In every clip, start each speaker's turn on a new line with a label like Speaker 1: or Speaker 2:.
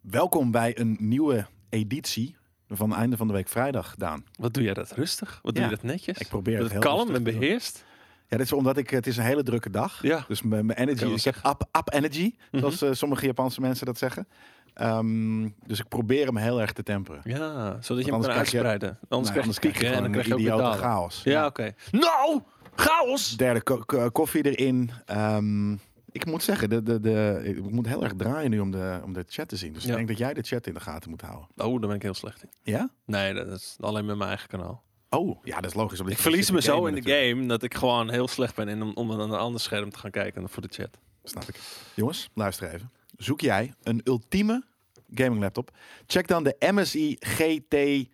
Speaker 1: Welkom bij een nieuwe editie van Einde van de Week Vrijdag, Daan.
Speaker 2: Wat doe jij dat rustig? Wat
Speaker 1: Ja,
Speaker 2: doe je dat netjes?
Speaker 1: ik probeer het
Speaker 2: dat
Speaker 1: heel
Speaker 2: kalm
Speaker 1: rustig
Speaker 2: en
Speaker 1: te doen.
Speaker 2: beheerst.
Speaker 1: Ja, dit is omdat ik, het is een hele drukke dag.
Speaker 2: Ja.
Speaker 1: Dus mijn, mijn energy,
Speaker 2: Kan wel Mhm.
Speaker 1: ik heb up, up energy, zoals eh, sommige Japanse mensen dat zeggen. Ehm, dus ik probeer hem heel erg te temperen. Nou,
Speaker 2: Ja, zodat je hem
Speaker 1: anders
Speaker 2: kan
Speaker 1: krijg je-
Speaker 2: uitspreiden. Anders
Speaker 1: Nee,
Speaker 2: krijg je pieken en dan krijg je ook
Speaker 1: gewoon
Speaker 2: weer
Speaker 1: een
Speaker 2: dalen.
Speaker 1: idiote chaos.
Speaker 2: Ja, oké. Nou, chaos!
Speaker 1: Derde ko- ko- koffie erin. Ehm, ik moet zeggen, de, de, de, ik moet heel erg draaien nu om de, om de chat te zien. Dus
Speaker 2: Ja.
Speaker 1: ik denk dat jij de chat in de gaten moet houden.
Speaker 2: Oh, daar ben ik heel slecht in.
Speaker 1: Ja?
Speaker 2: Nee, dat is alleen met mijn eigen kanaal.
Speaker 1: Oh, ja, dat is logisch. omdat
Speaker 2: Ik
Speaker 1: je
Speaker 2: verlies
Speaker 1: zit
Speaker 2: me
Speaker 1: te
Speaker 2: zo
Speaker 1: gamen
Speaker 2: in de
Speaker 1: natuurlijk.
Speaker 2: game dat ik gewoon heel slecht ben in om, om dan naar een ander scherm te gaan kijken dan voor de chat.
Speaker 1: Snap ik. Jongens, luister even. Zoek jij een ultieme gaming laptop? Check dan de MSI GT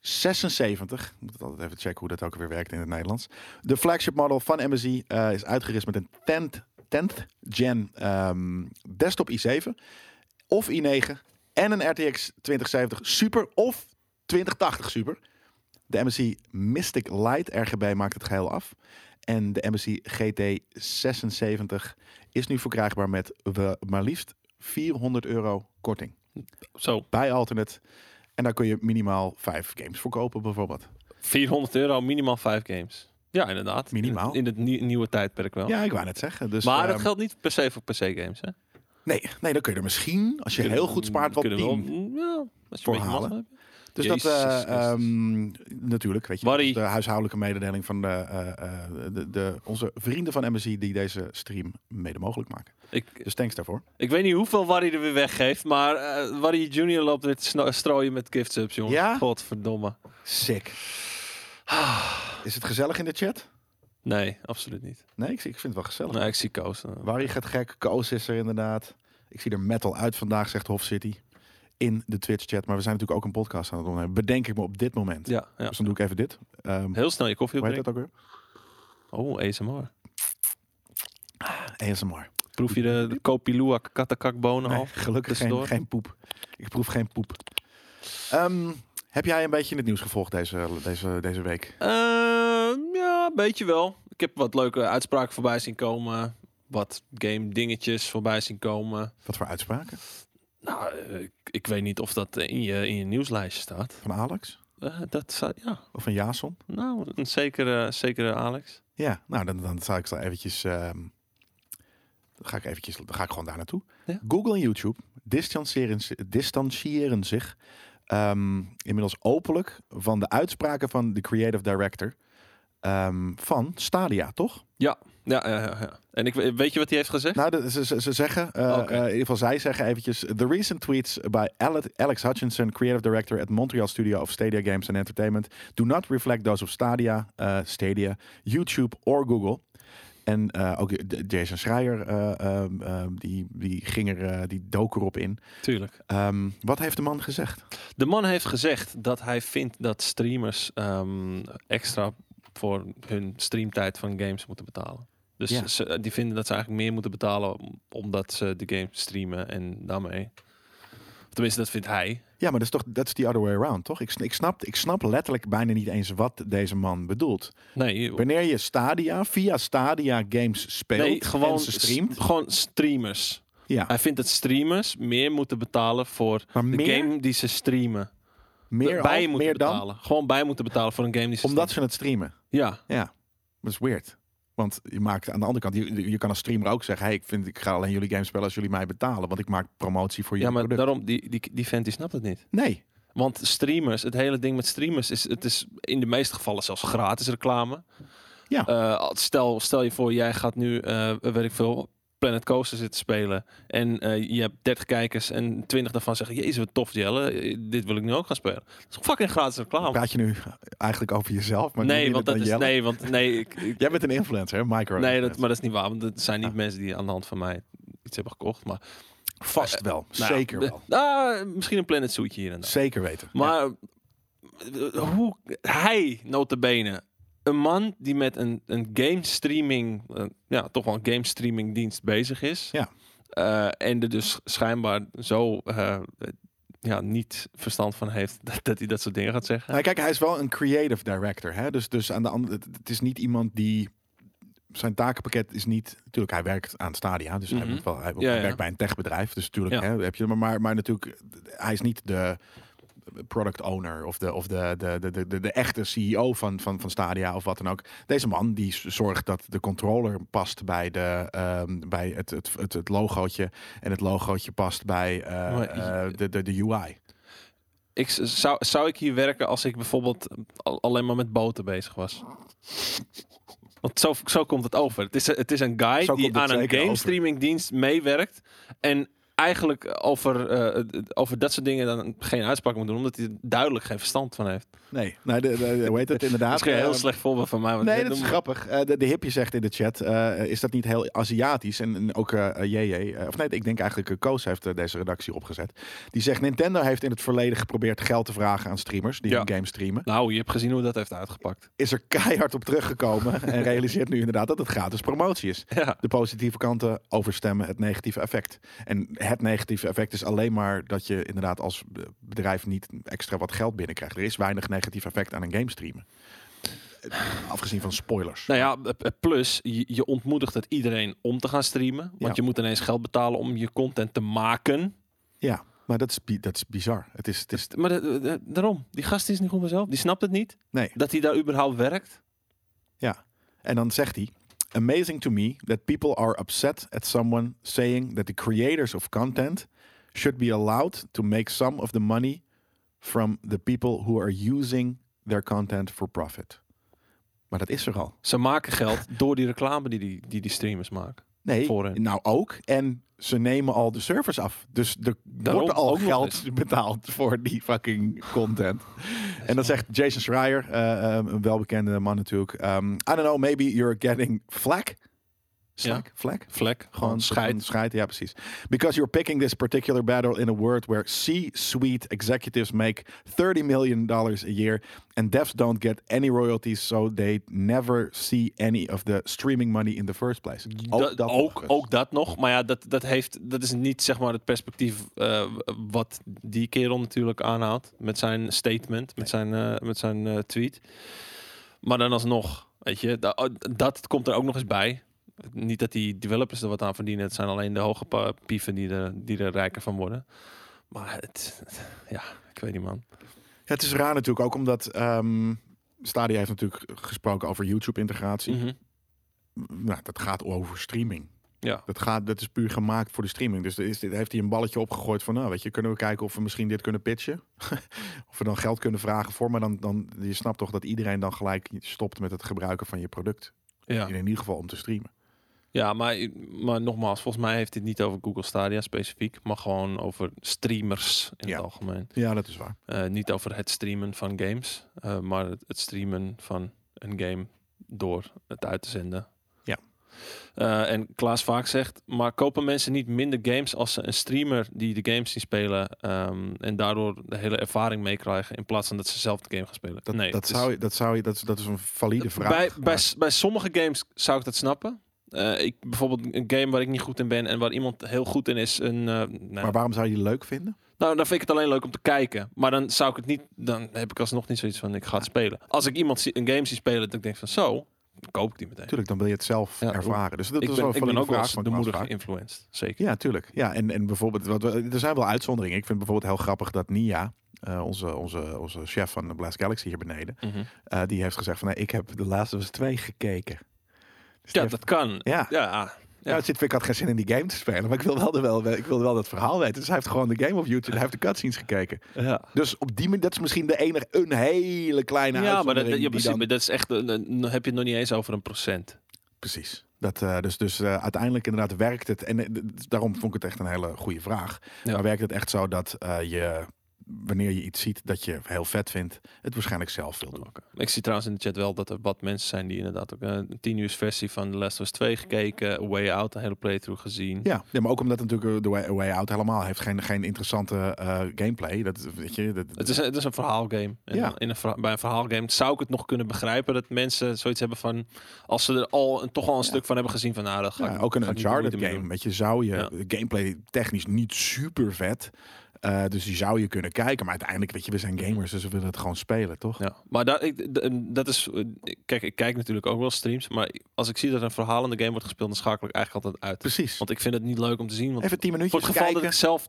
Speaker 1: 76. Ik moet het altijd even checken hoe dat ook weer werkt in het Nederlands. De flagship model van MSI eh, is uitgerust met een 10th, 10th gen ehm, desktop i7 of i9 en een RTX 2070 Super of 2080 Super. De MSI Mystic Lite RGB maakt het geheel af. En de MSI GT 76 is nu verkrijgbaar met we- maar liefst 400 euro korting
Speaker 2: Zo,
Speaker 1: bij Alternate. En daar kun je minimaal vijf games voor kopen bijvoorbeeld.
Speaker 2: 400 euro, minimaal 5 games. Ja, inderdaad.
Speaker 1: Minimaal.
Speaker 2: In het, in het nie- nieuwe tijdperk wel.
Speaker 1: Ja, ik wou net zeggen. Dus,
Speaker 2: Oh. maar dat
Speaker 1: ehm,
Speaker 2: geldt niet per se voor PC-games. hè?
Speaker 1: nee, nee, dan kun je er misschien, als je
Speaker 2: Kunnen-
Speaker 1: heel goed spaart, wat
Speaker 2: kunnen we wel-
Speaker 1: tien.
Speaker 2: Ja, als je
Speaker 1: voor
Speaker 2: een beetje mazzel
Speaker 1: halen.
Speaker 2: hebt.
Speaker 1: Dus dat,
Speaker 2: Jezus
Speaker 1: eh,
Speaker 2: Christus.
Speaker 1: ehm, natuurlijk, weet je, dat
Speaker 2: Barry.
Speaker 1: is de huishoudelijke mededeling van de, eh, eh, de, de, onze vrienden van MSI die deze stream mede mogelijk maken.
Speaker 2: Ik,
Speaker 1: Dus thanks daarvoor.
Speaker 2: Ik weet niet hoeveel Warry er weer weggeeft, maar eh Warry Junior loopt weer te sno- strooien met gift subs, jongens.
Speaker 1: Ja?
Speaker 2: Godverdomme.
Speaker 1: Sick. Is het gezellig in de chat?
Speaker 2: Nee, absoluut niet.
Speaker 1: Nee, ik, zie- ik vind het wel gezellig.
Speaker 2: Nee, ik zie Koos. eh,
Speaker 1: Warry gaat gek, Koos is er inderdaad. Ik zie er metal uit vandaag, zegt Hof City. In de Twitch-chat. Maar we zijn natuurlijk ook een podcast aan het opnemen. Bedenk ik me op dit moment.
Speaker 2: Ja, ja.
Speaker 1: Dus dan doe ik even dit. Ehm
Speaker 2: Heel snel je koffie
Speaker 1: hoe heet dat
Speaker 2: opdrinken.
Speaker 1: ook weer?
Speaker 2: Oh, ASMR.
Speaker 1: ASMR.
Speaker 2: Proef je de, de Kopilua katakakbonen
Speaker 1: Nee,
Speaker 2: al?
Speaker 1: gelukkig geen,
Speaker 2: tussendoor.
Speaker 1: geen poep. Ik proef geen poep. Ehm, heb jij een beetje het nieuws gevolgd deze, deze, deze week?
Speaker 2: Eh, ja, een beetje wel. Ik heb wat leuke uitspraken voorbij zien komen. Wat game dingetjes voorbij zien komen.
Speaker 1: Wat voor uitspraken?
Speaker 2: Nou, eh, ik, ik weet niet of dat in je, in je nieuwslijstje staat.
Speaker 1: Van Alex?
Speaker 2: Eh, dat zou, ja.
Speaker 1: Of van Jason?
Speaker 2: Nou, een zekere, zekere Alex.
Speaker 1: Ja, nou dan, dan zou ik zo eventjes... ehm, dan ga ik eventjes, dan ga ik gewoon daar naartoe.
Speaker 2: Ja.
Speaker 1: Google en YouTube distancieren, zi- distancieren zich ehm, inmiddels openlijk van de uitspraken van de creative director ehm, van Stadia, toch?
Speaker 2: Ja, ja, ja, ja. En ik, we- weet je wat hij heeft gezegd?
Speaker 1: Nou, de- ze, ze, ze zeggen, eh,
Speaker 2: Oké.
Speaker 1: eh, in ieder geval zij zeggen eventjes... The recent tweets by Ale- Alex Hutchinson, creative director at Montreal Studio of Stadia Games and Entertainment... do not reflect those of Stadia, eh, Stadia, YouTube or Google. En eh, ook J- Jason Schreier, eh, ehm, ehm, die, die, ging er, eh, die dook erop in.
Speaker 2: Tuurlijk.
Speaker 1: Ehm, wat heeft de man gezegd?
Speaker 2: De man heeft gezegd dat hij vindt dat streamers ehm, extra voor hun streamtijd van games moeten betalen. Dus
Speaker 1: Ja.
Speaker 2: ze, die vinden dat ze eigenlijk meer moeten betalen om- omdat ze de game streamen en daarmee. Tenminste, dat vindt hij.
Speaker 1: Ja, maar dat is toch dat is the other way around, toch? Ik, sn- ik, snap, ik snap letterlijk bijna niet eens wat deze man bedoelt.
Speaker 2: Nee,
Speaker 1: Wanneer je Stadia via Stadia games speelt
Speaker 2: nee gewoon,
Speaker 1: en ze streamt...
Speaker 2: s- gewoon streamers.
Speaker 1: Ja.
Speaker 2: Hij vindt dat streamers meer moeten betalen voor
Speaker 1: Maar
Speaker 2: de
Speaker 1: meer?
Speaker 2: game die ze streamen.
Speaker 1: meer,
Speaker 2: bij
Speaker 1: al-
Speaker 2: moeten
Speaker 1: meer dan
Speaker 2: betalen. Gewoon bij moeten betalen voor een game die ze
Speaker 1: omdat ze het streamen.
Speaker 2: streamen. Ja.
Speaker 1: Dat is weird. Want je maakt aan de andere kant, je, je kan als streamer ook zeggen: hey, ik, vind, ik ga alleen jullie games spelen als jullie mij betalen, want ik maak promotie voor
Speaker 2: ja,
Speaker 1: jullie
Speaker 2: maar
Speaker 1: product.
Speaker 2: daarom, die, die, die vent die snapt het niet.
Speaker 1: Nee,
Speaker 2: Want streamers, het hele ding met streamers is, het is in de meeste gevallen zelfs gratis reclame.
Speaker 1: Ja.
Speaker 2: Eh, stel, stel je voor, jij gaat nu, eh weet ik veel, Planet Coaster zitten spelen. En eh, je hebt 30 kijkers en 20 daarvan zeggen, jezus wat tof Jelle, eh, dit wil ik nu ook gaan spelen. Dat is fucking gratis reclame.
Speaker 1: praat je nu eigenlijk over jezelf? Maar
Speaker 2: nee, want dat
Speaker 1: dan
Speaker 2: is,
Speaker 1: Jelle?
Speaker 2: nee, want nee, ik, ik-
Speaker 1: Jij bent een influencer, hè? micro.
Speaker 2: nee dat, maar dat is niet waar. Want het zijn niet
Speaker 1: Ah.
Speaker 2: mensen die aan de hand van mij iets hebben gekocht. Maar,
Speaker 1: vast wel,
Speaker 2: nou ja,
Speaker 1: zeker
Speaker 2: de-
Speaker 1: wel,
Speaker 2: Ah, misschien een Planet Suitje hier en daar.
Speaker 1: zeker weten. Ja.
Speaker 2: Maar eh, hoe hij, notabene, een man die met een, een game streaming, eh, ja, toch wel een game streaming dienst bezig is.
Speaker 1: Ja.
Speaker 2: eh, en er dus schijnbaar zo eh, ja, niet verstand van heeft dat, dat hij dat soort dingen gaat zeggen.
Speaker 1: Nou, kijk, hij is wel een creative director, hè? Dus, dus aan de andere, het is niet iemand die zijn takenpakket is niet... Natuurlijk, hij werkt aan Stadia, dus
Speaker 2: Mhm.
Speaker 1: hij, moet wel, hij
Speaker 2: Ja,
Speaker 1: hij
Speaker 2: ja.
Speaker 1: werkt bij een techbedrijf. Dus natuurlijk
Speaker 2: Ja.
Speaker 1: hè, heb je... Maar, maar, maar natuurlijk, hij is niet de product owner of de, of de, de, de, de, de, de echte CEO van, van, van Stadia of wat dan ook. Deze man die z- zorgt dat de controller past bij, de, ehm, bij het, het, het, het logootje en het logootje past bij eh,
Speaker 2: Maar-
Speaker 1: eh, de, de, de UI.
Speaker 2: Ik, z- zou, zou ik hier werken als ik bijvoorbeeld al- alleen maar met boten bezig was? Want zo, zo komt het over. Het is, het is een guy
Speaker 1: Zo komt
Speaker 2: die
Speaker 1: het
Speaker 2: aan een
Speaker 1: zeker
Speaker 2: game
Speaker 1: over.
Speaker 2: streamingdienst meewerkt. En eigenlijk over, eh, over dat soort dingen dan geen uitspraak moet doen. Omdat hij er duidelijk geen verstand van heeft.
Speaker 1: Nee, nee de, de, de- hoe heet het inderdaad?
Speaker 2: Dat is een heel
Speaker 1: Eh,
Speaker 2: slecht voorbeeld van mij. want
Speaker 1: Nee,
Speaker 2: dit
Speaker 1: dat is
Speaker 2: noemen we-
Speaker 1: grappig. Eh, de, de hipje zegt in de chat, eh, is dat niet heel Aziatisch? En, en ook eh, eh, JJ, eh, of nee, ik denk eigenlijk eh, Koos heeft eh, deze redactie opgezet. Die zegt, Nintendo heeft in het verleden geprobeerd geld te vragen aan streamers die
Speaker 2: Ja.
Speaker 1: hun game streamen.
Speaker 2: Nou, je hebt gezien hoe dat heeft uitgepakt.
Speaker 1: Is er keihard op teruggekomen en realiseert nu inderdaad dat het gratis promotie is.
Speaker 2: Ja.
Speaker 1: De positieve kanten overstemmen het negatieve effect. En het negatieve effect is alleen maar dat je inderdaad als eh, bedrijf niet extra wat geld binnenkrijgt. Er is weinig negatief effect aan een game streamen. Eh, Afgezien van spoilers.
Speaker 2: Nou ja, eh, eh, plus je, je ontmoedigt het iedereen om te gaan streamen. Want
Speaker 1: Ja.
Speaker 2: je moet ineens geld betalen om je content te maken.
Speaker 1: Ja, maar dat is, bi- dat is bizar. Het is, het is,
Speaker 2: Maar de- de- de- daarom, die gast is niet goed mezelf. Die snapt het niet.
Speaker 1: nee.
Speaker 2: Dat hij daar überhaupt werkt.
Speaker 1: En dan zegt hij: Amazing to me that people are upset at someone saying that the creators of content should be allowed to make some of the money from the people who are using their content for profit. Maar dat is er al.
Speaker 2: Ze maken geld door die reclame die die, die, die streamers maken.
Speaker 1: Nee,
Speaker 2: Voor hen.
Speaker 1: nou ook. En ze nemen al de servers af. Dus er
Speaker 2: Daarom
Speaker 1: wordt al
Speaker 2: ook nog
Speaker 1: geld
Speaker 2: eens.
Speaker 1: betaald voor die fucking content. en dan zegt Jason Schreier, eh, um, een welbekende man natuurlijk. ehm, I don't know, maybe you're getting flack. Slack? Flack?
Speaker 2: Vlek, gewoon
Speaker 1: schijt.
Speaker 2: scheid.
Speaker 1: Scheid, ja precies. Because you're picking this particular battle in a world where C-suite executives make 30 million dollars a year and devs don't get any royalties, so they never see any of the streaming money in the first place.
Speaker 2: Dat-
Speaker 1: dat nog
Speaker 2: ook,
Speaker 1: eens.
Speaker 2: ook dat nog. Maar ja, dat, dat, heeft, dat is niet zeg maar het perspectief eh, wat die kerel natuurlijk aanhaalt. Met zijn statement, met zijn, eh, met zijn eh, tweet. Maar dan alsnog, weet je, da- oh, dat komt er ook nog eens bij. Niet dat die developers er wat aan verdienen. Het zijn alleen de hoge pa- pieven die er, die er rijker van worden. Maar het, ja, ik weet niet man.
Speaker 1: Ja, Het is raar natuurlijk ook omdat ehm, Stadia heeft natuurlijk gesproken over YouTube-integratie.
Speaker 2: Mhm. Mm.
Speaker 1: Nou, dat gaat over streaming.
Speaker 2: Ja.
Speaker 1: Dat, gaat, dat is puur gemaakt voor de streaming. Dus er is, dit- heeft hij een balletje opgegooid van, nou weet je, kunnen we kijken of we misschien dit kunnen pitchen? of we dan geld kunnen vragen voor, maar dan, dan, je snapt toch dat iedereen dan gelijk stopt met het gebruiken van je product.
Speaker 2: Ja.
Speaker 1: In ieder geval om te streamen.
Speaker 2: Ja, maar, maar nogmaals, volgens mij heeft dit niet over Google Stadia specifiek, maar gewoon over streamers in
Speaker 1: Ja.
Speaker 2: het algemeen.
Speaker 1: Ja, dat is waar.
Speaker 2: Eh, niet over het streamen van games, eh, maar het, het streamen van een game door het uit te zenden.
Speaker 1: Ja.
Speaker 2: Eh, en Klaas vaak zegt, maar kopen mensen niet minder games als ze een streamer die de games zien spelen ehm, en daardoor de hele ervaring meekrijgen in plaats van dat ze zelf de game gaan spelen?
Speaker 1: Dat,
Speaker 2: nee,
Speaker 1: dat,
Speaker 2: het is-
Speaker 1: zou, je- dat, zou, je- dat, is- dat is een valide vraag.
Speaker 2: bij, bij,
Speaker 1: Maar-
Speaker 2: s- bij sommige games zou ik dat snappen. Eh, ik, bijvoorbeeld een game waar ik niet goed in ben en waar iemand heel goed in is. Een, eh, nou,
Speaker 1: maar waarom zou je die leuk vinden?
Speaker 2: nou, dan vind ik het alleen leuk om te kijken. Maar dan zou ik het niet. Dan heb ik alsnog niet zoiets van ik ga het spelen. Als ik iemand zie, een game zie spelen, dat ik denk van zo, dan koop ik die meteen.
Speaker 1: Tuurlijk, dan wil je het zelf
Speaker 2: Ja,
Speaker 1: ervaren. Dus dat
Speaker 2: Ik
Speaker 1: is
Speaker 2: ben,
Speaker 1: wel een
Speaker 2: ik ben
Speaker 1: valide
Speaker 2: ook wel
Speaker 1: vraag
Speaker 2: eens
Speaker 1: van
Speaker 2: de
Speaker 1: Klaas
Speaker 2: moeder
Speaker 1: Vaak.
Speaker 2: geïnfluenced. Zeker.
Speaker 1: Ja, tuurlijk. Ja, en, en bijvoorbeeld, wat, we- er zijn wel uitzonderingen. Ik vind bijvoorbeeld heel grappig dat Nia, eh, onze, onze, onze chef van de Blast Galaxy hier beneden,
Speaker 2: Mhm.
Speaker 1: eh, die heeft gezegd van, nee, ik heb de laatste was twee gekeken. Dus die
Speaker 2: ja
Speaker 1: heeft-
Speaker 2: dat kan.
Speaker 1: ja.
Speaker 2: Ja, ja.
Speaker 1: Ja, het zit, ik had geen zin in die game te spelen, maar ik wilde wel, de- wel, ik wilde wel dat verhaal weten. Dus hij heeft gewoon de game op YouTube, hij heeft de cutscenes gekeken. Dus op die manier, dat is misschien de enige, een hele kleine
Speaker 2: Ja, maar dat,
Speaker 1: uitzondering.
Speaker 2: dat- ja,
Speaker 1: die
Speaker 2: precies,
Speaker 1: dan-
Speaker 2: maar dat is echt. een- een- Dan heb je het nog niet eens over een procent.
Speaker 1: Precies. Dat, eh, dus dus eh, uiteindelijk inderdaad werkt het. En eh, d- d- daarom vond ik het echt een hele goede vraag.
Speaker 2: Ja.
Speaker 1: Maar werkt het echt zo dat eh, je, wanneer je iets ziet dat je heel vet vindt, het waarschijnlijk zelf wil doen.
Speaker 2: Oké. Ik zie trouwens in de chat wel dat er wat mensen zijn die inderdaad ook eh, een 10 uur versie van The Last of Us 2 gekeken, A Way Out, een hele playthrough gezien.
Speaker 1: Ja, ja, maar ook omdat natuurlijk eh, The Way, way Out helemaal heeft geen, geen interessante eh, gameplay. Dat, weet je, dat,
Speaker 2: Het, is, het is een verhaalgame. En
Speaker 1: Ja.
Speaker 2: in een verha- bij een verhaalgame zou ik het nog kunnen begrijpen dat mensen zoiets hebben van, als ze er al een, toch al een stuk van hebben gezien, van nou, dat ga
Speaker 1: ja,
Speaker 2: ik
Speaker 1: ook een
Speaker 2: ga ik niet
Speaker 1: Uncharted
Speaker 2: moeite mee
Speaker 1: game,
Speaker 2: doen.
Speaker 1: weet je, zou je
Speaker 2: Ja.
Speaker 1: gameplay technisch niet super vet. Eh, dus die zou je kunnen kijken. Maar uiteindelijk, weet je, we zijn gamers, dus we willen het gewoon spelen, toch?
Speaker 2: Ja, maar daar, ik, d- ehm, dat is. eh, Kijk, ik kijk natuurlijk ook wel streams. Maar als ik zie dat er een verhalende game wordt gespeeld, dan schakel ik eigenlijk altijd uit.
Speaker 1: Precies.
Speaker 2: Want ik vind het niet leuk om te zien. Want
Speaker 1: Even tien
Speaker 2: voor
Speaker 1: minuutjes
Speaker 2: het geval
Speaker 1: kijken.
Speaker 2: dat ik zelf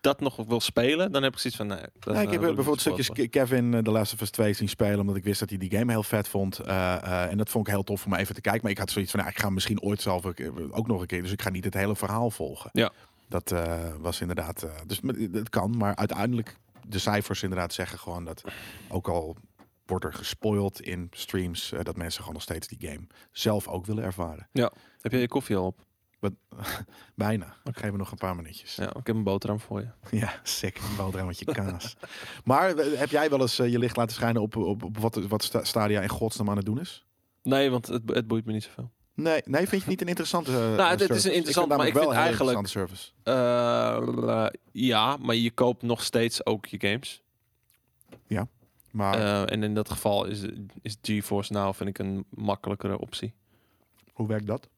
Speaker 2: dat nog wil spelen, dan heb ik zoiets van. Nee, dat,
Speaker 1: Ja, ik heb
Speaker 2: eh, wil
Speaker 1: bijvoorbeeld
Speaker 2: niet
Speaker 1: stukjes
Speaker 2: gespeeld
Speaker 1: Ke- Kevin eh, The Last of Us 2 zien spelen. Omdat ik wist dat hij die game heel vet vond. Eh, eh, en dat vond ik heel tof om even te kijken. Maar ik had zoiets van, nou, ik ga misschien ooit zelf ook, eh, ook nog een keer. Dus ik ga niet het hele verhaal volgen.
Speaker 2: Ja.
Speaker 1: Dat eh, was inderdaad... eh, dus maar het kan, maar uiteindelijk... De cijfers inderdaad zeggen gewoon dat... Ook al wordt er gespoild in streams... eh, dat mensen gewoon nog steeds die game zelf ook willen ervaren.
Speaker 2: worden. Heb jij je koffie al op?
Speaker 1: Bijna. Geef me nog een paar minuutjes.
Speaker 2: Ja, ik heb een boterham voor je.
Speaker 1: Ja, sick. Een boterhammetje kaas. maar eh, heb jij wel eens eh, je licht laten schijnen op, op, op wat, wat sta- Stadia in godsnaam aan het doen is?
Speaker 2: Nee, want het, het boeit me niet zoveel.
Speaker 1: Nee, nee, vind je het niet een interessante eh,
Speaker 2: Nou, het is
Speaker 1: service?
Speaker 2: een interessant, maar
Speaker 1: namelijk
Speaker 2: ik vind
Speaker 1: wel een hele
Speaker 2: eigenlijk-
Speaker 1: interessante service.
Speaker 2: Eh, ja, maar je koopt nog steeds ook je games.
Speaker 1: Maar
Speaker 2: Eh, en in dat geval is, is GeForce Now vind ik een makkelijkere optie.
Speaker 1: hoe werkt dat?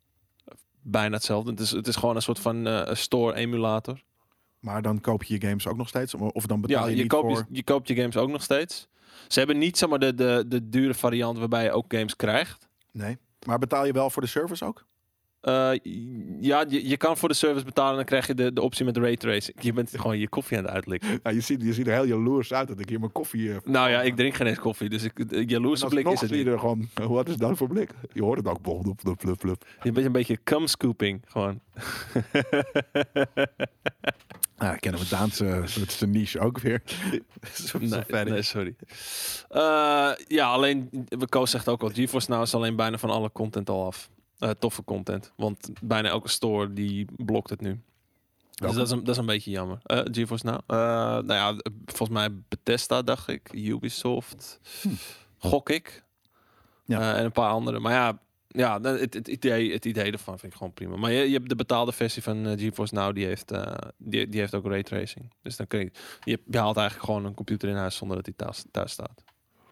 Speaker 2: Bijna hetzelfde. Het is, het is gewoon een soort van eh, store emulator.
Speaker 1: Maar dan koop je je games ook nog steeds? Of dan betaal
Speaker 2: ja,
Speaker 1: je,
Speaker 2: je,
Speaker 1: niet
Speaker 2: koopt,
Speaker 1: voor...
Speaker 2: je, je koopt je games ook nog steeds. Ze hebben niet zeg maar, de, de, de dure variant waarbij je ook games krijgt.
Speaker 1: Nee. Maar betaal je wel voor de service ook?
Speaker 2: Eh, ja, je, je kan voor de service betalen en dan krijg je de, de optie met raytracing. Je bent gewoon je koffie aan het uitlikken.
Speaker 1: Ja, je, ziet, je ziet er heel jaloers uit dat ik hier mijn koffie... eh,
Speaker 2: Nou ja, ik drink geen eens koffie, dus ik, de jaloerse
Speaker 1: en
Speaker 2: blik
Speaker 1: alsnog
Speaker 2: is het
Speaker 1: zie
Speaker 2: niet.
Speaker 1: je er gewoon... Wat is dat voor blik? Je hoort het ook. Blub, blub, blub, blub, blub.
Speaker 2: Je bent een beetje cum scooping gewoon.
Speaker 1: Ah, kennen we Daanse het is een niche ook weer. Zo- zo
Speaker 2: Nee,
Speaker 1: verder.
Speaker 2: nee, sorry. Eh, ja, alleen, Koos zegt ook al, GeForce Now is alleen bijna van alle content al af. Eh, toffe content, want bijna elke store die blokt het nu. Dus
Speaker 1: Welke?
Speaker 2: dat is, een, dat is een beetje jammer. Eh GeForce Now? Eh, nou ja, eh, volgens mij Bethesda, dacht ik. Ubisoft. Gok ik.
Speaker 1: Hm. Ja.
Speaker 2: Eh, en een paar andere. Maar ja, ja dan- het, het, idee, het idee ervan vind ik gewoon prima. Maar je, je hebt de betaalde versie van eh, GeForce Now, die heeft, eh, die, die heeft ook raytracing. Dus dan kun je, je, je haalt eigenlijk gewoon een computer in huis zonder dat die thuis, thuis staat.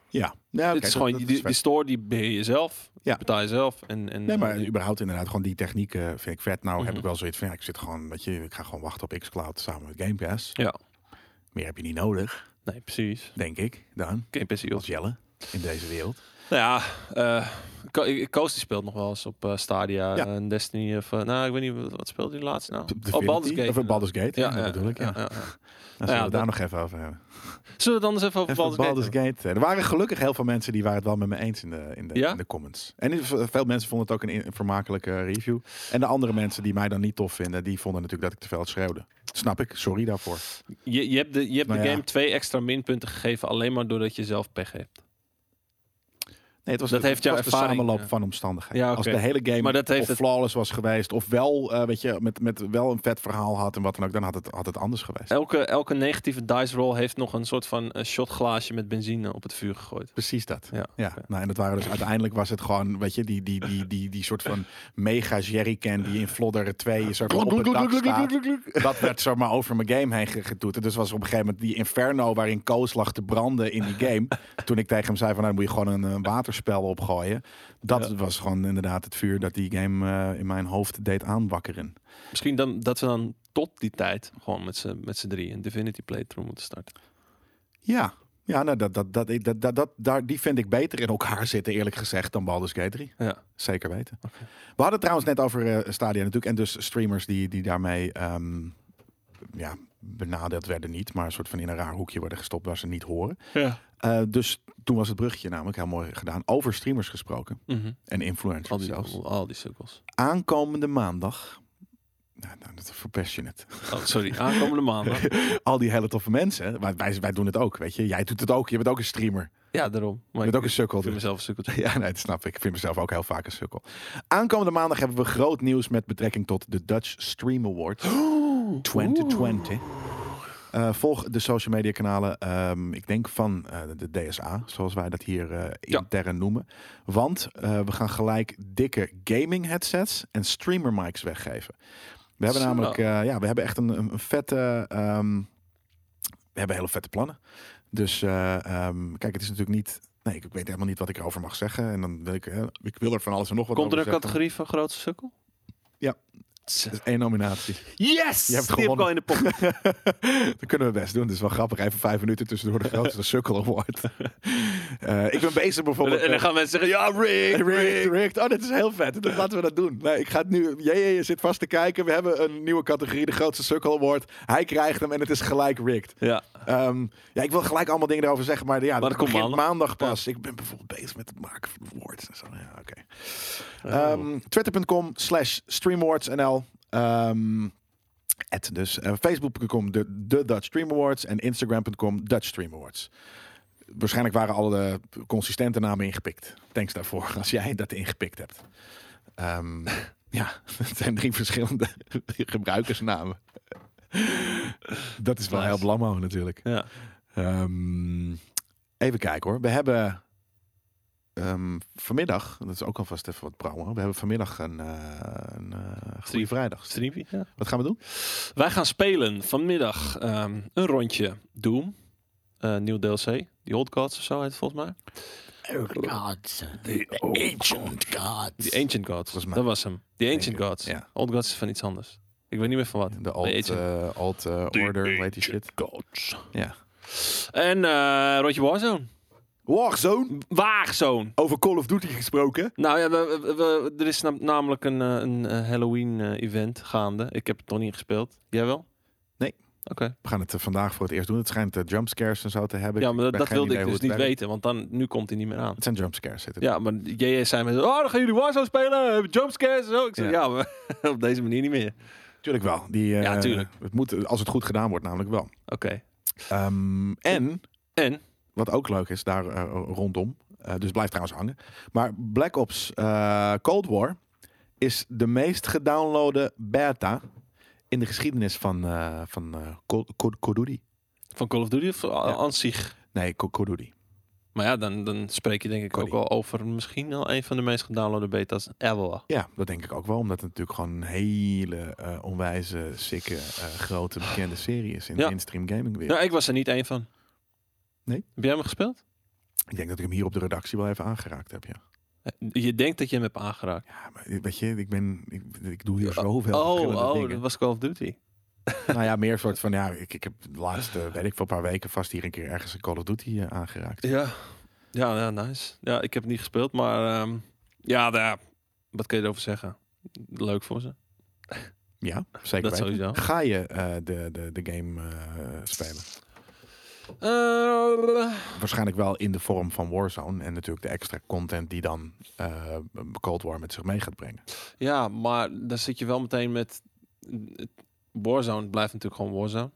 Speaker 1: Ja. Nee, oké,
Speaker 2: Dit is
Speaker 1: dat-
Speaker 2: gewoon,
Speaker 1: dat
Speaker 2: die,
Speaker 1: is
Speaker 2: die
Speaker 1: vet.
Speaker 2: store die beheer je zelf,
Speaker 1: Ja.
Speaker 2: betaal je zelf. En, en,
Speaker 1: Nee, maar überhaupt inderdaad, gewoon die techniek eh, vind ik vet. Nou heb ik
Speaker 2: Mm. Mhm.
Speaker 1: wel zoiets van, ja, ik zit gewoon, weet je, ik ga gewoon wachten op xCloud samen met Game Pass.
Speaker 2: Ja.
Speaker 1: Meer heb je niet nodig,
Speaker 2: Nee, precies.
Speaker 1: denk ik, dan,
Speaker 2: Geen passie op.
Speaker 1: als Jelle, in deze wereld.
Speaker 2: Nou ja, eh, Ko- ik- ik- Koos die speelt nog wel eens op eh, Stadia
Speaker 1: Ja.
Speaker 2: en Destiny. Of, eh, nou, ik weet niet, wat- wat speelde die laatst nou? oh,
Speaker 1: Divinity,
Speaker 2: Baldur's Gate.
Speaker 1: Of een Baldur's Gate, ja, dat bedoel ik. Ja.
Speaker 2: ja, ja.
Speaker 1: Dan zullen
Speaker 2: ja,
Speaker 1: we daar nog even over hebben.
Speaker 2: Zullen we het anders even over
Speaker 1: Even
Speaker 2: Baldur's, Gate
Speaker 1: Er waren gelukkig heel veel mensen die waren het wel met me eens in de, in de,
Speaker 2: Ja?
Speaker 1: in de comments. En in- veel mensen vonden het ook een, in- een vermakelijke review. En de andere mensen die mij dan niet tof vinden, die vonden natuurlijk dat ik te veel schreeuwde. Snap ik, sorry daarvoor.
Speaker 2: hebben? Je, je hebt de, je hebt
Speaker 1: Nou
Speaker 2: de
Speaker 1: ja.
Speaker 2: game twee extra minpunten gegeven alleen maar doordat je zelf pech
Speaker 1: Dus-
Speaker 2: hebt.
Speaker 1: Nee, het was,
Speaker 2: Dat
Speaker 1: het
Speaker 2: heeft jouw
Speaker 1: was de
Speaker 2: ervaring,
Speaker 1: samenloop
Speaker 2: ja.
Speaker 1: van omstandigheden.
Speaker 2: Ja,
Speaker 1: Als
Speaker 2: oké.
Speaker 1: de hele game
Speaker 2: Maar dat heeft
Speaker 1: of
Speaker 2: het-
Speaker 1: flawless was geweest, of wel, eh, weet je, met, met wel een vet verhaal had en wat dan ook, dan had het, had het anders geweest.
Speaker 2: Elke, elke negatieve dice roll heeft nog een soort van eh, shotglaasje met benzine op het vuur gegooid.
Speaker 1: Precies dat.
Speaker 2: Ja.
Speaker 1: Ja, nou, en dat waren dus uiteindelijk was het gewoon, weet je, die, die, die, die, die soort van mega jerrycan die in Flodder 2 is er op het dak staat. Dat werd zomaar over mijn game heen ge- getoeterd. Dus was op een gegeven moment die inferno waarin Koos lag te branden in die game. Toen ik tegen hem zei van, nou dan moet je gewoon een, eh, waterspel opgooien. Dat
Speaker 2: Ja.
Speaker 1: was gewoon inderdaad het vuur dat die game eh, in mijn hoofd deed aanwakkeren.
Speaker 2: Misschien dan, dat we dan tot die tijd gewoon met z'n, met z'n drie een Divinity playthrough moeten starten.
Speaker 1: Ja, ja nou, dat, dat, dat, ik- dat, dat, dat, daar, die vind ik beter in elkaar zitten, eerlijk gezegd, dan Baldur's Gate 3.
Speaker 2: Ja.
Speaker 1: Zeker weten.
Speaker 2: Oké.
Speaker 1: We hadden het trouwens net over eh, Stadia natuurlijk. En dus streamers die, die daarmee ehm, ja, benadeeld werden niet. Maar een soort van in een raar hoekje werden gestopt waar ze niet horen.
Speaker 2: ja.
Speaker 1: Eh, dus toen was het bruggetje namelijk heel mooi gedaan. Over streamers gesproken. En
Speaker 2: Mhm. Al,
Speaker 1: influencers
Speaker 2: die,
Speaker 1: zelfs.
Speaker 2: al die sukkels.
Speaker 1: Aankomende maandag. Nou, nou, dat verpest je het.
Speaker 2: Oh, sorry, aankomende maandag.
Speaker 1: Al die hele toffe mensen. maar Wij, wij doen het ook, weet je. Jij doet het ook. Je bent ook een streamer.
Speaker 2: Ja, daarom.
Speaker 1: Je
Speaker 2: Maar
Speaker 1: bent
Speaker 2: ik
Speaker 1: ook een sukkel.
Speaker 2: vind
Speaker 1: dus.
Speaker 2: mezelf een sukkeltje.
Speaker 1: Ja, nee, dat snap ik. Ik vind mezelf ook heel vaak een sukkel. Aankomende maandag hebben we groot nieuws met betrekking tot de Dutch Stream Awards 2020. Eh, volg de social media kanalen, ehm, ik denk van eh, de DSA, zoals wij dat hier eh,
Speaker 2: Ja.
Speaker 1: intern noemen. Want eh, we gaan gelijk dikke gaming headsets en streamer mics weggeven. We hebben
Speaker 2: Zo.
Speaker 1: namelijk, eh, ja, we hebben echt een, een een vette, ehm, we hebben hele vette plannen. Dus eh, ehm, kijk, het is natuurlijk niet. Nee, ik ik weet helemaal niet wat ik erover mag zeggen. En dan wil ik, eh, ik wil er van alles en nog wat
Speaker 2: Komt er
Speaker 1: over
Speaker 2: een
Speaker 1: zeggen.
Speaker 2: categorie van grootste sukkel?
Speaker 1: Ja.
Speaker 2: Rotse.
Speaker 1: Dat is één nominatie.
Speaker 2: Yes!
Speaker 1: Je hebt
Speaker 2: Die heb ik
Speaker 1: gewonnen.
Speaker 2: al in de pocket.
Speaker 1: Dat kunnen we best doen. Dat is wel grappig. Even vijf minuten tussendoor de grootste sukkel award. Eh, ik ben bezig bijvoorbeeld...
Speaker 2: en dan
Speaker 1: met-
Speaker 2: gaan mensen zeggen, ja, Rick,
Speaker 1: Hey,
Speaker 2: Rick.
Speaker 1: Rick, Rick. Oh, dit is heel vet. Dat- Laten we dat doen. Nee, ik ga het nu... Jij je zit vast te kijken. We hebben een nieuwe categorie. De grootste sukkel award. Hij krijgt hem en het is gelijk Rick.
Speaker 2: Ja,
Speaker 1: Ehm, ja, ik wil gelijk allemaal dingen erover zeggen, maar ja,
Speaker 2: dat
Speaker 1: dat
Speaker 2: komt
Speaker 1: begint
Speaker 2: maandag.
Speaker 1: maandag pas. Ik ben bijvoorbeeld bezig met het maken van awards en zo. Ja, oké. Ehm,
Speaker 2: Oh.
Speaker 1: Twitter.com slash streamawards.nl Ehm, at dus. Eh, Facebook.com de, de Dutch Stream Awards en Instagram.com Dutch Stream Awards. Waarschijnlijk waren alle de consistente namen ingepikt. Thanks daarvoor, als jij dat ingepikt hebt. Ehm, ja, het zijn drie verschillende gebruikersnamen. Dat is wel
Speaker 2: Nice.
Speaker 1: heel blammo natuurlijk.
Speaker 2: ja.
Speaker 1: Ehm, even kijken hoor. We hebben ehm, vanmiddag, dat is ook alvast even wat promo. We hebben vanmiddag een, eh een eh, goede
Speaker 2: Stream.
Speaker 1: vrijdag.
Speaker 2: Streampie, ja.
Speaker 1: Wat gaan we doen?
Speaker 2: Wij gaan spelen vanmiddag ehm, een rondje Doom. Eh nieuw DLC. Die Old Gods of zo heet het volgens mij.
Speaker 3: gods, the ancient gods.
Speaker 2: Die Ancient Gods.
Speaker 1: Volgens mij.
Speaker 2: Dat was hem. Die Ancient,
Speaker 1: Ancient,
Speaker 2: Gods.
Speaker 1: ja.
Speaker 2: Old Gods is van iets anders. Ik weet niet meer van wat.
Speaker 1: De
Speaker 2: Nee,
Speaker 1: Alt,
Speaker 2: Ancient.
Speaker 1: eh, alt eh, Order, weet je shit.
Speaker 2: Gods.
Speaker 1: Ja.
Speaker 2: En eh rondje Warzone.
Speaker 1: Warzone,
Speaker 2: Waagzone.
Speaker 1: over Call of Duty gesproken.
Speaker 2: Nou ja, we, we- we- er is nam- namelijk een, eh, een eh, Halloween eh, event gaande. Ik heb het nog niet gespeeld. Jij wel?
Speaker 1: Nee.
Speaker 2: Oké.
Speaker 1: We gaan het eh, vandaag voor het eerst doen. Het schijnt eh, jumpscares en zo te hebben.
Speaker 2: Ja, maar dat,
Speaker 1: ben
Speaker 2: dat
Speaker 1: geen
Speaker 2: wilde ik
Speaker 1: idee hoe
Speaker 2: dus
Speaker 1: het
Speaker 2: niet
Speaker 1: werkt.
Speaker 2: weten, want dan, nu komt hij niet meer aan.
Speaker 1: Het zijn jumpscares zitten.
Speaker 2: Ja, maar JJ zei met, oh, dan gaan jullie Warzone spelen, eh, jumpscares en zo. Ik zei, ja,
Speaker 1: Ja.
Speaker 2: maar op deze manier niet meer.
Speaker 1: Tuurlijk wel. Die, eh,
Speaker 2: Ja, tuurlijk.
Speaker 1: Het moet, als het goed gedaan wordt namelijk wel.
Speaker 2: Oké.
Speaker 1: Ehm, en
Speaker 2: En,
Speaker 1: Wat ook leuk is daar eh, rondom. eh, dus blijf trouwens hangen. Maar Black Ops eh, Cold War is de meest gedownloade beta in de geschiedenis van, eh van eh, Call- Call- Call of Duty.
Speaker 2: van Call of Duty of eh, aan zich?
Speaker 1: Nee, Call Call of Duty.
Speaker 2: Maar ja, dan, dan spreek je denk ik ook
Speaker 1: Cody.
Speaker 2: al over misschien wel een van de meest gedownloade beta's ever.
Speaker 1: Ja, dat denk ik ook wel. Omdat het natuurlijk gewoon een hele eh, onwijze, sikke, eh, grote, bekende serie is in
Speaker 2: Ja.
Speaker 1: de mainstream gaming wereld.
Speaker 2: Nou, ik was er niet één van.
Speaker 1: Nee?
Speaker 2: Heb jij hem gespeeld?
Speaker 1: Ik denk dat ik hem hier op de redactie wel even aangeraakt heb, ja.
Speaker 2: Eh, Je denkt dat je hem hebt aangeraakt.
Speaker 1: Ja, maar weet je, ik ben, ik, ik doe hier zoveel
Speaker 2: oh,
Speaker 1: verschillende
Speaker 2: oh
Speaker 1: dingen.
Speaker 2: dat was Call of Duty.
Speaker 1: Nou ja, meer soort van, ja, ik, ik heb de laatste, weet ik veel, paar weken vast hier een keer ergens een Call of Duty eh, aangeraakt.
Speaker 2: Ja. ja, ja, nice. Ja, ik heb het niet gespeeld, maar ehm, ja, daar, wat kun je erover zeggen? Leuk voor ze.
Speaker 1: Ja, zeker weten.
Speaker 2: Dat sowieso.
Speaker 1: Ga je eh, de, de, de game eh, spelen?
Speaker 2: Eh,
Speaker 1: Waarschijnlijk wel in de vorm van Warzone en natuurlijk de extra content die dan eh, Cold War met zich mee gaat brengen.
Speaker 2: Ja, maar dan zit je wel meteen met... Warzone blijft natuurlijk gewoon Warzone.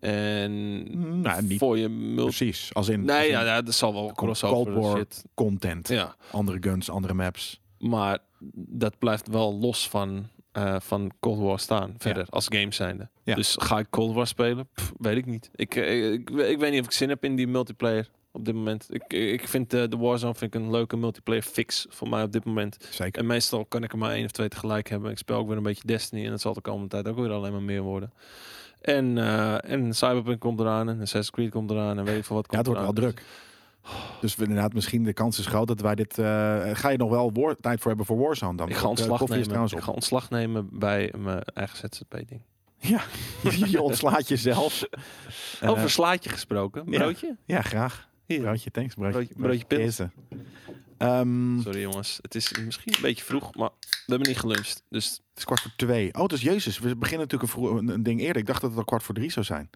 Speaker 2: En
Speaker 1: Nou, niet
Speaker 2: Mm, voor je multi...
Speaker 1: precies, als in, als
Speaker 2: Nee,
Speaker 1: in
Speaker 2: ja, ja, dat zal wel crossover
Speaker 1: Cold War.
Speaker 2: shit.
Speaker 1: content,
Speaker 2: Ja,
Speaker 1: andere guns, andere maps.
Speaker 2: maar dat blijft wel los van, eh, van Cold War staan verder, als game zijnde.
Speaker 1: Ja.
Speaker 2: Dus ga ik Cold War spelen? Pff, weet ik niet. Ik, eh, ik, we- ik weet niet of ik zin heb in die multiplayer op dit moment. Ik, ik vind eh, de Warzone vind ik een leuke multiplayer fix voor mij op dit moment.
Speaker 1: Zeker.
Speaker 2: En meestal kan ik er maar één of twee tegelijk hebben. Ik speel ook weer een beetje Destiny en dat zal de komende tijd ook weer alleen maar meer worden. En, eh, en Cyberpunk komt eraan en Assassin's Creed komt eraan en weet ik veel wat
Speaker 1: Ja,
Speaker 2: komt
Speaker 1: het wordt wel
Speaker 2: eraan.
Speaker 1: druk. Dus we- inderdaad, misschien de kans is groot dat wij dit... eh, ga je nog wel war- tijd voor hebben voor Warzone dan?
Speaker 2: Ik
Speaker 1: Want,
Speaker 2: ga
Speaker 1: eh,
Speaker 2: ontslag
Speaker 1: koffie is
Speaker 2: nemen.
Speaker 1: trouwens op.
Speaker 2: Ik ga ontslag nemen bij mijn eigen ZZP-ding.
Speaker 1: Ja, je ontslaat jezelf. Eh,
Speaker 2: Over slaatje gesproken.
Speaker 1: ja.
Speaker 2: Broodje?
Speaker 1: ja, graag.
Speaker 2: Hier.
Speaker 1: Broodje, thanks. Broodje,
Speaker 2: Broodje- broodje pils.
Speaker 1: pils. Ehm, het
Speaker 2: Sorry jongens, het is misschien een beetje vroeg, maar we hebben niet geluncht. Dus
Speaker 1: is kwart voor twee. Oh, het is Jezus. We beginnen natuurlijk een, vroeg- een, een ding eerder. Ik dacht dat het al kwart voor drie zou zijn.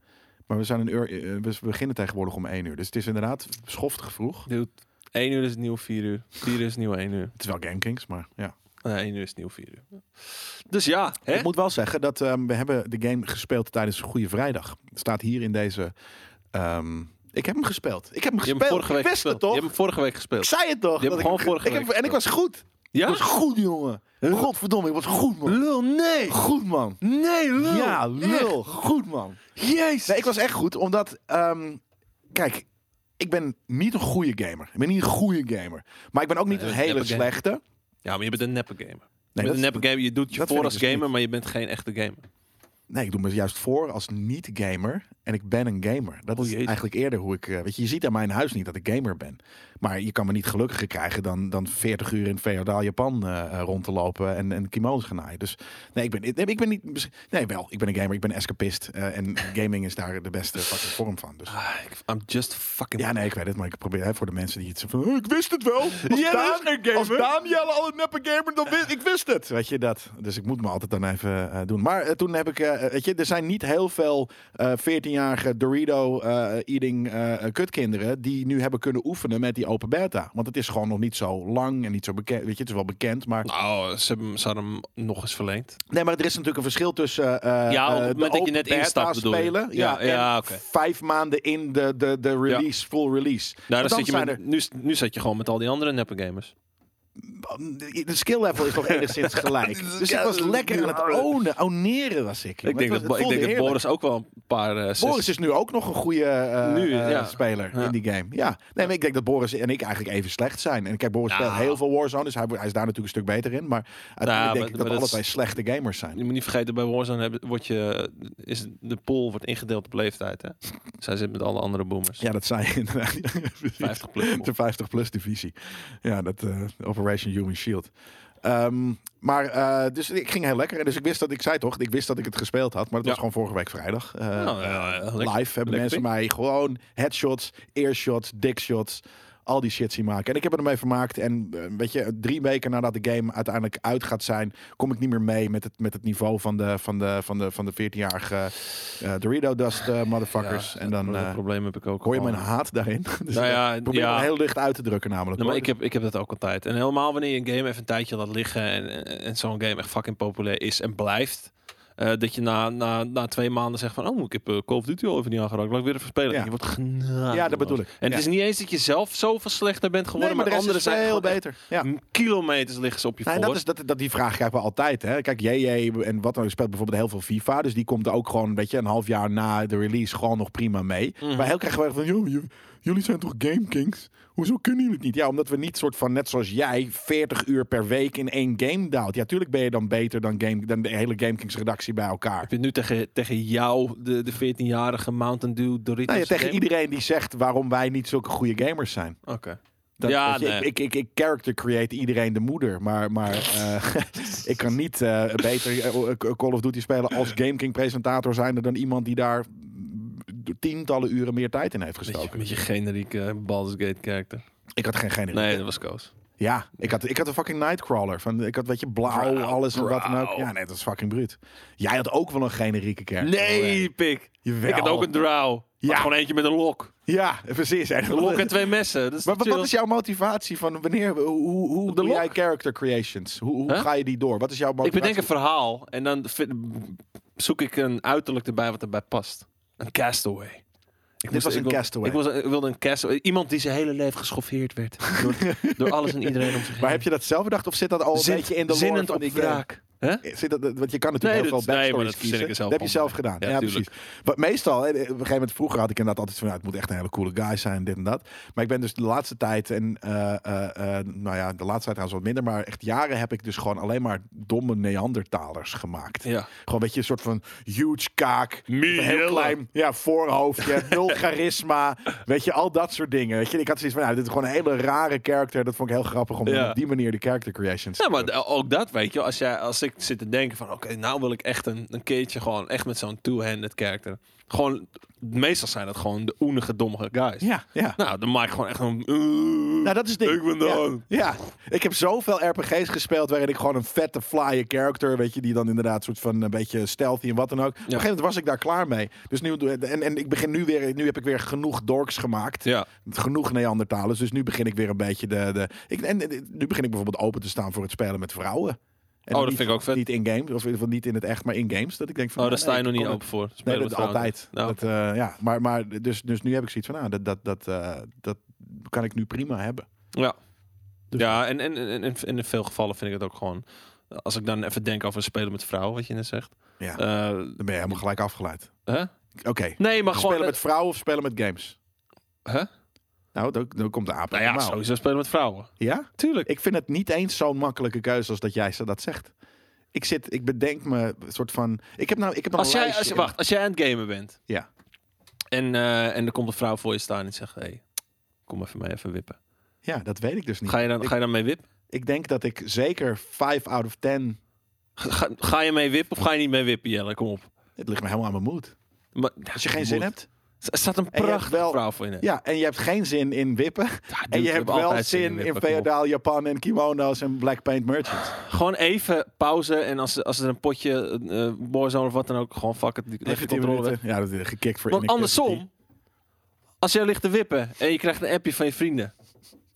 Speaker 1: Maar we, zijn een uur, eh, we beginnen tegenwoordig om één uur. Dus het is inderdaad schoftig vroeg.
Speaker 2: dude, 1 uur is het nieuw 4 uur. 4 uur is het nieuw 1 uur.
Speaker 1: Het is wel GameKings, maar ja.
Speaker 2: Nee, 1 uur is het nieuw 4 uur. Dus ja, hè?
Speaker 1: Ik moet wel zeggen dat ehm, we hebben de game gespeeld tijdens Goede Vrijdag. Het staat hier in deze... ehm, ik heb hem gespeeld. Ik heb hem
Speaker 2: Je hebt
Speaker 1: gespeeld.
Speaker 2: hem vorige week
Speaker 1: ik wist
Speaker 2: gespeeld.
Speaker 1: het toch?
Speaker 2: Je hebt hem vorige week
Speaker 1: Ik
Speaker 2: gespeeld.
Speaker 1: zei het toch?
Speaker 2: Je hebt
Speaker 1: dat
Speaker 2: gewoon
Speaker 1: ik,
Speaker 2: vorige
Speaker 1: ik
Speaker 2: week
Speaker 1: heb- En ik was goed.
Speaker 2: Ja?
Speaker 1: Ik was goed, jongen. Godverdomme, ik was goed, man.
Speaker 2: Lul, nee!
Speaker 1: Goed man.
Speaker 2: Nee, lul.
Speaker 1: Ja, lul. Goed man.
Speaker 2: Jezus.
Speaker 1: Nee, ik was echt goed, omdat... ehm, kijk, ik ben niet een goede gamer. Ik ben niet een goede gamer. Maar ik ben ook niet
Speaker 2: Nee,
Speaker 1: een
Speaker 2: dat is
Speaker 1: hele
Speaker 2: een neppe
Speaker 1: slechte.
Speaker 2: Ja, maar je bent een neppe gamer.
Speaker 1: Nee,
Speaker 2: je
Speaker 1: dat
Speaker 2: bent
Speaker 1: is-
Speaker 2: een neppe gamer. Je doet je
Speaker 1: dat
Speaker 2: voor
Speaker 1: vind
Speaker 2: als
Speaker 1: ik dus
Speaker 2: gamer, maar je bent geen echte gamer.
Speaker 1: nee, ik doe me juist voor als niet-gamer. En ik ben een gamer. Dat
Speaker 2: Oh,
Speaker 1: is
Speaker 2: jeetje.
Speaker 1: eigenlijk eerder hoe ik... eh, Weet je, je ziet aan mijn huis niet dat ik gamer ben. Maar je kan me niet gelukkiger krijgen dan, dan 40 uur in feodaal Japan eh, eh, rond te lopen en, en kimono's gaan naaien. Dus nee, ik ben, nee, ik ben niet... Nee, wel. Ik ben een gamer. Ik ben een escapist. eh, en gaming is daar de beste fucking vorm van. Dus
Speaker 2: Ah, ik- I'm just fucking...
Speaker 1: ja, nee, ik weet het, maar ik probeer hè, voor de mensen die het zo van, "Oh, ik wist het wel. Als,
Speaker 2: Jelle is
Speaker 1: Daan,
Speaker 2: een gamer.
Speaker 1: als Daan Jelle al een neppe gamer, dan wist ik wist het. Weet je dat? Dus ik moet me altijd dan even eh, doen. Maar eh, toen heb ik, eh, weet je, er zijn niet heel veel eh 14-jarige Dorito-eating eh, kutkinderen die nu hebben kunnen oefenen met die open beta. Want het is gewoon nog niet zo lang en niet zo bekend. Weet je, het is wel bekend, maar
Speaker 2: Nou, ze, hebben, ze hadden hem nog eens verlengd.
Speaker 1: nee, maar er is natuurlijk een verschil tussen eh
Speaker 2: Ja, op het
Speaker 1: eh, de
Speaker 2: moment dat je
Speaker 1: open
Speaker 2: net
Speaker 1: beta
Speaker 2: instapt, bedoel je.
Speaker 1: spelen, ja,
Speaker 2: Ja, ja,
Speaker 1: en
Speaker 2: oké.
Speaker 1: vijf maanden in de, de, de release, full release.
Speaker 2: Nou,
Speaker 1: Want
Speaker 2: dan
Speaker 1: dan
Speaker 2: zit je
Speaker 1: zijn
Speaker 2: met, nu, nu zat je gewoon met al die andere neppe gamers.
Speaker 1: de skill level is nog enigszins gelijk. Dus ik was lekker aan het ownen. Oneren was ik.
Speaker 2: Ik denk, dat, Bo- ik denk dat Boris ook wel een paar... eh, zes-
Speaker 1: Boris is nu ook nog een goede eh,
Speaker 2: Nu,
Speaker 1: eh,
Speaker 2: ja.
Speaker 1: speler
Speaker 2: Ja.
Speaker 1: in die game. Ja. Nee, maar ik denk dat Boris en ik eigenlijk even slecht zijn. En kijk, Boris speelt
Speaker 2: Ja.
Speaker 1: heel veel Warzone, dus hij, hij is daar natuurlijk een stuk beter in. Maar uiteindelijk
Speaker 2: Nou, maar-
Speaker 1: denk ik dat
Speaker 2: maar dat
Speaker 1: alle
Speaker 2: is-
Speaker 1: twee slechte gamers zijn.
Speaker 2: Je moet niet vergeten, bij Warzone hebben, wordt je, eh, is de pool wordt ingedeeld op leeftijd. Hè? Zij zit met alle andere boomers.
Speaker 1: Ja, dat zijn inderdaad. Precies.
Speaker 2: 50 plus.
Speaker 1: De 50 plus divisie. Ja, dat eh, Operation Human Shield. Ehm, maar eh, dus ik ging heel lekker. En Dus ik wist dat ik zei toch, ik wist dat ik het gespeeld had, maar dat was
Speaker 2: Ja.
Speaker 1: gewoon vorige week vrijdag. Eh,
Speaker 2: Nou, ja, ja, lekker.
Speaker 1: live hebben
Speaker 2: Lekker
Speaker 1: mensen
Speaker 2: ding.
Speaker 1: mij gewoon headshots, earshots, dickshots, al die shit zien maken. En ik heb er ermee vermaakt. En eh, weet je, drie weken nadat de game uiteindelijk uit gaat zijn, kom ik niet meer mee met het, met het niveau van de, van de, van de, van de 14-jarige eh, Dorito Dust eh, motherfuckers.
Speaker 2: Ja,
Speaker 1: en dan
Speaker 2: dat
Speaker 1: eh,
Speaker 2: probleem heb ik ook.
Speaker 1: Hoor je
Speaker 2: al.
Speaker 1: mijn haat daarin? Dus
Speaker 2: Oh. Nou
Speaker 1: ik
Speaker 2: ja,
Speaker 1: probeer
Speaker 2: ja.
Speaker 1: het heel licht uit te drukken namelijk.
Speaker 2: Nee, maar
Speaker 1: hoor. Dus-
Speaker 2: ik heb, ik heb dat ook altijd. En helemaal wanneer je een game even een tijdje laat liggen en, en- en zo'n game echt fucking populair is en blijft. eh, dat je na, na, na twee maanden zegt van, oh, ik heb eh, Call of Duty al even niet aangeraakt. Laat ik weer even spelen.
Speaker 1: Ja.
Speaker 2: En je wordt genadeloos.
Speaker 1: Ja, dat bedoel ik.
Speaker 2: En
Speaker 1: Ja.
Speaker 2: het is niet eens dat je zelf zoveel slechter bent
Speaker 1: Nee,
Speaker 2: geworden,
Speaker 1: maar de
Speaker 2: maar,
Speaker 1: rest
Speaker 2: anderen
Speaker 1: is dus
Speaker 2: zijn
Speaker 1: veel
Speaker 2: gewoon echt-
Speaker 1: beter. Ja.
Speaker 2: Kilometers liggen ze op je
Speaker 1: Nee,
Speaker 2: voor.
Speaker 1: dat is, dat, dat, die vraag krijgen we altijd. Hè? Kijk, JJ en wat dan ook speelt bijvoorbeeld heel veel FIFA. Dus die komt er ook gewoon weet je, een half jaar na de release gewoon nog prima mee.
Speaker 2: Mhm.
Speaker 1: Maar heel krijgen we echt van, joh, j- jullie zijn toch Game Kings? Hoezo kunnen jullie het niet? Ja, omdat we niet soort van, net zoals jij, 40 uur per week in één game daalt. Ja, tuurlijk ben je dan beter dan, game, dan de hele Game Kings redactie bij elkaar.
Speaker 2: Heb je nu tegen, tegen jou, de, de 14-jarige Mountain Dew Doritos?
Speaker 1: Nou, ja, tegen
Speaker 2: game?
Speaker 1: iedereen die zegt waarom wij niet zulke goede gamers zijn.
Speaker 2: Oké.
Speaker 1: Dat,
Speaker 2: Ja,
Speaker 1: weet je,
Speaker 2: nee.
Speaker 1: ik, ik, ik, ik character create iedereen de moeder, maar, maar eh, ik kan niet eh, beter eh, Call of Duty spelen als Game King presentator zijnde dan iemand die daar tientallen uren meer tijd in heeft
Speaker 2: Met je,
Speaker 1: gestoken.
Speaker 2: met je generieke Baldur's Gate karakter.
Speaker 1: Ik had geen geen
Speaker 2: Nee, dat was Koos.
Speaker 1: Ja, ik had, ik had een fucking Nightcrawler. Van, ik had, weet je, blauw,
Speaker 2: Brouw,
Speaker 1: alles en wat dan ook.
Speaker 2: brouw.
Speaker 1: Ja, nee, dat is fucking bruut. Jij had ook wel een generieke kerk.
Speaker 2: Nee, pik.
Speaker 1: Jawel.
Speaker 2: Ik had ook een drow.
Speaker 1: Ja.
Speaker 2: Ja. Gewoon eentje met een lok.
Speaker 1: Ja, precies.
Speaker 2: Een lok en twee messen. Dat is
Speaker 1: Maar wat,
Speaker 2: chill.
Speaker 1: wat is jouw motivatie van wanneer, hoe, hoe, hoe
Speaker 2: De
Speaker 1: doe
Speaker 2: lok?
Speaker 1: jij character creations? Hoe, hoe
Speaker 2: Huh?
Speaker 1: ga je die door? Wat is jouw
Speaker 2: Ik
Speaker 1: motivatie?
Speaker 2: bedenk een verhaal en dan vind- zoek ik een uiterlijk erbij wat erbij past. Een castaway. Ik moest-
Speaker 1: was
Speaker 2: ik
Speaker 1: een
Speaker 2: wil-
Speaker 1: castaway.
Speaker 2: Ik, was, ik wilde een castaway. Iemand die zijn hele leven geschoffeerd werd. door, door alles en iedereen om zich heen.
Speaker 1: Maar heb je dat zelf bedacht of zit dat al een
Speaker 2: Zin-
Speaker 1: beetje in de lore
Speaker 2: zinnend
Speaker 1: van
Speaker 2: op
Speaker 1: die game?
Speaker 2: wraak? Hè?
Speaker 1: Zit dat, want je kan natuurlijk heel
Speaker 2: Nee, dat-
Speaker 1: veel
Speaker 2: nee,
Speaker 1: backstories
Speaker 2: maar dat verzin
Speaker 1: kiezen.
Speaker 2: ik er zelf
Speaker 1: dat heb je
Speaker 2: van.
Speaker 1: zelf gedaan. Ja,
Speaker 2: Ja, tuurlijk.
Speaker 1: precies. Wat meestal, hè, op een gegeven moment vroeger had ik inderdaad altijd van... nou, het moet echt een hele coole guy zijn, dit en dat. Maar ik ben dus de laatste tijd en... eh, eh, eh, nou ja, de laatste tijd trouwens wat minder. Maar echt jaren heb ik dus gewoon alleen maar domme Neandertalers gemaakt.
Speaker 2: Ja.
Speaker 1: Gewoon weet je, een soort van huge kaak.
Speaker 2: Mie
Speaker 1: een heel
Speaker 2: Jelle.
Speaker 1: klein ja, voorhoofdje. Nul charisma. Weet je, al dat soort dingen. Weet je, ik had zoiets van, nou, dit is gewoon een hele rare character. Dat vond ik heel grappig om dan
Speaker 2: Ja.
Speaker 1: op die manier de character creations
Speaker 2: Ja, maar d- ook dat, weet je. wel. Als, jij, als ik zit te denken van, oké, nou wil ik echt een, een keertje gewoon echt met zo'n two-handed character. Gewoon, meestal zijn dat gewoon de oenige, domme guys.
Speaker 1: Ja, ja.
Speaker 2: Nou, dan maak ik gewoon echt een...
Speaker 1: Nou, dat is het ding.
Speaker 2: Ik ben
Speaker 1: ja.
Speaker 2: down.
Speaker 1: Ja. ik heb zoveel RPG's gespeeld waarin ik gewoon een vette flyer character, weet je, die dan inderdaad soort van een beetje stealthy en wat dan ook. Op een gegeven moment was ik daar klaar mee. Dus nu doe- en, en ik begin nu weer, nu heb ik weer genoeg dorks gemaakt,
Speaker 2: Ja.
Speaker 1: genoeg Neandertalers. Dus nu begin ik weer een beetje de, de ik, en eh, nu begin ik bijvoorbeeld open te staan voor het spelen met vrouwen. En
Speaker 2: Oh, dat
Speaker 1: niet-
Speaker 2: vind ik ook vet.
Speaker 1: Niet in games, of in ieder geval niet in het echt, maar in games. Dat ik denk van.
Speaker 2: Oh, daar
Speaker 1: nou,
Speaker 2: sta je
Speaker 1: nee,
Speaker 2: nog
Speaker 1: ik
Speaker 2: niet
Speaker 1: kon-
Speaker 2: open voor.
Speaker 1: Nee,
Speaker 2: Spelen
Speaker 1: dat
Speaker 2: met vrouwen.
Speaker 1: altijd.
Speaker 2: Nou,
Speaker 1: dat, eh, ja. Maar, maar dus, dus nu heb ik zoiets van, nou, dat, dat, dat, eh, dat kan ik nu prima hebben.
Speaker 2: Ja,
Speaker 1: Dus-
Speaker 2: ja en, en, en, en- en in veel gevallen vind ik het ook gewoon... Als ik dan even denk over spelen met vrouwen, wat je net zegt.
Speaker 1: Ja.
Speaker 2: Eh,
Speaker 1: Dan ben je helemaal gelijk afgeleid.
Speaker 2: hè?
Speaker 1: Oké.
Speaker 2: Nee, maar gewoon...
Speaker 1: Spelen met vrouwen of spelen met games?
Speaker 2: Hè?
Speaker 1: Nou, dan, dan komt de aap
Speaker 2: Nou ja,
Speaker 1: helemaal.
Speaker 2: sowieso spelen met vrouwen.
Speaker 1: Ja?
Speaker 2: Tuurlijk.
Speaker 1: Ik vind het niet eens zo'n makkelijke keuze als dat jij ze dat zegt. Ik zit, ik bedenk me een soort van... Ik heb nou, ik heb nou
Speaker 2: Als
Speaker 1: een
Speaker 2: jij,
Speaker 1: lijstje
Speaker 2: als,
Speaker 1: in-
Speaker 2: wacht, als jij aan het gamen bent.
Speaker 1: Ja.
Speaker 2: En, eh, en er komt een vrouw voor je staan en zegt: hey, kom even mij even wippen.
Speaker 1: Ja, dat weet ik dus niet.
Speaker 2: Ga je dan,
Speaker 1: ik,
Speaker 2: ga je dan mee wippen?
Speaker 1: ik denk dat ik zeker 5 out of 10.
Speaker 2: Ga, ga je mee wippen of ga je niet mee wippen, Jelle? Kom op.
Speaker 1: Het ligt me helemaal aan mijn moed.
Speaker 2: Maar,
Speaker 1: Als je geen zin hebt.
Speaker 2: Er staat een
Speaker 1: je hebt
Speaker 2: prachtige
Speaker 1: wel-
Speaker 2: vrouw voor je. Ja,
Speaker 1: Ja, en je hebt geen zin in wippen.
Speaker 2: dude,
Speaker 1: en je
Speaker 2: ik
Speaker 1: hebt
Speaker 2: heb
Speaker 1: wel
Speaker 2: altijd
Speaker 1: zin in
Speaker 2: wippen, kom op.
Speaker 1: feodaal Japan en kimono's en black paint merchants.
Speaker 2: Gewoon even pauze en als, als er een potje eh Warzone of wat dan ook, gewoon fuck it, leg je
Speaker 1: 19
Speaker 2: controle weg.
Speaker 1: minuten. Ja, dat is gekikt voor
Speaker 2: Want
Speaker 1: inactivity.
Speaker 2: andersom, als jij ligt te wippen en je krijgt een appje van je vrienden.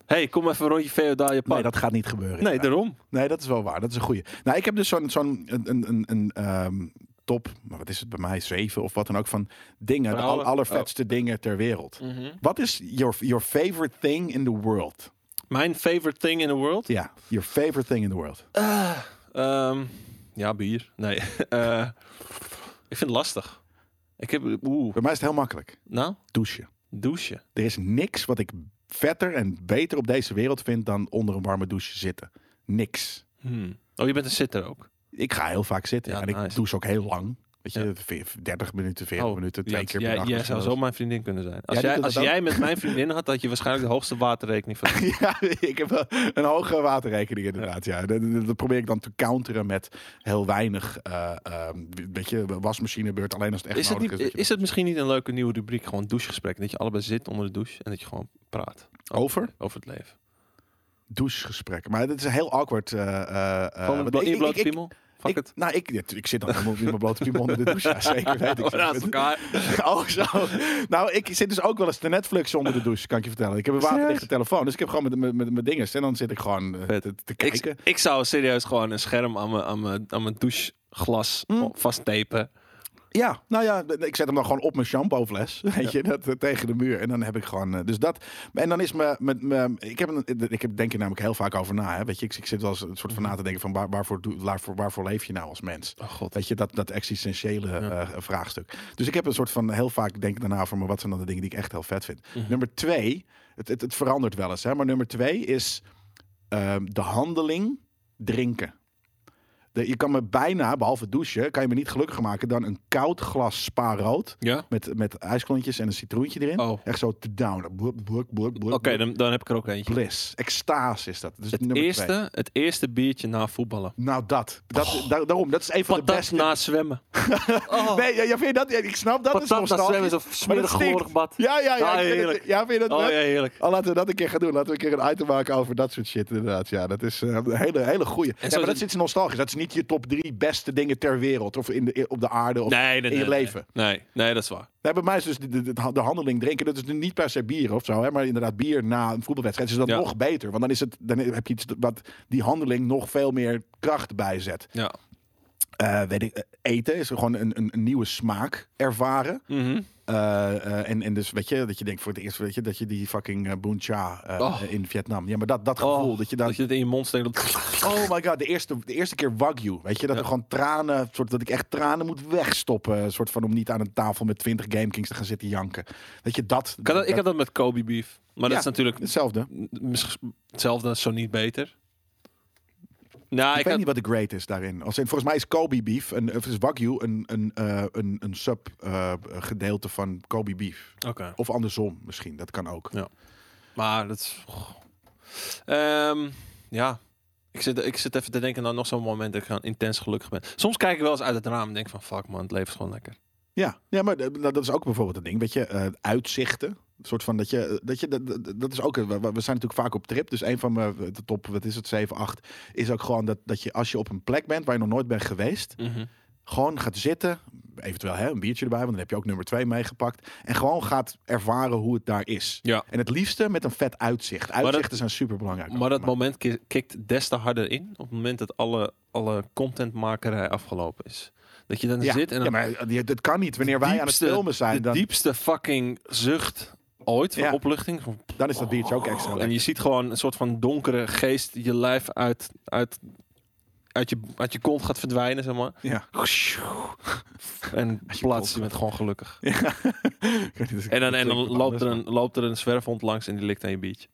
Speaker 2: hey, kom even een rondje feodaal Japan.
Speaker 1: Nee, dat gaat niet gebeuren.
Speaker 2: nee daarom.
Speaker 1: Nee, dat is wel waar. Dat is een goeie. Nou, ik heb dus zo'n zo'n een, een, een, een, ehm, top, maar wat is het bij mij, zeven of wat dan ook, van dingen. De
Speaker 2: Verhalen?
Speaker 1: al- allervetste
Speaker 2: oh.
Speaker 1: dingen ter wereld. Wat is your, your favorite thing in the world?
Speaker 2: Mijn favorite thing in the world?
Speaker 1: Ja, your favorite thing in the world.
Speaker 2: Ehm, ja, bier. Nee. Eh, ik vind het lastig. Ik heb, oeh.
Speaker 1: Bij mij is het heel makkelijk.
Speaker 2: Nou,
Speaker 1: Douchen.
Speaker 2: douchen.
Speaker 1: Er is niks wat ik vetter en beter op deze wereld vind dan onder een warme douche zitten. Niks.
Speaker 2: Hmm. Oh, je bent een zitter ook.
Speaker 1: Ik ga heel vaak zitten
Speaker 2: Ja,
Speaker 1: en ik
Speaker 2: nice.
Speaker 1: douche ook heel lang. Weet je,
Speaker 2: Ja.
Speaker 1: ve- 30 minuten, 40
Speaker 2: Oh,
Speaker 1: minuten, twee
Speaker 2: Ja,
Speaker 1: keer per
Speaker 2: jij,
Speaker 1: dag.
Speaker 2: jij
Speaker 1: of
Speaker 2: zou zo mijn vriendin kunnen zijn. Als,
Speaker 1: die
Speaker 2: jij,
Speaker 1: doet
Speaker 2: als
Speaker 1: dat ook.
Speaker 2: jij met mijn vriendin had, had je waarschijnlijk de hoogste waterrekening van.
Speaker 1: Ja, ik heb wel een hoge waterrekening inderdaad. Ja. Dat, dat- dat probeer ik dan te counteren met heel weinig. eh ehm, weet je, wasmachinebeurt alleen als het echt
Speaker 2: Is het,
Speaker 1: nodig
Speaker 2: niet,
Speaker 1: is. dat je
Speaker 2: is het misschien niet een leuke nieuwe rubriek? Gewoon douchegesprek. Dat je allebei zit onder de douche en dat je gewoon praat
Speaker 1: dat- Over
Speaker 2: over het leven.
Speaker 1: douchegesprekken. Maar dat is een heel awkward. eh eh, eh,
Speaker 2: Gewoon
Speaker 1: want
Speaker 2: blo-
Speaker 1: ik-
Speaker 2: in je
Speaker 1: ik-
Speaker 2: blote
Speaker 1: ik-
Speaker 2: piemel. Fuck
Speaker 1: ik,
Speaker 2: het.
Speaker 1: nou, ik, ja, tu- ik zit dan helemaal in mijn blote piemel onder de douche. Ja, zeker weet ik.
Speaker 2: Naast elkaar.
Speaker 1: Oh, zo. Nou, ik zit dus ook wel eens te Netflix onder de douche, kan ik je vertellen. Ik heb een waterdichte telefoon, dus ik heb gewoon met- met met- met dingen. En dan zit ik gewoon eh,
Speaker 2: Vet.
Speaker 1: te, te kijken.
Speaker 2: Ik, ik zou serieus gewoon een scherm aan mijn, aan mijn, aan mijn doucheglas
Speaker 1: Mm.
Speaker 2: vasttepen.
Speaker 1: Ja, nou ja, d- ik zet hem dan gewoon op mijn shampoofles. Weet je, dat eh, tegen de muur. En dan heb ik gewoon. eh, Dus dat. En dan is me. Met, me ik, heb een, ik heb, denk er namelijk heel vaak over na. Hè. Weet je, ik, ik zit wel eens een soort van na te denken van waar, waarvoor, doe- waarvoor, waarvoor leef je nou als mens?
Speaker 2: Oh god.
Speaker 1: Weet je, dat, dat existentiële eh, vraagstuk. Dus ik heb een soort van heel vaak denk ik daarna voor me, wat zijn dan de dingen die ik echt heel vet vind.
Speaker 2: Mhm.
Speaker 1: Nummer twee, het, het, het verandert wel eens, hè, maar nummer twee is ehm, de handeling drinken. De, je kan me bijna, behalve douchen, kan je me niet gelukkiger maken dan een koud glas spa rood
Speaker 2: Ja? Oké,
Speaker 1: met, met ijsklontjes en een citroentje erin.
Speaker 2: Oh.
Speaker 1: Echt zo te down. Blub, blub, blub, blub, blub.
Speaker 2: dan, dan heb ik er ook eentje.
Speaker 1: Bliss. Extase is dat. Dus
Speaker 2: Het
Speaker 1: nummer twee.
Speaker 2: eerste, Oh. het eerste biertje na voetballen.
Speaker 1: Nou, dat. dat da- daarom, dat is een van de
Speaker 2: Patat
Speaker 1: beste.
Speaker 2: na zwemmen. Oh,
Speaker 1: Nee, ja, ja, vind je dat? Ja, ik snap dat. is
Speaker 2: patat na
Speaker 1: nostalgisch.
Speaker 2: zwemmen is een
Speaker 1: Maar dat
Speaker 2: smerig
Speaker 1: stinkt.
Speaker 2: gehoorig bad.
Speaker 1: Ja, ja, ja.
Speaker 2: Ah,
Speaker 1: ik vind het-
Speaker 2: heerlijk.
Speaker 1: ja, vind je dat
Speaker 2: Oh ja,
Speaker 1: leuk?
Speaker 2: heerlijk.
Speaker 1: Oh, laten we dat een keer gaan doen. Laten we een keer een item maken over dat soort shit. Inderdaad, ja. Dat is eh, een hele, hele goeie. Ja,
Speaker 2: is
Speaker 1: maar dat
Speaker 2: het-
Speaker 1: is iets nostalgisch. Dat is niet je top drie beste dingen ter wereld. Of in de, op de aarde. Of
Speaker 2: Nee, nee,
Speaker 1: in je
Speaker 2: nee,
Speaker 1: leven.
Speaker 2: Nee, nee, nee, dat is waar.
Speaker 1: Nee, bij mij is dus de, de, de- de handeling drinken. Dat is nu niet per se bier of zo. Hè, maar inderdaad, bier na een voetbalwedstrijd is dat
Speaker 2: Ja.
Speaker 1: nog beter. Want dan, is het, dan heb je iets wat die handeling nog veel meer kracht bijzet.
Speaker 2: Ja.
Speaker 1: Eh, weet ik, eh, eten is gewoon een, een, een nieuwe smaak ervaren.
Speaker 2: Mhm.
Speaker 1: Eh, eh, en, en dus weet je, dat je denkt voor het eerst weet je, dat je die fucking eh, Bun Cha eh,
Speaker 2: Oh.
Speaker 1: eh, in Vietnam. Ja, maar dat, dat
Speaker 2: Oh,
Speaker 1: gevoel dat je dan.
Speaker 2: het in je mond steekt. dat-
Speaker 1: Oh my god, de eerste, de eerste keer Wagyu. Weet je, dat er gewoon tranen, soort, dat ik echt tranen moet wegstoppen. eh, Soort van om niet aan een tafel met 20 Gamekings te gaan zitten janken. Dat je dat.
Speaker 2: Ik had dat, ik Ah, had dat met Kobe beef. Maar
Speaker 1: Ja.
Speaker 2: dat is natuurlijk
Speaker 1: Hetzelfde. Ik,
Speaker 2: mis- hetzelfde, zo niet beter. Nou, ik,
Speaker 1: weet
Speaker 2: had,
Speaker 1: niet wat de great is daarin. Als in, volgens mij is Kobe beef, een, of is Wagyu een, een, eh, een, een sub-gedeelte van Kobe beef.
Speaker 2: Oké.
Speaker 1: Of andersom misschien, dat kan ook.
Speaker 2: maar dat is... Ehm, ja, ik zit, ik zit even te denken aan nog zo'n moment dat ik gewoon intens gelukkig ben. Soms kijk ik wel eens uit het raam en denk van fuck man, het leven is gewoon lekker.
Speaker 1: Ja, ja maar d- dat dat is ook bijvoorbeeld een ding. Weet je, eh, uitzichten. Een soort van dat je, eh, dat je, dat, dat- dat is ook, een- we we zijn natuurlijk vaak op trip. Dus een van mijn de top, wat is het, 7, 8, is ook gewoon dat, dat je als je op een plek bent waar je nog nooit bent geweest, gewoon gaat zitten. Eventueel hè, een biertje erbij, want dan heb je ook nummer 2 meegepakt. En gewoon gaat ervaren hoe het daar is.
Speaker 2: Ja.
Speaker 1: En het liefste met een vet uitzicht. Uitzichten zijn super belangrijk.
Speaker 2: Maar dat moment ki- kikt des te harder in op het moment dat alle, alle contentmakerij afgelopen is. Dat je dan
Speaker 1: ja.
Speaker 2: zit en dan
Speaker 1: ja, maar eh, die- dat kan niet. Wanneer wij aan het
Speaker 2: diepste-
Speaker 1: filmen zijn,
Speaker 2: de
Speaker 1: dan,
Speaker 2: diepste fucking zucht ooit van
Speaker 1: Ja.
Speaker 2: opluchting. Van,
Speaker 1: dan is dat biertje ook extra. lekker.
Speaker 2: En je ziet gewoon een soort van donkere geest je lijf uit, uit, uit, je, uit je kont gaat verdwijnen, zeg maar.
Speaker 1: Ja.
Speaker 2: En
Speaker 1: kont
Speaker 2: plaats je bent gewoon gelukkig.
Speaker 1: Ik weet niet, dus ik-
Speaker 2: En dan,
Speaker 1: ik
Speaker 2: en dan
Speaker 1: drink wat
Speaker 2: loopt, er
Speaker 1: anders,
Speaker 2: een, loopt er een zwerfhond langs en die likt aan je biertje.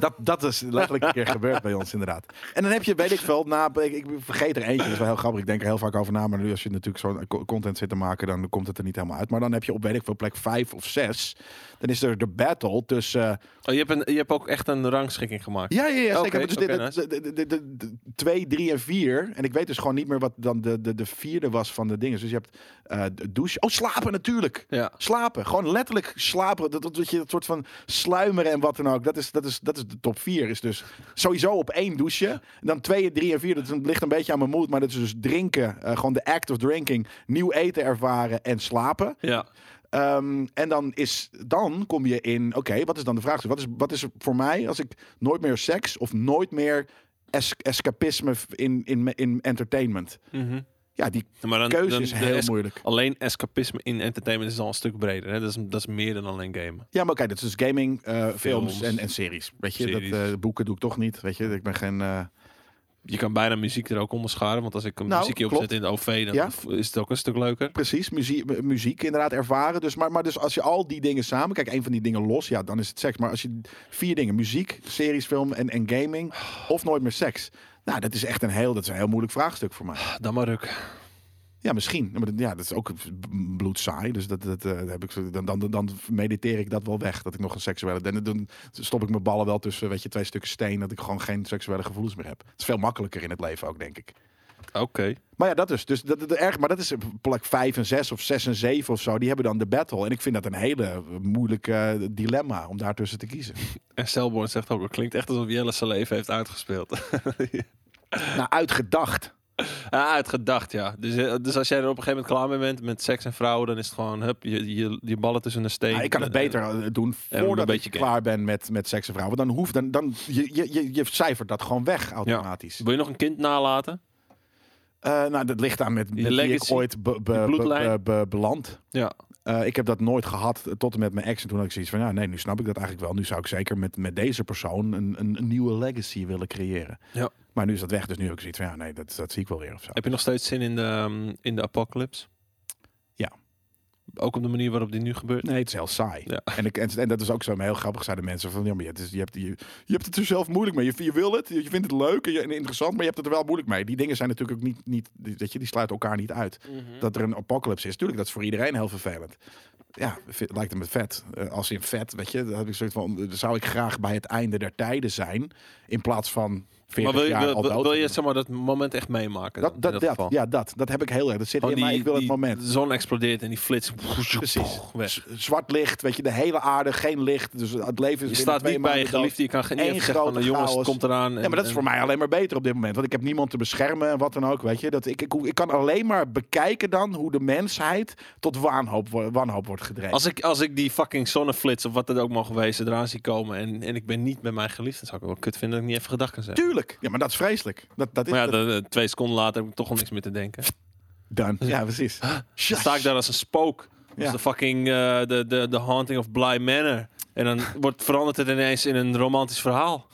Speaker 1: Dat, dat is letterlijk een keer gebeurd bij ons, inderdaad. En dan heb je, weet ik veel, na, ik, ik vergeet er eentje, dat is wel heel grappig. Ik denk er heel vaak over na, maar nu als je natuurlijk zo'n co- content zit te maken, dan komt het er niet helemaal uit. Maar dan heb je op, weet ik veel, plek vijf of zes, dan is er de battle tussen... eh,
Speaker 2: Oh, je, hebt een, je hebt ook echt een rangschikking gemaakt.
Speaker 1: ja, ja, ja, zeker.
Speaker 2: Oké,
Speaker 1: Maar dus
Speaker 2: oké,
Speaker 1: dit,
Speaker 2: nice.
Speaker 1: de, de, de, de- de twee, drie en vier. En ik weet dus gewoon niet meer wat dan de, de, de vierde was van de dingen. Dus je hebt eh, de douche. Oh, slapen natuurlijk.
Speaker 2: Ja.
Speaker 1: Slapen. Gewoon letterlijk slapen. Dat, dat, dat je dat soort van sluimeren en wat dan ook. Dat is, dat is, dat is de top 4. Is dus sowieso op één douchen. En dan twee, drie en vier. Dat is een- ligt een beetje aan mijn moed. Maar dat is dus drinken. eh, gewoon de act of drinking. Nieuw eten ervaren en slapen.
Speaker 2: Ja.
Speaker 1: Ehm, en dan, is, dan kom je in, oké, wat is dan de vraag? Wat is, wat is er voor mij als ik nooit meer seks of nooit meer es- escapisme in, in, in entertainment?
Speaker 2: Mhm.
Speaker 1: Ja, die
Speaker 2: Maar dan,
Speaker 1: keuze
Speaker 2: dan
Speaker 1: is
Speaker 2: de
Speaker 1: heel
Speaker 2: es-
Speaker 1: moeilijk.
Speaker 2: Alleen escapisme in entertainment is al een stuk breder. Hè? Dat, is, dat is meer dan alleen gamen.
Speaker 1: Ja, maar oké, dat is dus gaming, eh, films
Speaker 2: Films.
Speaker 1: en, en series. Weet je,
Speaker 2: Series.
Speaker 1: Dat, eh, boeken doe ik toch niet. Weet je, ik ben geen... eh,
Speaker 2: Je kan bijna muziek er ook onder scharen. Want als ik een
Speaker 1: Nou,
Speaker 2: muziekje
Speaker 1: klopt.
Speaker 2: opzet in de OV, dan
Speaker 1: Ja.
Speaker 2: v- is het ook een stuk leuker.
Speaker 1: precies, muziek, mu- muziek inderdaad ervaren. Dus, maar, maar dus als je al die dingen samen... Kijk, één van die dingen los, ja, dan is het seks. Maar als je vier dingen, muziek, series, film en, en gaming... of nooit meer seks... Nou, dat is echt een heel, dat is een heel moeilijk vraagstuk voor mij.
Speaker 2: Dan maar ruk.
Speaker 1: Ja, misschien. Maar dat- Ja, dat is ook b- bloedsaai. Dus dat, dat, eh, heb ik, zo- dan, dan, dan mediteer ik dat wel weg. Dat ik nog een seksuele... Dan, dan stop ik mijn ballen wel tussen weet je, twee stukken steen... dat ik gewoon geen seksuele gevoelens meer heb. Het is veel makkelijker in het leven ook, denk ik.
Speaker 2: Oké.
Speaker 1: Maar ja, dat is dus dat, dat, erg. Maar dat is plek 5 en 6 of 6 en 7 of zo. Die hebben dan de battle. En ik vind dat een hele moeilijke eh, dilemma om daartussen te kiezen.
Speaker 2: En Selborn zegt ook, het klinkt echt alsof Jelle zijn leven heeft uitgespeeld.
Speaker 1: nou, uitgedacht.
Speaker 2: ah, uitgedacht, ja. Dus, eh, dus als jij er op een gegeven moment klaar mee bent met seks en vrouwen, dan is het gewoon, hup, je, je, je ballen tussen de steen.
Speaker 1: Nou, ik kan het
Speaker 2: Eh,
Speaker 1: beter eh, doen
Speaker 2: een
Speaker 1: voordat ik
Speaker 2: beetje
Speaker 1: klaar ben met, met seks en vrouwen. Dan hoeft dan, dan je, je, je, je cijfert dat gewoon weg automatisch.
Speaker 2: Wil je nog een kind nalaten?
Speaker 1: Eh, nou, dat ligt aan met, met wie ik
Speaker 2: legacy,
Speaker 1: ooit be- be-
Speaker 2: je bloedlijn.
Speaker 1: be- be- be- beland.
Speaker 2: Ja.
Speaker 1: Eh, ik heb dat nooit gehad eh, tot en met mijn ex. En toen had ik zoiets van, ja, nee, nu snap ik dat eigenlijk wel. Nu zou ik zeker met, met deze persoon een, een, een nieuwe legacy willen creëren.
Speaker 2: Ja.
Speaker 1: Maar nu is dat weg, dus nu heb ik zoiets van, ja, nee, dat, dat zie ik wel weer of zo.
Speaker 2: Heb je nog steeds zin in de, ehm, in de apocalypse?
Speaker 1: Ja.
Speaker 2: Ook op de manier waarop die nu gebeurt?
Speaker 1: Nee, het is heel saai.
Speaker 2: Ja.
Speaker 1: En, ik, en, en dat is ook zo maar heel grappig, zeiden mensen van, ja, maar het is, je, hebt, je, je hebt het er zelf moeilijk mee. Je, je wil het, je je vindt het leuk en, je- en interessant, maar je hebt het er wel moeilijk mee. Die dingen zijn natuurlijk ook niet, niet die, weet je, die sluiten elkaar niet uit.
Speaker 2: Mhm. Hm.
Speaker 1: dat er een apocalypse is. Tuurlijk, dat is voor iedereen heel vervelend. Ja, v- lijkt me vet. Eh, als in vet, weet je, dan heb ik soort van, dan zou ik graag bij het einde der tijden zijn, in plaats van 40
Speaker 2: Maar wil je,
Speaker 1: jaar
Speaker 2: wil,
Speaker 1: al dood.
Speaker 2: wil-
Speaker 1: te
Speaker 2: wil je
Speaker 1: doen.
Speaker 2: zeg maar, dat moment echt meemaken?
Speaker 1: dat,
Speaker 2: dan,
Speaker 1: dat,
Speaker 2: in
Speaker 1: dat-
Speaker 2: geval?
Speaker 1: ja, dat, dat heb ik heel erg. Dat zit
Speaker 2: Gewoon
Speaker 1: in, maar
Speaker 2: Oh, die-
Speaker 1: ik wil het
Speaker 2: die
Speaker 1: moment.
Speaker 2: zon explodeert en die flits.
Speaker 1: Precies.
Speaker 2: Weg.
Speaker 1: Z- Zwart licht, weet je, de hele aarde, geen licht. Dus het leven is
Speaker 2: Je
Speaker 1: binnen
Speaker 2: staat
Speaker 1: twee
Speaker 2: niet bij je
Speaker 1: maanden dood.
Speaker 2: geliefde. Je kan geen
Speaker 1: Eén
Speaker 2: één zeggen van de
Speaker 1: grote
Speaker 2: jongens,
Speaker 1: chaos.
Speaker 2: het komt eraan.
Speaker 1: Ja, maar dat is voor mij alleen maar beter op dit moment. Want ik heb niemand te beschermen en wat dan ook. Weet je? Dat ik, ik, ik kan alleen maar bekijken dan hoe de mensheid tot waanhoop, wo- wanhoop wordt gedreven.
Speaker 2: Als ik, als ik die fucking zonneflits of wat dat ook mag wezen eraan zie komen en, en ik ben niet met mijn geliefde, dan zou ik wel kut vinden dat ik niet even gedacht kan zeggen.
Speaker 1: Tuurlijk. Ja, maar dat is vreselijk. Dat, dat is
Speaker 2: Maar ja,
Speaker 1: dat-
Speaker 2: de- de- twee seconden later heb ik toch al niks meer te denken.
Speaker 1: dan. Ja, precies.
Speaker 2: Dan sta ik daar als een spook. Als
Speaker 1: Ja.
Speaker 2: de fucking eh, de, de, de Haunting of Bly Manor. En dan wordt, verandert het ineens in een romantisch verhaal.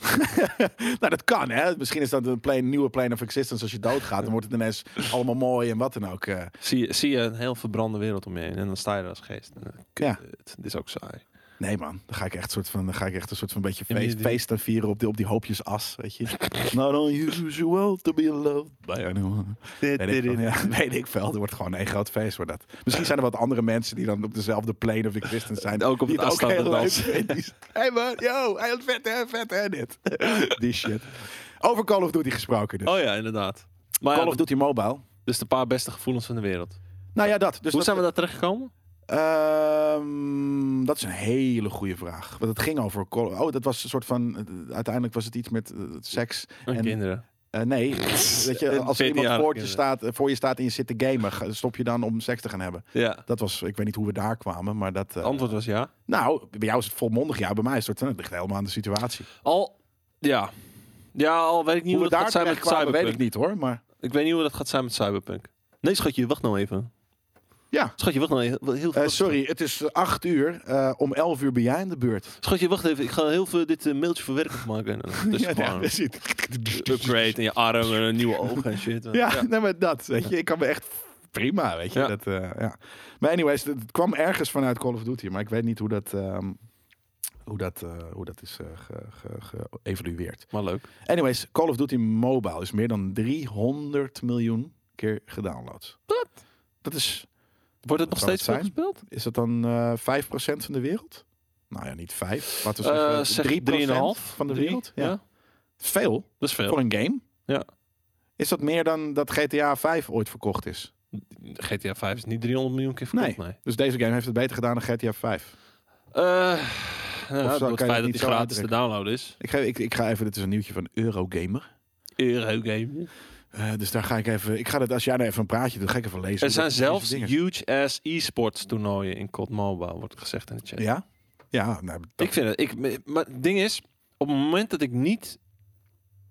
Speaker 1: Nou, dat kan, hè. Misschien is dat een plane- nieuwe plane of existence als je doodgaat. Dan wordt het ineens allemaal mooi en wat dan ook. eh.
Speaker 2: Zie je, zie je een heel verbrande wereld om je heen. En dan sta je daar als geest. En dan,
Speaker 1: Ja.
Speaker 2: kut, Dit is ook saai.
Speaker 1: Nee, man. Dan ga ik echt, soort van, dan ga ik echt een soort van beetje
Speaker 2: Ja, maar je
Speaker 1: feest,
Speaker 2: doet-
Speaker 1: feest en vieren op die, op die hoopjes as, weet je. Not unusual to be loved by anyone. Weet ik, veel, ja, weet ik veel. Er wordt gewoon één groot feest voor dat. Misschien zijn er wat andere mensen die dan op dezelfde plane of existence zijn.
Speaker 2: Ook op
Speaker 1: die
Speaker 2: het afstand
Speaker 1: heel
Speaker 2: dan
Speaker 1: leuk
Speaker 2: dansen.
Speaker 1: vinden. Die- Hey man, yo, hij is vet hè, vet hè dit. Die shit. Over Call of Duty gesproken dus.
Speaker 2: Oh ja, inderdaad. Maar
Speaker 1: Call
Speaker 2: ja,
Speaker 1: of Duty Mobile.
Speaker 2: dus de paar beste gevoelens van de wereld.
Speaker 1: Nou ja, dat. Dus
Speaker 2: Hoe
Speaker 1: dat,
Speaker 2: zijn we daar terechtgekomen?
Speaker 1: Ehm, dat is een hele goede vraag. Want het ging over... Call- Oh, dat was een soort van... eh, Uiteindelijk was het iets met eh, seks.
Speaker 2: En
Speaker 1: en,
Speaker 2: kinderen.
Speaker 1: eh, nee, weet je, als er
Speaker 2: 14-jarige
Speaker 1: iemand voor je,
Speaker 2: kinderen.
Speaker 1: staat, voor je staat en je zit te gamen, ga- stop je dan om seks te gaan hebben.
Speaker 2: Ja.
Speaker 1: Dat was, ik weet niet hoe we daar kwamen, maar dat... eh,
Speaker 2: Het antwoord was ja.
Speaker 1: nou, bij jou is het volmondig ja, bij mij is het, soort van, het ligt helemaal aan de situatie.
Speaker 2: Al, ja. Ja, al weet ik niet
Speaker 1: Hoe we
Speaker 2: hoe, dat
Speaker 1: daar
Speaker 2: gaat zijn met
Speaker 1: terecht kwamen,
Speaker 2: Cyberpunk.
Speaker 1: weet ik niet hoor, maar...
Speaker 2: Ik weet niet hoe dat gaat zijn met Cyberpunk. Nee, schatje, wacht nou even.
Speaker 1: Ja.
Speaker 2: Schatje, wacht nou even. Heel
Speaker 1: Eh,
Speaker 2: veel
Speaker 1: sorry, het is eh, acht uur. eh, om elf uur ben jij in de beurt.
Speaker 2: Schatje, wacht even. Ik ga heel veel dit eh, mailtje verwerken maken. En dan- Dus
Speaker 1: ja,
Speaker 2: gewoon
Speaker 1: dat is het.
Speaker 2: upgrade en je arm en een nieuwe ogen en shit.
Speaker 1: Ja, nee, maar dat, weet je. Ik kan me echt prima, weet je.
Speaker 2: Ja.
Speaker 1: Dat, eh, ja. Maar anyways, het het kwam ergens vanuit Call of Duty. Maar ik weet niet hoe dat... ehm, hoe dat, eh, hoe dat is eh, ge- ge- geëvalueerd.
Speaker 2: Maar leuk.
Speaker 1: Anyways, Call of Duty Mobile is meer dan 300 miljoen keer gedownload. Wat? Dat is,
Speaker 2: Wordt het nog
Speaker 1: zou het
Speaker 2: steeds veel
Speaker 1: zijn?
Speaker 2: gespeeld?
Speaker 1: is dat dan eh 5% van de wereld? Nou ja, niet 5. Laten we
Speaker 2: Eh,
Speaker 1: zeggen
Speaker 2: zeg
Speaker 1: 3%
Speaker 2: 3,5
Speaker 1: van de
Speaker 2: Drie?
Speaker 1: wereld. Ja. Veel
Speaker 2: Dat is veel.
Speaker 1: voor een game.
Speaker 2: Ja.
Speaker 1: Is dat meer dan dat GTA 5 ooit verkocht is?
Speaker 2: GTA 5 is niet 300 miljoen keer verkocht, nee.
Speaker 1: Dus deze game heeft het beter gedaan dan GTA 5.
Speaker 2: Eh, nou,
Speaker 1: kan je
Speaker 2: door
Speaker 1: het
Speaker 2: het feit dat
Speaker 1: niet
Speaker 2: die
Speaker 1: zo
Speaker 2: gratis
Speaker 1: uitdrukken?
Speaker 2: te downloaden is.
Speaker 1: Ik, ga- ik, ik ga even, dit is een nieuwtje van Eurogamer.
Speaker 2: Eurogame.
Speaker 1: Eh, dus daar ga ik even. Ik ga dat als jij nou even een praatje doet, ga ik even lezen.
Speaker 2: Er zijn
Speaker 1: Dat- deze
Speaker 2: zelfs
Speaker 1: dingen.
Speaker 2: huge-ass e-sports toernooien in COD Mobile, wordt gezegd in de chat.
Speaker 1: Ja? Ja, nou, dat-
Speaker 2: Ik vind het. Ik, maar het ding is, op het moment dat ik niet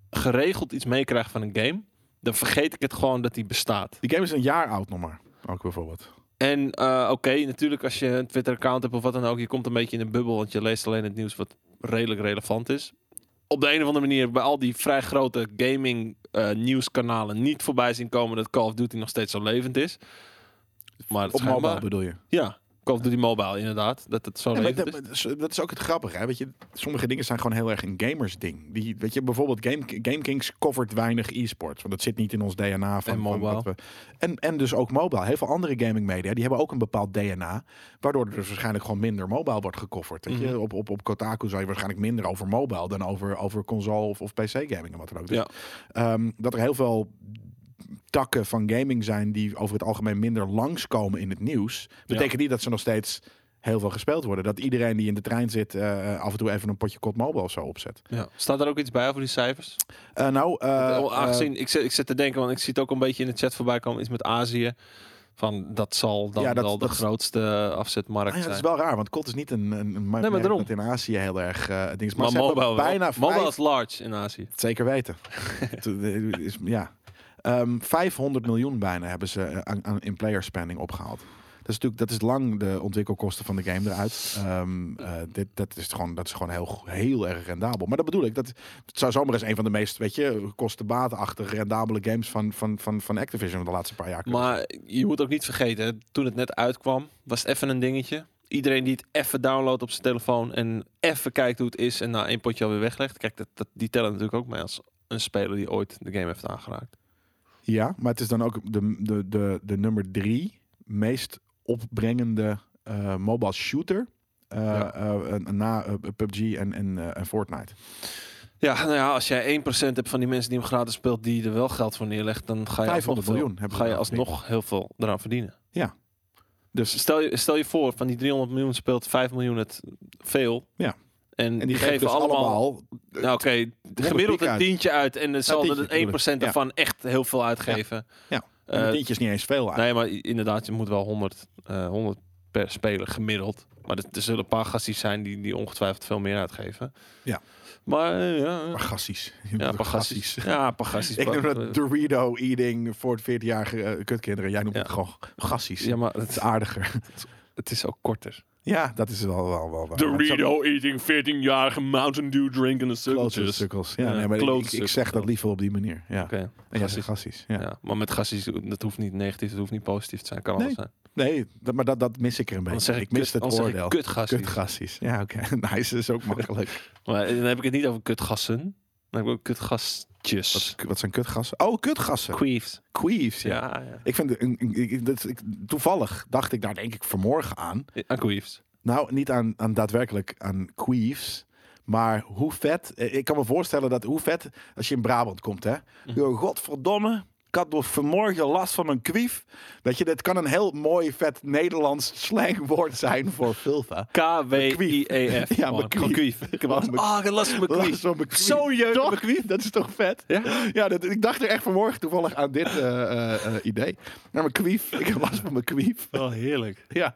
Speaker 2: geregeld iets meekrijg van een game, dan vergeet ik het gewoon dat die bestaat.
Speaker 1: die game is een jaar oud nog maar. Ook bijvoorbeeld.
Speaker 2: En eh, oké, natuurlijk als je een Twitter-account hebt of wat dan ook, je komt een beetje in een bubbel, want je leest alleen het nieuws wat redelijk relevant is. Op de een of andere manier bij al die vrij grote gaming eh, nieuwskanalen niet voorbij zien komen dat Call of Duty nog steeds zo levend is. Maar
Speaker 1: Op
Speaker 2: schijnbaar-
Speaker 1: mobile bedoel je.
Speaker 2: Ja, Call of Duty Mobile inderdaad, dat het zo
Speaker 1: Ja, maar
Speaker 2: levend
Speaker 1: dat,
Speaker 2: is.
Speaker 1: maar dat is- dat is ook het grappige. Hè? Weet je, sommige dingen zijn gewoon heel erg een gamers ding. Die, weet je, bijvoorbeeld Game, Game Kings covert weinig e-sports. Want dat zit niet in ons DNA. Van, van
Speaker 2: En mobile.
Speaker 1: wat we, en, en dus ook mobile. Heel veel andere gaming media die hebben ook een bepaald DNA. Waardoor er dus waarschijnlijk gewoon minder mobile wordt gecoverd. Weet je?
Speaker 2: Mhm.
Speaker 1: op, op, op Kotaku zou je waarschijnlijk minder over mobile dan over, over console of, of PC gaming en wat dan ook. Dus,
Speaker 2: Ja.
Speaker 1: ehm, dat er heel veel takken van gaming zijn die over het algemeen minder langskomen in het nieuws. Betekent niet dat ze nog steeds heel veel gespeeld worden. Dat iedereen die in de trein zit eh, af en toe even een potje COD Mobile of zo opzet.
Speaker 2: Ja. Staat er ook iets bij over die cijfers?
Speaker 1: Eh, nou, eh,
Speaker 2: Oh, aangezien, ik, zit, ik zit te denken, want ik zie het ook een beetje in de chat voorbij komen, iets met Azië. Van dat zal dan
Speaker 1: Ja, dat-
Speaker 2: wel de
Speaker 1: dat-
Speaker 2: grootste
Speaker 1: eh,
Speaker 2: afzetmarkt
Speaker 1: ah ja, dat
Speaker 2: zijn.
Speaker 1: is wel raar, want COD is niet een, een, een merk
Speaker 2: daarom.
Speaker 1: dat in Azië heel erg eh het ding is.
Speaker 2: Maar
Speaker 1: ze hebben
Speaker 2: mobile, bijna
Speaker 1: bijna
Speaker 2: mobile
Speaker 1: vijf-
Speaker 2: is large in Azië.
Speaker 1: Zeker weten. Het, eh, is, ja. Ehm, 500 miljoen bijna hebben ze eh, aan, aan in player spending opgehaald. Dat is natuurlijk dat is lang de ontwikkelkosten van de game eruit. Ehm, eh, dit, dat is gewoon, dat is gewoon heel, go- heel erg rendabel. Maar dat bedoel ik. Dat, het zou zomaar eens een van de meest weet je, kostenbatenachtig rendabele games van, van, van, van Activision van de laatste paar jaar. kunnen
Speaker 2: Maar je moet ook niet vergeten, hè, toen het net uitkwam, was het even een dingetje. Iedereen die het even downloadt op zijn telefoon en even kijkt hoe het is en na één potje alweer weglegt. Kijk, dat, dat, die tellen natuurlijk ook mee als een speler die ooit de game heeft aangeraakt.
Speaker 1: Ja, maar het is dan ook de, de, de, de nummer drie meest opbrengende eh, mobile shooter. eh,
Speaker 2: Ja.
Speaker 1: eh, eh, na eh, PUBG en, en, eh, en Fortnite.
Speaker 2: Ja, nou ja, als jij 1% hebt van die mensen die hem gratis speelt, die er wel geld voor neerlegt, dan ga je,
Speaker 1: 500
Speaker 2: alsnog, veel-
Speaker 1: miljoen hebben
Speaker 2: ga
Speaker 1: we
Speaker 2: je
Speaker 1: eraan
Speaker 2: alsnog heel veel eraan verdienen.
Speaker 1: Dus
Speaker 2: Stel je, stel je voor, van die 300 miljoen speelt 5 miljoen het veel.
Speaker 1: Ja.
Speaker 2: En,
Speaker 1: en
Speaker 2: die geven
Speaker 1: dus
Speaker 2: allemaal
Speaker 1: allemaal
Speaker 2: Nou, oké, de gemiddeld
Speaker 1: piek
Speaker 2: een
Speaker 1: uit.
Speaker 2: tientje uit en dan zal
Speaker 1: tientje
Speaker 2: er
Speaker 1: bedoel ik,
Speaker 2: 1%
Speaker 1: ja.
Speaker 2: daarvan echt heel veel uitgeven.
Speaker 1: Ja,
Speaker 2: Eh,
Speaker 1: en de tientjes niet eens veel uit.
Speaker 2: nee, maar i- inderdaad, je moet wel 100, eh, 100 per speler gemiddeld. Maar er, er zullen een paar gasties zijn die, die ongetwijfeld veel meer uitgeven.
Speaker 1: Ja.
Speaker 2: Maar eh, ja, eh,
Speaker 1: Pagasties.
Speaker 2: ja, een paar gasties. Ja, een paar gasties.
Speaker 1: Ik noem
Speaker 2: Eh,
Speaker 1: dat Dorito eating voor 14-jarige eh, kutkinderen. Jij noemt
Speaker 2: Ja.
Speaker 1: het gewoon gassies.
Speaker 2: Ja, maar
Speaker 1: Het
Speaker 2: het,
Speaker 1: is aardiger.
Speaker 2: het is ook korter.
Speaker 1: ja, dat is wel wel wel. waar.
Speaker 2: Dorito eating, 14-jarige Mountain Dew drinking a
Speaker 1: Klote
Speaker 2: circles. Oké,
Speaker 1: cirkels. Ja,
Speaker 2: Ja,
Speaker 1: nee, maar ik- ik, ik
Speaker 2: klootsukkels.
Speaker 1: zeg dat liever op die manier. Ja. En jij zegt
Speaker 2: gasties.
Speaker 1: gassies. Ja.
Speaker 2: Ja, maar met gasties, dat hoeft niet negatief, dat hoeft niet positief te zijn. Kan
Speaker 1: Nee.
Speaker 2: alles zijn.
Speaker 1: Nee, dat, maar dat, dat mis ik er een beetje.
Speaker 2: Dan zeg ik,
Speaker 1: ik mis
Speaker 2: kut,
Speaker 1: het
Speaker 2: anders zeg ik
Speaker 1: oordeel.
Speaker 2: kutgasties.
Speaker 1: Kutgasties. Ja, oké. Nice, is dus ook makkelijk.
Speaker 2: Maar eh, dan heb ik het niet over kutgassen. Dan heb ik ook kutgastjes.
Speaker 1: wat, wat zijn kutgassen? Oh, kutgassen.
Speaker 2: Queefs.
Speaker 1: Queefs, ja.
Speaker 2: Ja, ja.
Speaker 1: Ik vind, een- een- ik- dat, ik, toevallig dacht ik daar denk ik vanmorgen aan.
Speaker 2: Aan queefs.
Speaker 1: Nou, niet aan, aan daadwerkelijk aan queefs. Maar hoe vet, eh, ik kan me voorstellen dat hoe vet als je in Brabant komt, hè.
Speaker 2: Mhm.
Speaker 1: Yo, godverdomme, ik had door vanmorgen last van mijn queef. Weet je, dat kan een heel mooi vet Nederlands slangwoord zijn voor vulva.
Speaker 2: K-W-I-E-F.
Speaker 1: Ja,
Speaker 2: Gewoon.
Speaker 1: mijn
Speaker 2: Gewoon
Speaker 1: queef.
Speaker 2: queef. Ik heb altijd-
Speaker 1: Gewoon
Speaker 2: Ah, ik heb last van mijn
Speaker 1: Last
Speaker 2: queef.
Speaker 1: van mijn queef.
Speaker 2: Zo jeugd.
Speaker 1: Toch? Dat is toch vet?
Speaker 2: Ja?
Speaker 1: Ja, dat, ik dacht er echt vanmorgen toevallig aan dit eh, eh, eh, idee. Naar mijn kwief. Ik heb last van mijn kwief.
Speaker 2: Oh, heerlijk.
Speaker 1: Ja,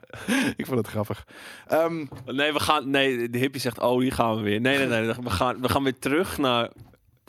Speaker 1: ik vond het grappig. Ehm,
Speaker 2: Nee, we gaan... Nee, de hippie zegt, oh, die gaan we weer. Nee, nee, nee. We gaan, we gaan weer terug naar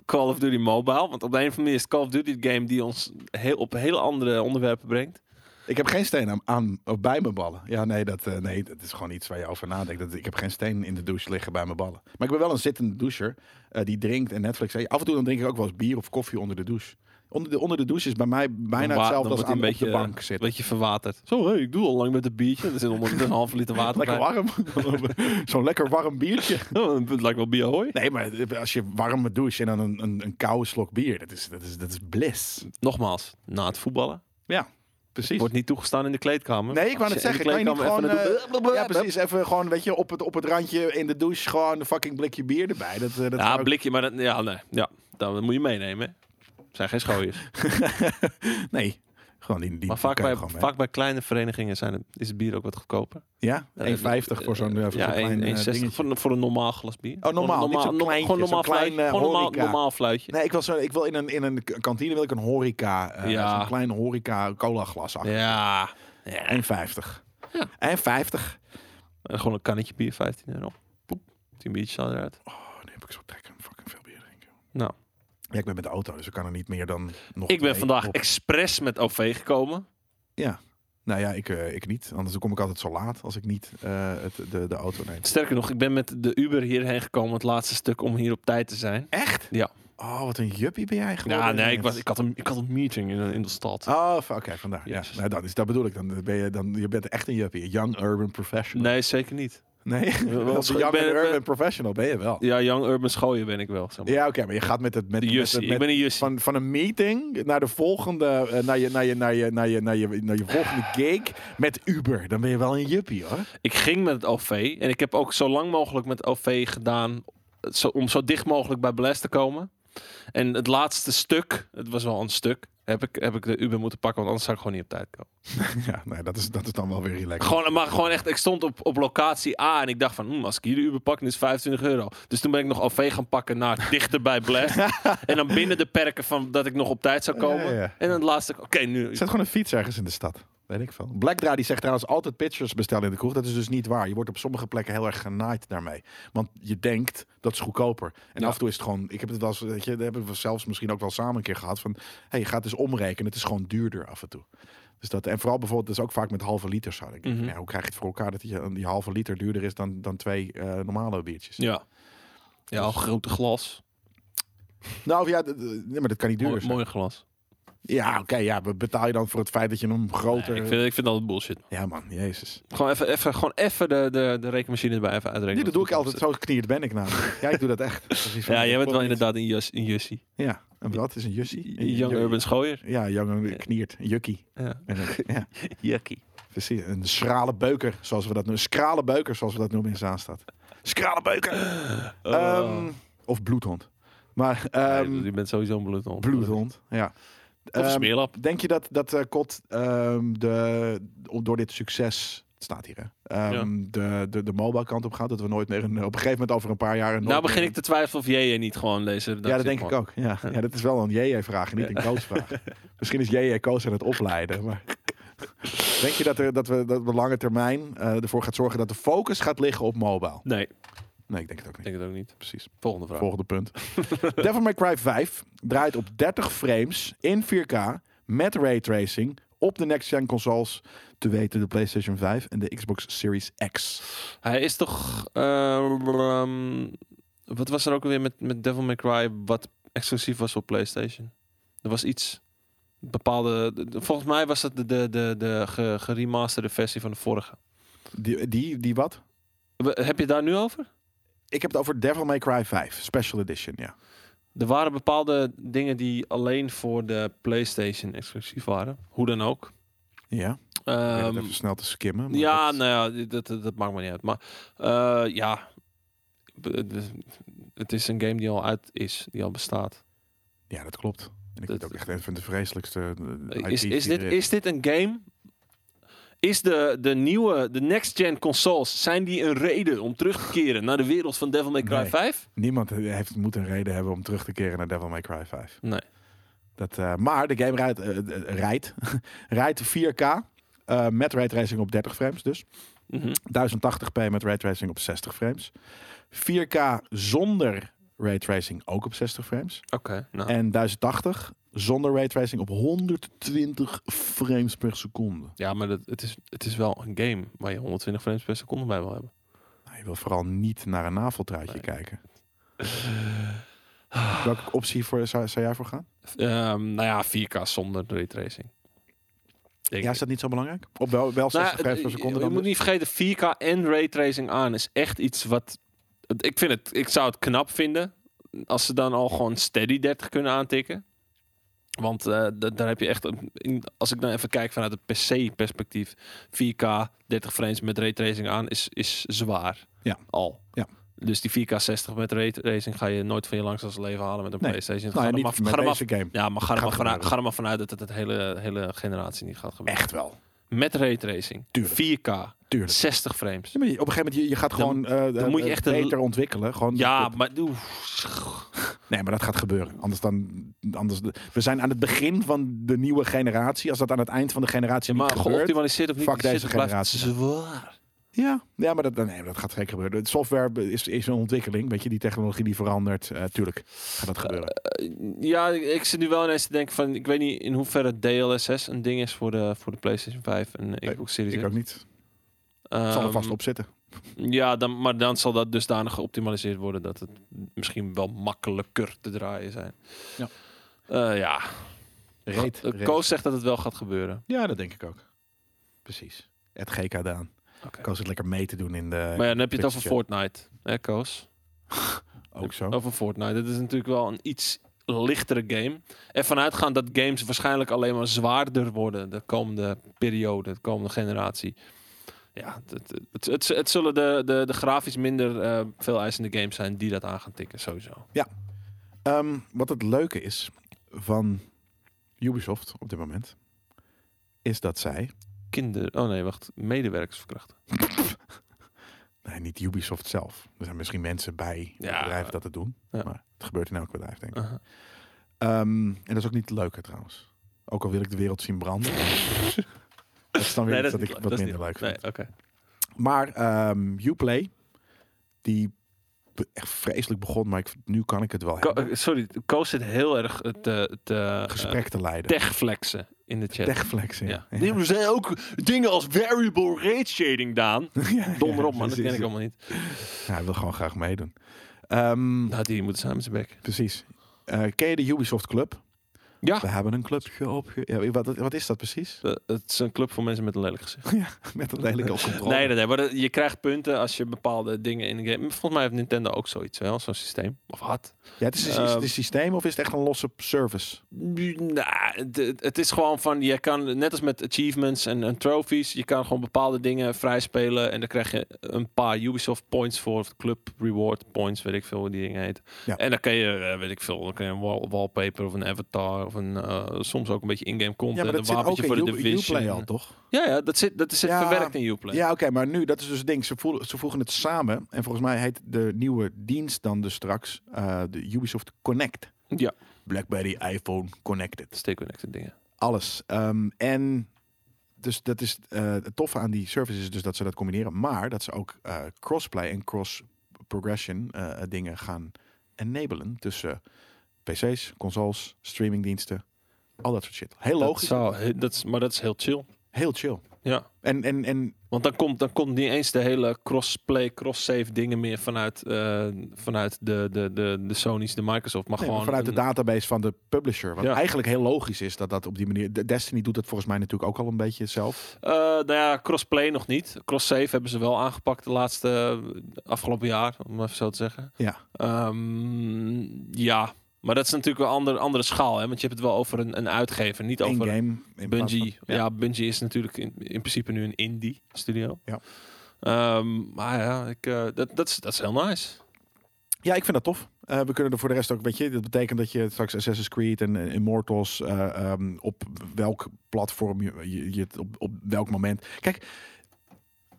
Speaker 2: Call of Duty Mobile. Want op de een of andere manier is Call of Duty het game die ons heel, op hele andere onderwerpen brengt.
Speaker 1: ik heb geen steen aan, aan of bij mijn ballen. Ja, nee dat, eh, nee, dat is gewoon iets waar je over nadenkt. Dat, ik heb geen steen in de douche liggen bij mijn ballen. Maar ik ben wel een zittende doucher eh, die drinkt en Netflix. Af en toe dan drink ik ook wel eens bier of koffie onder de douche. Onder de, onder de douche is bij mij bijna
Speaker 2: Dan wa-
Speaker 1: hetzelfde
Speaker 2: dan
Speaker 1: als
Speaker 2: wordt hij
Speaker 1: aan
Speaker 2: een
Speaker 1: op de
Speaker 2: beetje, eh,
Speaker 1: bank
Speaker 2: Een
Speaker 1: zitten.
Speaker 2: beetje verwaterd. Zo, hé, ik doe al lang met een biertje. Er zit onder een half liter water
Speaker 1: Lekker
Speaker 2: bij.
Speaker 1: warm. Zo'n lekker warm biertje.
Speaker 2: Oh, het lijkt wel bierhooi.
Speaker 1: Nee, maar als je warme douche en dan een, een, een koude slok bier, dat is, dat is, dat is bliss.
Speaker 2: Nogmaals, na het voetballen.
Speaker 1: Ja, precies.
Speaker 2: Wordt niet toegestaan in de kleedkamer.
Speaker 1: Nee, ik wou net
Speaker 2: Als je in de
Speaker 1: zeggen, kan je niet gewoon...
Speaker 2: kleedkamer even naartoe-
Speaker 1: eh, ja, precies. Even gewoon, weet je, op het, op het randje in de douche gewoon een fucking blikje bier erbij. Dat, eh, dat
Speaker 2: Ja,
Speaker 1: zou ik-
Speaker 2: blikje, maar dat, ja, nee. Ja, dat moet je meenemen. hè. Het zijn geen schooiers.
Speaker 1: Nee, gewoon die... die
Speaker 2: Maar vaak
Speaker 1: kan
Speaker 2: bij,
Speaker 1: je gewoon mee.
Speaker 2: vaak bij kleine verenigingen zijn het, is het bier ook wat goedkoper.
Speaker 1: Ja, 1,50
Speaker 2: Eh,
Speaker 1: voor zo'n eh, voor zo'n
Speaker 2: ja,
Speaker 1: klein eh,
Speaker 2: 1,60
Speaker 1: dingetje.
Speaker 2: voor, een- voor een Oh, normaal glas bier. Gewoon
Speaker 1: normaal, niet
Speaker 2: een
Speaker 1: zo'n
Speaker 2: normaal-
Speaker 1: kleintje,
Speaker 2: Gewoon normaal
Speaker 1: zo'n klein,
Speaker 2: fluitje.
Speaker 1: eh,
Speaker 2: Gewoon normaal,
Speaker 1: horeca.
Speaker 2: normaal fluitje.
Speaker 1: Nee, ik, wil zo, ik wil in een, in een k- kantine wil ik een horeca, eh
Speaker 2: Ja.
Speaker 1: zo'n klein horeca cola glas achter.
Speaker 2: Ja. ja.
Speaker 1: 1,50. En 50.
Speaker 2: En eh, gewoon een kannetje bier, 15 euro. Poep. 10 biertjes al eruit.
Speaker 1: Oh, nee, heb ik zo trek om fucking veel bier drinken.
Speaker 2: Nou,
Speaker 1: Ja, ik ben met de auto, dus ik kan er niet meer dan nog
Speaker 2: ik ben
Speaker 1: twee
Speaker 2: vandaag
Speaker 1: op.
Speaker 2: expres met OV gekomen.
Speaker 1: Ja. Nou ja, ik, eh, ik niet. Anders kom ik altijd zo laat als ik niet eh, het, de, de auto neem.
Speaker 2: Sterker nog, ik ben met de Uber hierheen gekomen, het laatste stuk, om hier op tijd te zijn.
Speaker 1: Echt?
Speaker 2: Ja.
Speaker 1: Oh, wat een juppie ben jij geworden.
Speaker 2: Ja, nee, ik,
Speaker 1: ineens.
Speaker 2: was, ik, had, een, ik had een meeting in, in de stad.
Speaker 1: Oh, f- oké, vandaar. Ja,
Speaker 2: Jezus.
Speaker 1: nou, dan is, dat bedoel ik. Dan ben je, dan, je bent echt een juppie. Een young urban professional.
Speaker 2: Nee, zeker niet.
Speaker 1: Nee,
Speaker 2: wel,
Speaker 1: als een
Speaker 2: ik
Speaker 1: young
Speaker 2: ben-
Speaker 1: urban
Speaker 2: ben-
Speaker 1: professional ben je wel.
Speaker 2: Ja, Young Urban Schooien ben ik wel. Zeg maar.
Speaker 1: Ja, oké, maar je gaat met het... Met,
Speaker 2: De
Speaker 1: met-
Speaker 2: Jussie,
Speaker 1: met-
Speaker 2: ik ben een Jussie.
Speaker 1: van, van een meeting naar de volgende... eh, naar, je, naar, je, naar, je, naar, je, naar, je, naar je volgende gig met Uber. Dan ben je wel een juppie, hoor.
Speaker 2: Ik ging met het OV en ik heb ook zo lang mogelijk met het OV gedaan eh, zo, om zo dicht mogelijk bij Blast te komen. En het laatste stuk, het was wel een stuk, heb ik, heb ik de Uber moeten pakken, want anders zou ik gewoon niet op tijd komen.
Speaker 1: Ja, nee, dat is, dat is dan wel weer relaxed.
Speaker 2: Gewoon, eh, maar gewoon echt, ik stond op, op locatie A en ik dacht van, "Hmm, als ik hier de Uber pak, dan is het 25 euro. Dus toen ben ik nog OV gaan pakken naar dichter bij Blast. en dan binnen de perken van dat ik nog op tijd zou komen.
Speaker 1: Ja, ja, ja.
Speaker 2: En dan het laatste, oké, nu.
Speaker 1: Zet gewoon een fiets ergens in de stad. Weet ik veel. Blackdra die zegt trouwens altijd pitchers bestellen in de kroeg. Dat is dus niet waar. Je wordt op sommige plekken heel erg genaaid daarmee. Want je denkt, dat is goedkoper. En
Speaker 2: Ja.
Speaker 1: af en toe is het gewoon... Ik heb het wel eens, weet je, daar hebben we zelfs misschien ook wel samen een keer gehad. Van, hey, ga het eens omrekenen. Het is gewoon duurder af en toe. Dus dat, en vooral bijvoorbeeld, dat is ook vaak met halve liters. Zo. Dan denk ik,
Speaker 2: Mhm.
Speaker 1: nou, hoe krijg je het voor elkaar dat die, die halve liter duurder is dan, dan twee eh, normale biertjes?
Speaker 2: Ja. Ja, een grote glas.
Speaker 1: Nou of ja, d- d- nee, maar dat kan niet duurder
Speaker 2: Mooi,
Speaker 1: zijn.
Speaker 2: mooi glas.
Speaker 1: Ja, oké. ja, be- betaal je dan voor het feit dat je hem groter...
Speaker 2: Nee, ik, vind, ik vind dat bullshit.
Speaker 1: Ja man, jezus.
Speaker 2: Gewoon even, even, gewoon even de, de, de rekenmachine erbij even uitrekenen.
Speaker 1: Nee, dat doe ik altijd. Zo geknierd ben ik namelijk. ja, ik doe dat echt. Dat is iets van-
Speaker 2: Ja, jij bent wel
Speaker 1: klopt niet.
Speaker 2: inderdaad een, jas, een jussie.
Speaker 1: Ja, en wat is een jussie? Een
Speaker 2: Young
Speaker 1: ju-
Speaker 2: Urban Schooier.
Speaker 1: Ja, jong en kniert. Een jukkie.
Speaker 2: Ja.
Speaker 1: En een- Ja,
Speaker 2: Jackie.
Speaker 1: precies. Een schrale beuker, zoals we dat noemen. Schrale beuker, zoals we dat noemen in Zaanstad. Schrale beuker! Ehm, of bloedhond. Maar, ehm,
Speaker 2: Oh. je bent sowieso een bloedhond.
Speaker 1: bloedhond, ja.
Speaker 2: Of een
Speaker 1: Ehm,
Speaker 2: smeerlap.
Speaker 1: denk je dat, dat eh, Kot ehm, de, om- door dit succes... Het staat hier, hè? ehm, de, de, de mobile kant op gaat. Dat we nooit meer... Een, op een gegeven moment over een paar jaar... een
Speaker 2: Nou
Speaker 1: nooit meer
Speaker 2: begin
Speaker 1: een-
Speaker 2: ik te twijfelen of jij niet gewoon deze
Speaker 1: Ja,
Speaker 2: redactie
Speaker 1: dat denk ik
Speaker 2: gewoon-
Speaker 1: ook. Ja. ja, dat is wel een JJ-vraag, en niet een coachvraag. Misschien is JJ coach aan het opleiden. Maar denk je dat, er, dat we dat we lange termijn eh, ervoor gaat zorgen dat de focus gaat liggen op mobile?
Speaker 2: Nee, ik
Speaker 1: Nee, ik denk het ook niet.
Speaker 2: denk het ook niet.
Speaker 1: Precies.
Speaker 2: Volgende vraag.
Speaker 1: Volgende punt. Devil May Cry 5 draait op 30 frames in 4K met raytracing op de next-gen consoles, te weten de PlayStation 5 en de Xbox Series X.
Speaker 2: Hij is toch... eh, ehm, wat was er ook alweer met, met Devil May Cry wat exclusief was op PlayStation? Er was iets... Bepaalde... de- de- Volgens mij was dat de, de, de, de ge- geremasterde versie van de vorige.
Speaker 1: Die, die, die wat?
Speaker 2: We- Heb je het daar nu over?
Speaker 1: Ik heb het over Devil May Cry 5 Special Edition, ja.
Speaker 2: Er waren bepaalde dingen die alleen voor de PlayStation exclusief waren. Hoe dan ook.
Speaker 1: Ja,
Speaker 2: Ehm,
Speaker 1: ik probeer dat even snel te skimmen. maar
Speaker 2: ja,
Speaker 1: dat-
Speaker 2: nou ja, dat, dat, dat maakt me niet uit. Maar eh, ja, Het- het is een game die al uit is, die al bestaat.
Speaker 1: Ja, dat klopt. En ik vind
Speaker 2: Dat-
Speaker 1: het ook echt een van de vreselijkste eh,
Speaker 2: Is,
Speaker 1: IP's
Speaker 2: is,
Speaker 1: die
Speaker 2: dit,
Speaker 1: er is.
Speaker 2: is dit een game? Is de, de nieuwe, de next-gen consoles, zijn die een reden om terug te keren naar de wereld van Devil May Cry
Speaker 1: Nee.
Speaker 2: 5?
Speaker 1: Niemand heeft, moet een reden hebben om terug te keren naar Devil May Cry 5.
Speaker 2: Nee.
Speaker 1: Dat, eh, maar de game rijdt, eh, eh, rijdt, rijdt 4K eh met raytracing op 30 frames dus.
Speaker 2: Mhm.
Speaker 1: 1080p met raytracing op 60 frames. 4K zonder raytracing ook op 60 frames.
Speaker 2: Oké, nou.
Speaker 1: En 1080 zonder raytracing op 120 frames per seconde.
Speaker 2: Ja, maar dat, het, is, het is wel een game waar je 120 frames per seconde bij wil hebben.
Speaker 1: Nou, je wil vooral niet naar een naveltruitje kijken. Welke optie voor, zou, zou jij voor gaan?
Speaker 2: Ehm, nou ja, 4K zonder raytracing. Denk
Speaker 1: Ja,
Speaker 2: ik.
Speaker 1: is dat niet zo belangrijk? Op wel, wel 60
Speaker 2: Nou,
Speaker 1: frames per seconde
Speaker 2: Je
Speaker 1: dan?
Speaker 2: moet
Speaker 1: dus?
Speaker 2: niet vergeten, 4K en raytracing aan is echt iets wat... het- Ik, vind het, ik zou het knap vinden als ze dan al gewoon steady 30 kunnen aantikken. Want eh, da- daar heb je echt... een- in- als ik dan even kijk vanuit het PC-perspectief... 4K 30 frames met raytracing aan is, is zwaar.
Speaker 1: Ja.
Speaker 2: Al.
Speaker 1: Ja.
Speaker 2: Dus die 4K 60 met raytracing ga je nooit van je langs als leven halen met een
Speaker 1: Nee.
Speaker 2: PlayStation.
Speaker 1: Nou, ja,
Speaker 2: Ga er maar-
Speaker 1: niet
Speaker 2: ga er
Speaker 1: met
Speaker 2: maar-
Speaker 1: deze game.
Speaker 2: ja, maar ga er,
Speaker 1: Gaat
Speaker 2: maar vanuit,
Speaker 1: gebeuren.
Speaker 2: ga er maar vanuit dat het het hele, hele generatie niet gaat gebeuren.
Speaker 1: Echt wel.
Speaker 2: Met raytracing.
Speaker 1: Tuurlijk.
Speaker 2: 4K.
Speaker 1: Tuurlijk.
Speaker 2: 60 frames.
Speaker 1: Ja, maar je- op een gegeven moment, je, je gaat gewoon eh, eh,
Speaker 2: moet je echt een-
Speaker 1: beter ontwikkelen. Gewoon,
Speaker 2: Ja, maar... oef.
Speaker 1: Nee, maar dat gaat gebeuren. Anders dan, anders, we zijn aan het begin van de nieuwe generatie. Als dat aan het eind van de generatie
Speaker 2: Maar
Speaker 1: niet gebeurt...
Speaker 2: geoptimaliseerd of niet,
Speaker 1: fuck
Speaker 2: die
Speaker 1: deze
Speaker 2: shit blijft
Speaker 1: generatie.
Speaker 2: Zwaar.
Speaker 1: Ja, ja maar dat, nee, maar dat gaat zeker gebeuren. De software be- is, is een ontwikkeling. Weet je, die technologie die verandert. eh, tuurlijk gaat dat gebeuren.
Speaker 2: Eh, Ja, ik- ik zit nu wel ineens te denken van... Ik weet niet in hoeverre DLSS een ding is voor de, voor de PlayStation 5 en de
Speaker 1: Nee,
Speaker 2: Xbox Series
Speaker 1: ik
Speaker 2: X.
Speaker 1: ook niet. Het zal er
Speaker 2: Ehm,
Speaker 1: vast op zitten.
Speaker 2: Ja, dan, maar dan zal dat dusdanig geoptimaliseerd worden... dat het misschien wel makkelijker te draaien zijn.
Speaker 1: Ja.
Speaker 2: Eh, ja.
Speaker 1: Reed.
Speaker 2: Eh, Koos zegt dat het wel gaat gebeuren.
Speaker 1: Ja, dat denk ik ook. Precies. Het GK Daan.
Speaker 2: Oké.
Speaker 1: Koos het lekker mee te doen in de...
Speaker 2: Maar ja, dan heb je het over
Speaker 1: Twitch
Speaker 2: Fortnite. Hè, Koos?
Speaker 1: Ook zo.
Speaker 2: Over Fortnite. Dat is natuurlijk wel een iets lichtere game. En vanuitgaand dat games waarschijnlijk alleen maar zwaarder worden de komende periode, de komende generatie. Ja, het, het, het, het, het zullen de, de, de grafisch minder eh veel eisende games zijn die dat aan gaan tikken, sowieso.
Speaker 1: Ehm, wat het leuke is van Ubisoft op dit moment... is dat zij...
Speaker 2: Kinder... Oh nee, wacht. Medewerkers verkrachten.
Speaker 1: Nee, niet Ubisoft zelf. Er zijn misschien mensen bij
Speaker 2: Ja.
Speaker 1: het bedrijf dat het doen.
Speaker 2: Ja. Ah.
Speaker 1: Maar het gebeurt in elk bedrijf, denk ik.
Speaker 2: Aha.
Speaker 1: Ehm, en dat is ook niet het leuke trouwens. Ook al wil ik de wereld zien branden. dat is dan weer
Speaker 2: Nee,
Speaker 1: iets dat, ik
Speaker 2: dat is niet
Speaker 1: wat
Speaker 2: leuk. Dat is
Speaker 1: minder leuk
Speaker 2: Nee,
Speaker 1: vind.
Speaker 2: oké.
Speaker 1: Maar ehm Uplay, die be- echt vreselijk begon, maar ik, nu kan ik het wel
Speaker 2: Ko-
Speaker 1: hebben.
Speaker 2: eh, Sorry, Koos zit heel erg het, eh, het eh, eh,
Speaker 1: Gesprek te leiden.
Speaker 2: techflexen in de chat.
Speaker 1: Techflexen.
Speaker 2: ja.
Speaker 1: Ja. Ja.
Speaker 2: Er zijn dus, eh, ook dingen als variable rate shading, Daan.
Speaker 1: Ja,
Speaker 2: Donder op, man. Dat
Speaker 1: precies.
Speaker 2: ken ik allemaal niet.
Speaker 1: Ja, hij wil gewoon graag meedoen. Ehm,
Speaker 2: Nou, die moeten samen zijn bek.
Speaker 1: Precies. Eh, ken je de Ubisoft Club?
Speaker 2: Ja.
Speaker 1: We hebben een clubje opge... Ja, wat, wat is dat precies?
Speaker 2: Eh, Het is een club voor mensen met een lelijk gezicht.
Speaker 1: ja, met een lelijke controle.
Speaker 2: Nee, nee, nee. Maar dat- je krijgt punten als je bepaalde dingen in de game... Volgens mij heeft Nintendo ook zoiets wel, zo'n systeem. Of had.
Speaker 1: ja, het is, is
Speaker 2: Ehm.
Speaker 1: het een systeem of is het echt een losse service?
Speaker 2: Nou, het, het is gewoon van... Je kan, net als met achievements en, en trophies... Je kan gewoon bepaalde dingen vrijspelen... En dan krijg je een paar Ubisoft points voor... Of club reward points, weet ik veel hoe die dingen heet.
Speaker 1: Ja.
Speaker 2: En dan kan je, eh, weet ik veel... Dan kan je een wall- wallpaper of een avatar... Of een, eh, soms ook een beetje in-game content.
Speaker 1: Ja, maar dat
Speaker 2: een
Speaker 1: zit ook
Speaker 2: wapentje
Speaker 1: in
Speaker 2: voor de
Speaker 1: U-
Speaker 2: division.
Speaker 1: Uplay al, toch?
Speaker 2: Ja, ja, dat zit, dat zit
Speaker 1: Ja.
Speaker 2: verwerkt in Uplay.
Speaker 1: Ja, oké, maar nu, dat is dus het ding. Ze, voelen, ze voegen het samen. En volgens mij heet de nieuwe dienst dan dus straks eh, de Ubisoft Connect.
Speaker 2: Ja.
Speaker 1: Blackberry, iPhone, Connected.
Speaker 2: Stay connected dingen.
Speaker 1: Alles. Ehm, en dus dat is eh, het toffe aan die service is dus dat ze dat combineren. Maar dat ze ook eh, crossplay en cross-progression eh, dingen gaan enablen tussen PC's, consoles, streamingdiensten. Al dat soort shit. Heel logisch.
Speaker 2: Dat zou- dat is, maar dat is heel chill.
Speaker 1: Heel chill.
Speaker 2: Ja.
Speaker 1: En, en, en
Speaker 2: Want dan komt, dan komt niet eens de hele crossplay, cross-save dingen meer vanuit, eh, vanuit de, de, de, de Sony's, de Microsoft. Maar
Speaker 1: Nee, maar
Speaker 2: gewoon
Speaker 1: vanuit de
Speaker 2: een-
Speaker 1: database van de publisher. Wat
Speaker 2: Ja.
Speaker 1: eigenlijk heel logisch is dat dat op die manier. De- Destiny doet dat volgens mij natuurlijk ook al een beetje zelf.
Speaker 2: Eh, nou ja, crossplay nog niet. Cross-save hebben ze wel aangepakt de laatste eh, afgelopen jaar, om even zo te zeggen.
Speaker 1: Ja.
Speaker 2: Ehm, ja, maar dat is natuurlijk wel een ander, andere schaal. Hè? Want je hebt het wel over een, een uitgever, niet
Speaker 1: Eén
Speaker 2: over
Speaker 1: game. in plaats van-
Speaker 2: Bungie, ja. Bungie is natuurlijk in, in principe nu een indie studio.
Speaker 1: Ja.
Speaker 2: Ehm, maar ja, ik, eh, dat, dat, is, dat is heel nice.
Speaker 1: Ja, ik vind dat tof. Eh, we kunnen er voor de rest ook, weet je, dat betekent dat je straks Assassin's Creed en eh, Immortals eh, ehm, op welk platform je, je, je het op, op welk moment. Kijk,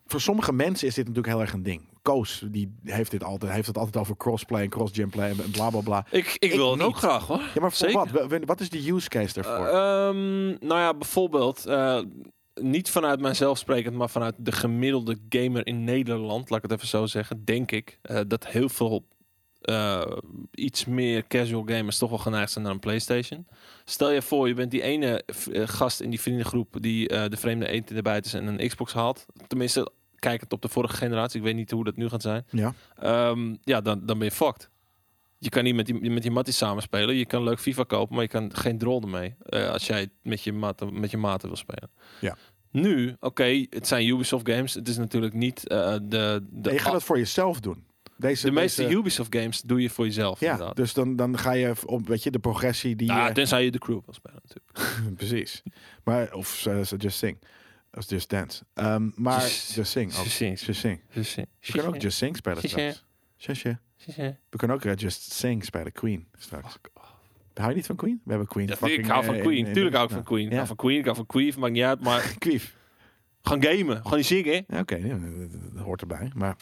Speaker 1: voor sommige mensen is dit natuurlijk heel erg een ding. Koos die heeft dit altijd, heeft het altijd over crossplay en cross-genplay en bla bla bla.
Speaker 2: Ik, ik, wil het
Speaker 1: niet.
Speaker 2: ook graag hoor.
Speaker 1: Ja, maar voor
Speaker 2: Zeker.
Speaker 1: wat? Wa- Wat is de use case daarvoor?
Speaker 2: Eh, ehm, nou ja, bijvoorbeeld, eh, niet vanuit mijzelf sprekend, maar vanuit de gemiddelde gamer in Nederland, laat ik het even zo zeggen, denk ik eh, dat heel veel eh, iets meer casual gamers toch wel geneigd zijn naar een PlayStation. Stel je voor, je bent die ene v- eh, gast in die vriendengroep die eh, de vreemde eend in de bijt is en een Xbox haalt. Tenminste, kijkend op de vorige generatie, ik weet niet hoe dat nu gaat zijn.
Speaker 1: ja.
Speaker 2: Ehm, ja, dan, dan ben je fucked. Je kan niet met die, met die matties samenspelen. Je kan leuk FIFA kopen, maar je kan geen drol ermee. eh, als jij met je, mat, met je maten wil spelen.
Speaker 1: Ja.
Speaker 2: Nu, oké, het zijn Ubisoft games. Het is natuurlijk niet eh, de... de
Speaker 1: Nee, je gaat dat voor jezelf doen. Deze,
Speaker 2: de meeste
Speaker 1: deze-
Speaker 2: Ubisoft games doe je voor jezelf.
Speaker 1: Ja,
Speaker 2: inderdaad.
Speaker 1: dus dan, dan ga je op, weet je, de progressie die... eh,
Speaker 2: Nou,
Speaker 1: je-
Speaker 2: tenzij je de crew wil spelen natuurlijk.
Speaker 1: Precies. Maar, of eh, Just Sing. Of Just Dance. Ehm, maar
Speaker 2: Just-
Speaker 1: Just Sing. Ook.
Speaker 2: Just Sing.
Speaker 1: Just Sing.
Speaker 2: Dus, eh,
Speaker 1: We kunnen ook Just Sing spelen
Speaker 2: Just
Speaker 1: straks. Shasha. We kunnen ook eh, Just Sing spelen. Queen straks. Hou je niet van Queen? We hebben Queen.
Speaker 2: Ja,
Speaker 1: fucking,
Speaker 2: ik hou van
Speaker 1: eh,
Speaker 2: Queen.
Speaker 1: in- in-
Speaker 2: Tuurlijk hou ik
Speaker 1: nou,
Speaker 2: van Queen. Ik
Speaker 1: Ja.
Speaker 2: hou van Queen, ik hou van Queen, maakt niet uit. Maar
Speaker 1: Queen.
Speaker 2: gaan gamen, gewoon niet zingen.
Speaker 1: Ja, Oké, ja, dat- dat hoort erbij. Maar...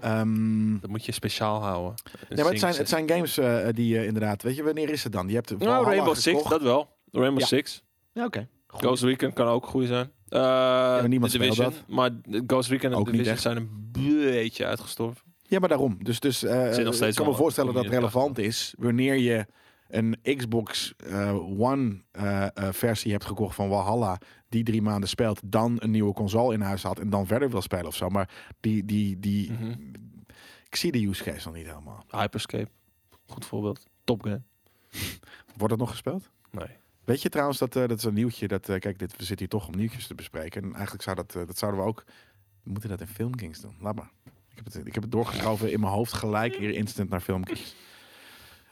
Speaker 1: ehm,
Speaker 2: Dat moet je speciaal houden.
Speaker 1: Nee, maar het zijn, het zijn games eh, die eh, inderdaad... Weet je, wanneer is het dan? Je hebt
Speaker 2: Nou,
Speaker 1: Valhalla
Speaker 2: Rainbow Six,
Speaker 1: gekocht.
Speaker 2: dat wel. Rainbow
Speaker 1: Ja.
Speaker 2: Six.
Speaker 1: Ja, oké. Goed.
Speaker 2: Ghost Recon kan ook goed zijn. Eh,
Speaker 1: maar niemand
Speaker 2: The
Speaker 1: speelt
Speaker 2: Division.
Speaker 1: dat.
Speaker 2: Maar Ghost Recon en
Speaker 1: Ook
Speaker 2: The
Speaker 1: niet
Speaker 2: Division
Speaker 1: echt.
Speaker 2: zijn een beetje uitgestorven.
Speaker 1: Ja, maar daarom. Dus, dus eh,
Speaker 2: Zit nog
Speaker 1: ik
Speaker 2: steeds
Speaker 1: kan me
Speaker 2: wel
Speaker 1: voorstellen dat
Speaker 2: op
Speaker 1: het
Speaker 2: die
Speaker 1: relevant is wanneer je een Xbox eh, One eh, eh, versie hebt gekocht van Valhalla, die drie maanden speelt, dan een nieuwe console in huis had en dan verder wil spelen of zo. Maar die, die, die,
Speaker 2: Mhm.
Speaker 1: ik zie de use case nog niet helemaal.
Speaker 2: Hyperscape, goed voorbeeld. Top Gun.
Speaker 1: Wordt het nog gespeeld?
Speaker 2: Nee.
Speaker 1: Weet je trouwens dat eh, dat is een nieuwtje dat eh, kijk dit we zitten hier toch om nieuwtjes te bespreken en eigenlijk zou dat eh, dat zouden we ook we moeten dat in Filmkings doen. Laat maar. Ik heb het ik heb het doorgeschoven in mijn hoofd gelijk hier instant naar Filmkings.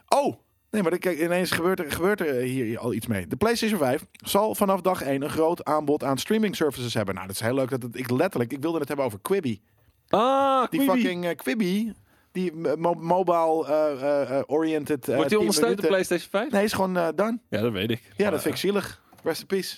Speaker 1: Oh, nee, maar kijk, ineens gebeurt er, gebeurt er eh, hier al iets mee. De PlayStation 5 zal vanaf dag 1 een groot aanbod aan streaming services hebben. Nou, dat is heel leuk dat het, ik letterlijk ik wilde het hebben over Quibi.
Speaker 2: Ah,
Speaker 1: Die
Speaker 2: Quibi.
Speaker 1: fucking eh, Quibi, die mo- mobile eh, eh, eh, oriented eh,
Speaker 2: Wordt
Speaker 1: tien
Speaker 2: die ondersteund
Speaker 1: minuten-
Speaker 2: door PlayStation 5?
Speaker 1: Nee, is gewoon eh, done.
Speaker 2: Ja, dat weet ik.
Speaker 1: Ja,
Speaker 2: Maar,
Speaker 1: dat vind ik zielig. Rest in peace.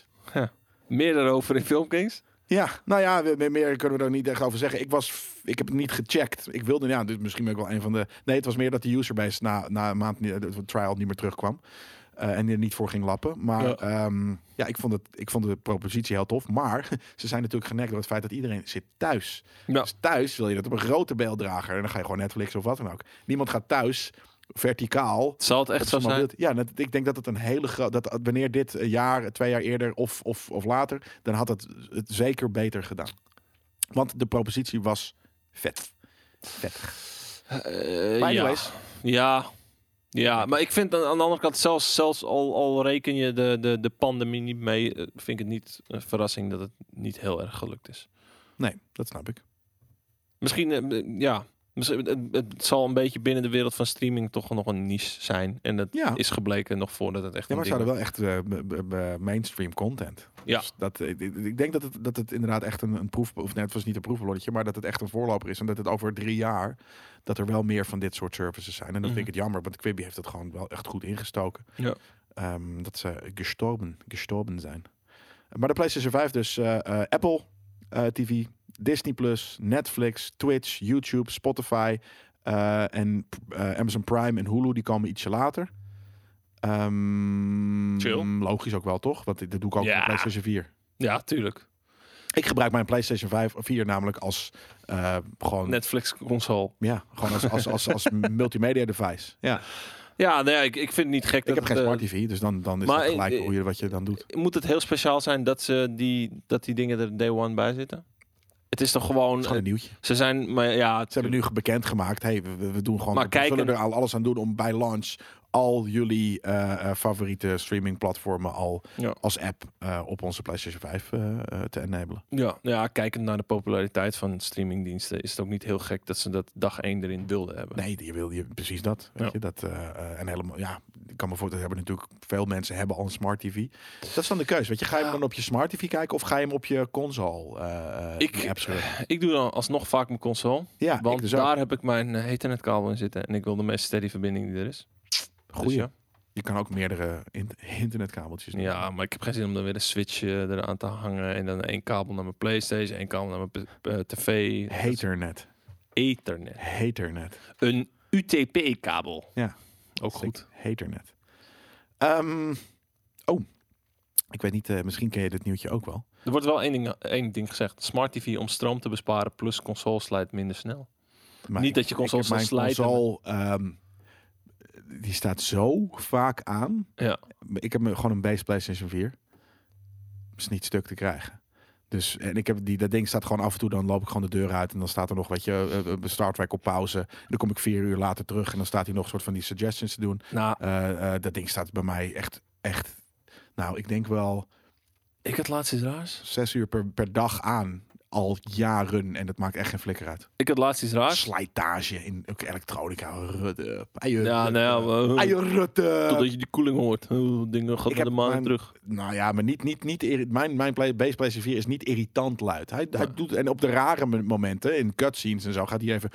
Speaker 2: Meer daarover in Filmkings?
Speaker 1: Ja, nou ja, we- meer, meer kunnen we er niet echt over zeggen. Ik, was, f- ik heb het niet gecheckt. Ik wilde, ja, dus misschien ben ik wel een van de. Nee, het was meer dat de userbase na, na een maand niet- de trial niet meer terugkwam. eh, en er niet voor ging lappen. Maar
Speaker 2: Ja.
Speaker 1: ja, ja ik, vond het, ik vond de propositie heel tof. Maar ze zijn natuurlijk genekt door het feit dat iedereen zit thuis.
Speaker 2: Ja.
Speaker 1: Dus thuis wil je dat op een grote beelddrager. En dan ga je gewoon Netflix of wat dan ook. Niemand gaat thuis verticaal
Speaker 2: Zal het
Speaker 1: dat
Speaker 2: echt zo
Speaker 1: is
Speaker 2: zijn?
Speaker 1: allemaal wild. Ja, net- ik denk dat het een hele groot. Dat wanneer dit een jaar, twee jaar eerder of, of, of later, dan had het het zeker beter gedaan. Want de propositie was vet. Vet.
Speaker 2: Eh,
Speaker 1: Maar
Speaker 2: ja.
Speaker 1: anyways,
Speaker 2: Ja. Ja, maar ik vind aan aan de andere kant, zelfs, zelfs al, al reken je de, de, de pandemie niet mee, eh, vind ik het niet een verrassing dat het niet heel erg gelukt is.
Speaker 1: nee, dat snap ik.
Speaker 2: Misschien, eh, eh, ja, misschien, het, het zal een beetje binnen de wereld van streaming toch nog een niche zijn. En dat
Speaker 1: Ja.
Speaker 2: is gebleken nog voordat het echt
Speaker 1: Ja, maar
Speaker 2: een
Speaker 1: ze
Speaker 2: ding
Speaker 1: hadden wel echt eh, b- b- b- mainstream content.
Speaker 2: Ja.
Speaker 1: Dus dat, eh, ik- ik denk dat het, dat het inderdaad echt een, een proef... Of net, het was niet een proefballonnetje, maar dat het echt een voorloper is. En dat het over drie jaar... dat er wel meer van dit soort services zijn. En dat vind ik
Speaker 2: Mhm.
Speaker 1: het jammer, want Quibi heeft het gewoon wel echt goed ingestoken.
Speaker 2: Ja.
Speaker 1: Ehm, dat ze gestorben, gestorben zijn. Maar de PlayStation 5 dus eh, eh, Apple eh, TV, Disney+, Plus, Netflix, Twitch, YouTube, Spotify... eh, en eh, Amazon Prime en Hulu, die komen ietsje later. Ehm,
Speaker 2: Chill.
Speaker 1: Logisch ook wel, toch? Want dat doe ik ook
Speaker 2: Ja.
Speaker 1: op de PlayStation 4.
Speaker 2: Ja, tuurlijk.
Speaker 1: Ik gebruik mijn PlayStation 5 of 4 namelijk als eh, gewoon,
Speaker 2: Netflix console.
Speaker 1: ja, gewoon als, als, als, als multimedia device. Ja.
Speaker 2: Ja, nee, ik, ik vind het niet gek
Speaker 1: Ik
Speaker 2: dat
Speaker 1: heb geen
Speaker 2: het, eh,
Speaker 1: smart TV, dus dan, dan is
Speaker 2: maar
Speaker 1: het gelijk
Speaker 2: ik-
Speaker 1: hoe je, wat je dan doet.
Speaker 2: Moet het heel speciaal zijn dat, ze die, dat die dingen er day one bij zitten? Het is toch
Speaker 1: Het
Speaker 2: gewoon... eh,
Speaker 1: is gewoon een nieuwtje. Ze
Speaker 2: Ze zijn, maar ja... het-
Speaker 1: hebben nu bekendgemaakt, hey, we- we, we doen gewoon,
Speaker 2: Maar
Speaker 1: we
Speaker 2: kijk,
Speaker 1: zullen
Speaker 2: en-
Speaker 1: er al alles aan doen om bij launch al jullie eh, eh, favoriete streamingplatformen al
Speaker 2: Ja.
Speaker 1: als app eh, op onze PlayStation 5 eh, eh, te enablen.
Speaker 2: Ja, nou ja, kijkend naar de populariteit van streamingdiensten is het ook niet heel gek dat ze dat dag één erin wilden hebben.
Speaker 1: Nee, je wil je precies dat. Weet
Speaker 2: Ja.
Speaker 1: je, dat eh, eh, en helemaal, ja, ik kan me voorstellen, hebben natuurlijk veel mensen hebben al een smart TV. Dat is dan de keus. Weet je, ga je hem dan op je smart TV kijken of ga je hem op je console eh, eh,
Speaker 2: Ik-
Speaker 1: app schudden?
Speaker 2: Ik doe dan alsnog vaak mijn console,
Speaker 1: Ja, ik
Speaker 2: want
Speaker 1: dus ook.
Speaker 2: daar heb ik mijn eh, ethernetkabel in zitten en ik wil de meest steady verbinding die er is.
Speaker 1: Goeie.
Speaker 2: Dus ja.
Speaker 1: Je kan ook meerdere in- internetkabeltjes. doen.
Speaker 2: ja, maar ik heb geen zin om dan weer een switch eh, eraan te hangen en dan één kabel naar mijn PlayStation, één kabel naar mijn p- eh, tv. Dat is
Speaker 1: Haternet.
Speaker 2: Ethernet.
Speaker 1: Haternet.
Speaker 2: Een UTP-kabel.
Speaker 1: Ja.
Speaker 2: Ook
Speaker 1: Sick.
Speaker 2: goed.
Speaker 1: Haternet. Ehm, oh, ik weet niet, eh, misschien ken je dit nieuwtje ook wel.
Speaker 2: Er wordt wel één ding, één ding gezegd. Smart TV om stroom te besparen plus console slijt minder snel.
Speaker 1: Maar
Speaker 2: Niet
Speaker 1: ik-
Speaker 2: dat je console
Speaker 1: ik heb
Speaker 2: zal
Speaker 1: Mijn
Speaker 2: slijten.
Speaker 1: console, ehm, die staat zo vaak aan.
Speaker 2: Ja.
Speaker 1: Ik heb me- gewoon een base PlayStation 4. Is niet stuk te krijgen. Dus en ik heb die, dat ding staat gewoon af en toe, dan loop ik gewoon de deur uit en dan staat er nog, weet je, eh, eh, Star Trek op pauze. En dan kom ik vier uur later terug en dan staat hij nog een soort van die suggestions te doen.
Speaker 2: Nou,
Speaker 1: Eh, eh, dat ding staat bij mij echt, echt, nou, ik denk wel
Speaker 2: ik had laatst iets raars.
Speaker 1: zes uur per, per dag aan. Al jaren en dat maakt echt geen flikker uit.
Speaker 2: Ik had laatst iets raars.
Speaker 1: Slijtage in ook elektronica. Rudde.
Speaker 2: Ja, nou ja, eh, totdat je die koeling hoort. Eh, Dingen gaat
Speaker 1: Ik
Speaker 2: naar de
Speaker 1: heb
Speaker 2: maan
Speaker 1: mijn-
Speaker 2: terug.
Speaker 1: Nou ja, maar niet, niet, niet irri- mijn, mijn play, base PlayStation 4 is niet irritant luid. Hij, hij
Speaker 2: Nee.
Speaker 1: doet, en op de rare mo- momenten, in cutscenes en zo, gaat hij even...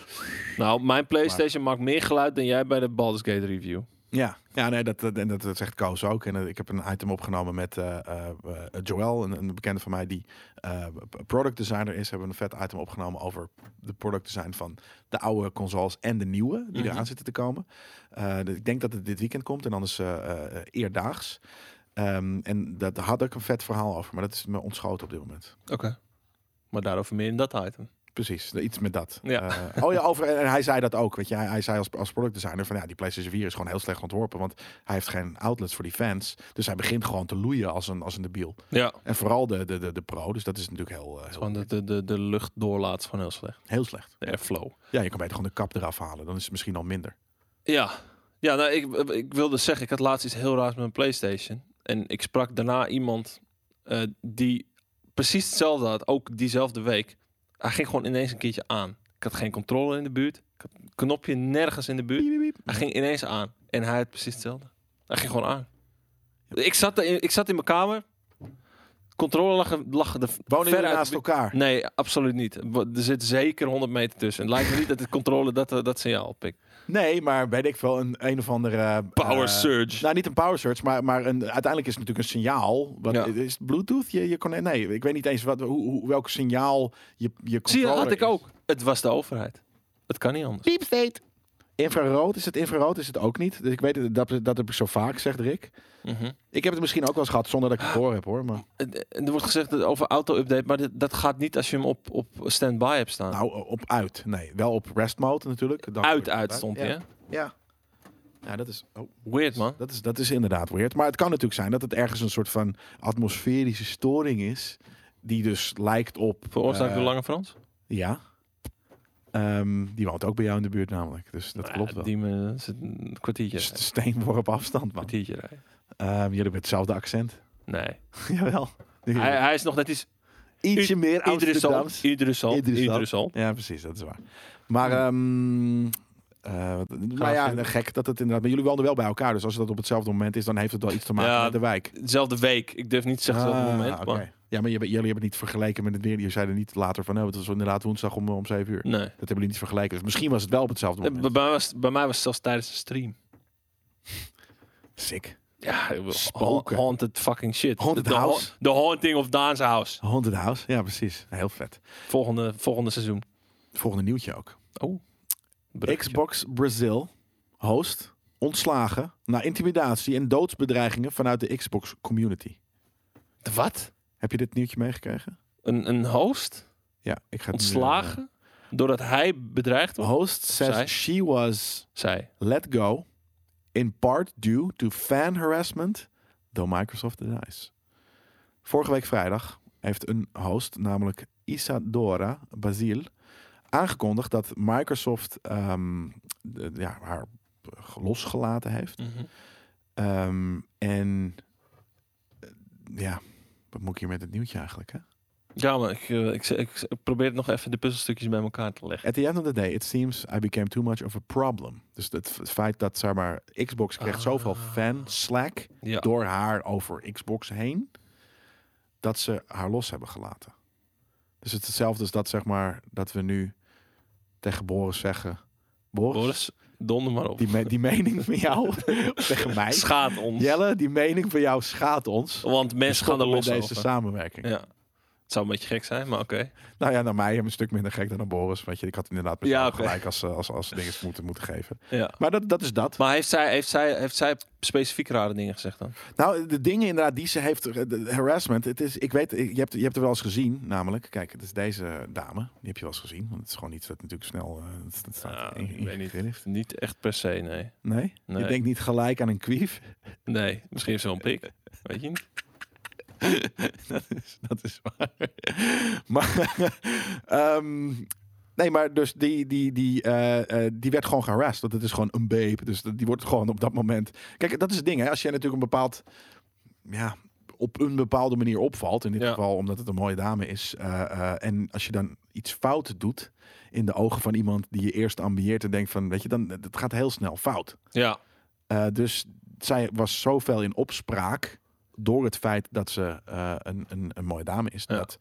Speaker 2: Nou, mijn PlayStation maakt meer geluid dan jij bij de Baldur's Gate review.
Speaker 1: Ja, ja nee, dat, dat, en dat, dat zegt Koos ook. En eh, ik heb een item opgenomen met eh eh, eh, Joël, een, een bekende van mij die eh, product designer is. Hebben we een vet item opgenomen over de product design van de oude consoles en de nieuwe die
Speaker 2: Mhm.
Speaker 1: eraan zitten te komen. Eh, dus ik denk dat het dit weekend komt en anders eh eh, eh, eerdaags. Ehm, en daar had ik een vet verhaal over, maar dat is me ontschoten op dit moment.
Speaker 2: Oké. Maar daarover meer in dat item.
Speaker 1: Precies, iets met dat.
Speaker 2: Ja.
Speaker 1: Eh, oh ja, over, en hij zei dat ook. Weet je, hij, hij zei als, als product designer van ja, die PlayStation 4 is gewoon heel slecht ontworpen, want hij heeft geen outlets voor die fans. Dus hij begint gewoon te loeien als een, als een debiel.
Speaker 2: Ja.
Speaker 1: En vooral de, de, de, de pro, dus dat is natuurlijk heel, eh, heel,
Speaker 2: Gewoon de, de, de, de lucht doorlaat is gewoon heel slecht.
Speaker 1: heel slecht.
Speaker 2: De airflow.
Speaker 1: Ja, je kan beter gewoon de kap eraf halen, dan is het misschien al minder.
Speaker 2: Ja, ja nou, ik, ik wilde zeggen, ik had laatst iets heel raars met mijn PlayStation. En ik sprak daarna iemand eh, die precies hetzelfde had, ook diezelfde week. Hij ging gewoon ineens een keertje aan. Ik had geen controller in de buurt. Ik had een knopje nergens in de buurt. Hij ging ineens aan. En hij had precies hetzelfde. Hij ging gewoon aan. Ik zat, er in- ik zat in mijn kamer. Controller lag, er- lag er
Speaker 1: Wonen jullie
Speaker 2: ver uit
Speaker 1: naast
Speaker 2: de
Speaker 1: elkaar?
Speaker 2: buurt. Nee, absoluut niet. Er zit zeker 100 meter tussen. Het lijkt me niet dat de controller dat, eh, dat signaal oppikt.
Speaker 1: Nee, maar weet ik wel, een, een of andere... eh,
Speaker 2: Power
Speaker 1: eh,
Speaker 2: surge.
Speaker 1: Nou, niet een power search, maar, maar een, uiteindelijk is het natuurlijk een signaal. Wat,
Speaker 2: Ja.
Speaker 1: Is het Bluetooth? Je, je kon, nee, ik weet niet eens wat, hoe, hoe, welk signaal je, je
Speaker 2: Zie je, dat had ik
Speaker 1: controller is.
Speaker 2: ook. Het was de overheid. Het kan niet anders.
Speaker 1: Deep state. Infrarood is het, infrarood is het ook niet. Dus ik weet het, dat, dat heb ik zo vaak, zegt Rick. Ik heb het misschien ook wel eens gehad zonder dat ik het door heb hoor. Maar,
Speaker 2: En- eh, en Er wordt gezegd dat over auto-update, maar dit- dat gaat niet als je hem op, op standby hebt staan.
Speaker 1: nou, op uit. Nee, wel op rest mode natuurlijk. Dan
Speaker 2: uit, uit stond hij.
Speaker 1: ja.
Speaker 2: hè?
Speaker 1: Ja. Ja, dat is, oh,
Speaker 2: Weird, man.
Speaker 1: dat, is, dat is inderdaad weird. Maar het kan natuurlijk zijn dat het ergens een soort van atmosferische storing is. Die dus lijkt op...
Speaker 2: Veroorzaakt
Speaker 1: eh,
Speaker 2: door Lange Frans?
Speaker 1: Ja. Ehm, die woont ook bij jou in de buurt namelijk. Dus dat klopt wel.
Speaker 2: Die me dat is een kwartiertje.
Speaker 1: St- Steenworp afstand, man.
Speaker 2: kwartiertje rijden.
Speaker 1: Ehm, jullie hebben hetzelfde accent.
Speaker 2: Nee.
Speaker 1: Jawel.
Speaker 2: Hij, hij is nog net iets.
Speaker 1: Ietsje meer
Speaker 2: Idrissant.
Speaker 1: Amsterdams. Hm.
Speaker 2: Idrissant.
Speaker 1: Idrissant.
Speaker 2: Idrissant.
Speaker 1: Ja, precies, dat is waar. Maar, ehm eh, wat- nou ja,
Speaker 2: vinden.
Speaker 1: gek dat het inderdaad... Maar jullie wonen wel bij elkaar, dus als dat op hetzelfde moment is... dan heeft het wel iets te maken
Speaker 2: Ja,
Speaker 1: met de wijk.
Speaker 2: Dezelfde week. Ik durf niet te zeggen
Speaker 1: Ah,
Speaker 2: hetzelfde moment.
Speaker 1: oké.
Speaker 2: Maar
Speaker 1: Ja, maar je, jullie hebben het niet vergeleken met het weer. Je zeiden niet later van, nou, het was inderdaad woensdag om, om 7 uur.
Speaker 2: nee.
Speaker 1: Dat hebben jullie niet vergeleken. Dus misschien was het wel op hetzelfde
Speaker 2: Eh, Bij
Speaker 1: moment.
Speaker 2: mij, was, bij mij was het zelfs tijdens de stream.
Speaker 1: Sick.
Speaker 2: Ja, ik bedoel,
Speaker 1: Spoken.
Speaker 2: haunted fucking shit.
Speaker 1: Haunted
Speaker 2: the, the
Speaker 1: house?
Speaker 2: ha- The haunting of Daan's house.
Speaker 1: Haunted House. Ja, precies. Heel vet.
Speaker 2: Volgende, volgende seizoen.
Speaker 1: Volgende nieuwtje ook.
Speaker 2: Bruggetje.
Speaker 1: Xbox Brazil host ontslagen na intimidatie en doodsbedreigingen vanuit de Xbox community.
Speaker 2: De Wat?
Speaker 1: Heb je dit nieuwtje meegekregen?
Speaker 2: Een, een host?
Speaker 1: Ja, ik ga het nu, eh,
Speaker 2: Ontslagen? Doordat hij bedreigd wordt?
Speaker 1: Host says
Speaker 2: Zij?
Speaker 1: she was
Speaker 2: Zij.
Speaker 1: let go in part due to fan harassment, though Microsoft denies. Vorige week vrijdag heeft een host, namelijk Isadora Basile, aangekondigd dat Microsoft ehm, de- ja, haar losgelaten heeft. Ehm, en eh, ja, wat moet ik hier met het nieuwtje eigenlijk? Hè?
Speaker 2: Ja, maar ik, eh, ik, ik, ik probeer nog even de puzzelstukjes bij elkaar te leggen.
Speaker 1: At the end of the day, it seems I became too much of a problem. Dus het f- het feit dat zeg maar, Xbox kreeg
Speaker 2: Ah.
Speaker 1: zoveel fan slack
Speaker 2: Ja.
Speaker 1: door haar over Xbox heen, dat ze haar los hebben gelaten. Dus het is hetzelfde als dat, zeg maar, dat we nu tegen Boris zeggen: Boris,
Speaker 2: Boris, donder maar op.
Speaker 1: Die, me- die mening van jou tegen mij.
Speaker 2: Schaadt ons.
Speaker 1: Jelle, die mening van jou schaadt ons.
Speaker 2: Want mensen gaan er
Speaker 1: Stoppen met
Speaker 2: los
Speaker 1: deze
Speaker 2: over.
Speaker 1: samenwerking.
Speaker 2: Ja. Het zou een beetje gek zijn, maar oké.
Speaker 1: Nou ja, naar mij een stuk minder gek dan aan Boris. Weet je, ik had inderdaad met
Speaker 2: Ja,
Speaker 1: jou
Speaker 2: oké.
Speaker 1: gelijk als, eh, als, als dingen moeten, moeten geven.
Speaker 2: Ja.
Speaker 1: Maar dat, dat is dat.
Speaker 2: Maar heeft zij, heeft, zij, heeft zij specifiek rare dingen gezegd dan?
Speaker 1: Nou, de dingen inderdaad die ze heeft, eh, de harassment. Het is, ik weet, eh, je hebt, je hebt er wel eens gezien, namelijk. Kijk, het is deze dame. Die heb je wel eens gezien. Want het is gewoon iets dat natuurlijk snel. eh, het- het staat
Speaker 2: Nou,
Speaker 1: in-
Speaker 2: ik weet niet.
Speaker 1: ingegrift.
Speaker 2: Niet echt per se, nee.
Speaker 1: Nee?
Speaker 2: Nee.
Speaker 1: Je denkt niet gelijk aan een kwief.
Speaker 2: Nee, misschien heeft ze wel een pik. Weet je niet?
Speaker 1: dat, is, Dus dat is waar. maar, ehm, nee, maar dus die, die, die, eh, eh, die werd gewoon geharasst. Want het is gewoon een babe. Dus dat- die wordt gewoon op dat moment... Kijk, dat is het ding. Hè? Als jij natuurlijk een bepaald... Ja, op een bepaalde manier opvalt. In dit
Speaker 2: Ja.
Speaker 1: geval omdat het een mooie dame is. eh, eh, en als je dan iets fout doet... in de ogen van iemand die je eerst ambieert... en denkt van, weet je, dan, het gaat heel snel fout.
Speaker 2: Ja,
Speaker 1: Eh, dus zij was zoveel in opspraak door het feit dat ze eh, een, een, een mooie dame is.
Speaker 2: Ja.
Speaker 1: Dat,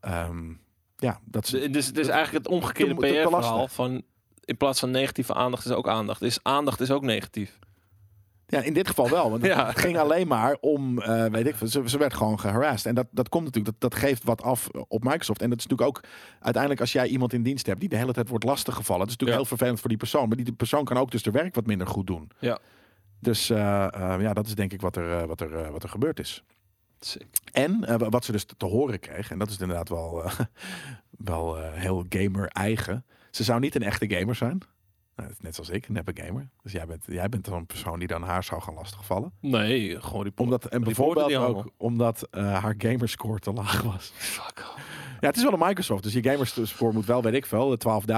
Speaker 1: ehm, ja, dat ze,
Speaker 2: dus, dus het is eigenlijk het omgekeerde
Speaker 1: te- te- te
Speaker 2: PR-verhaal
Speaker 1: lastig.
Speaker 2: van... In plaats van negatieve aandacht is ook aandacht. Is aandacht is ook negatief.
Speaker 1: ja, in dit geval wel. Want het
Speaker 2: Ja.
Speaker 1: ging alleen maar om, eh, weet ik, veel, ze, ze werd gewoon geharasst. En dat, dat komt natuurlijk, dat, dat geeft wat af op Microsoft. En dat is natuurlijk ook uiteindelijk als jij iemand in dienst hebt die de hele tijd wordt lastiggevallen. Dat is natuurlijk
Speaker 2: Ja.
Speaker 1: heel vervelend voor die persoon. Maar die persoon kan ook dus haar werk wat minder goed doen.
Speaker 2: Ja.
Speaker 1: Dus eh, eh, ja, dat is denk ik wat er, eh, wat er, eh, wat er gebeurd is.
Speaker 2: Sick.
Speaker 1: En eh, wa- wat ze dus te te horen kreeg, en dat is inderdaad wel, eh, wel eh, heel gamer-eigen. Ze zou niet een echte gamer zijn. Nou, dat is net zoals ik, een neppe gamer. Dus jij bent, jij bent dan een persoon die dan haar zou gaan lastigvallen.
Speaker 2: Nee, gewoon die pom.
Speaker 1: Omdat, en
Speaker 2: die poorten
Speaker 1: bijvoorbeeld
Speaker 2: die
Speaker 1: ook
Speaker 2: allemaal.
Speaker 1: omdat eh, haar gamerscore te laag was.
Speaker 2: Fuck off.
Speaker 1: Ja, het is wel een Microsoft, dus je gamerscore moet wel, weet ik veel,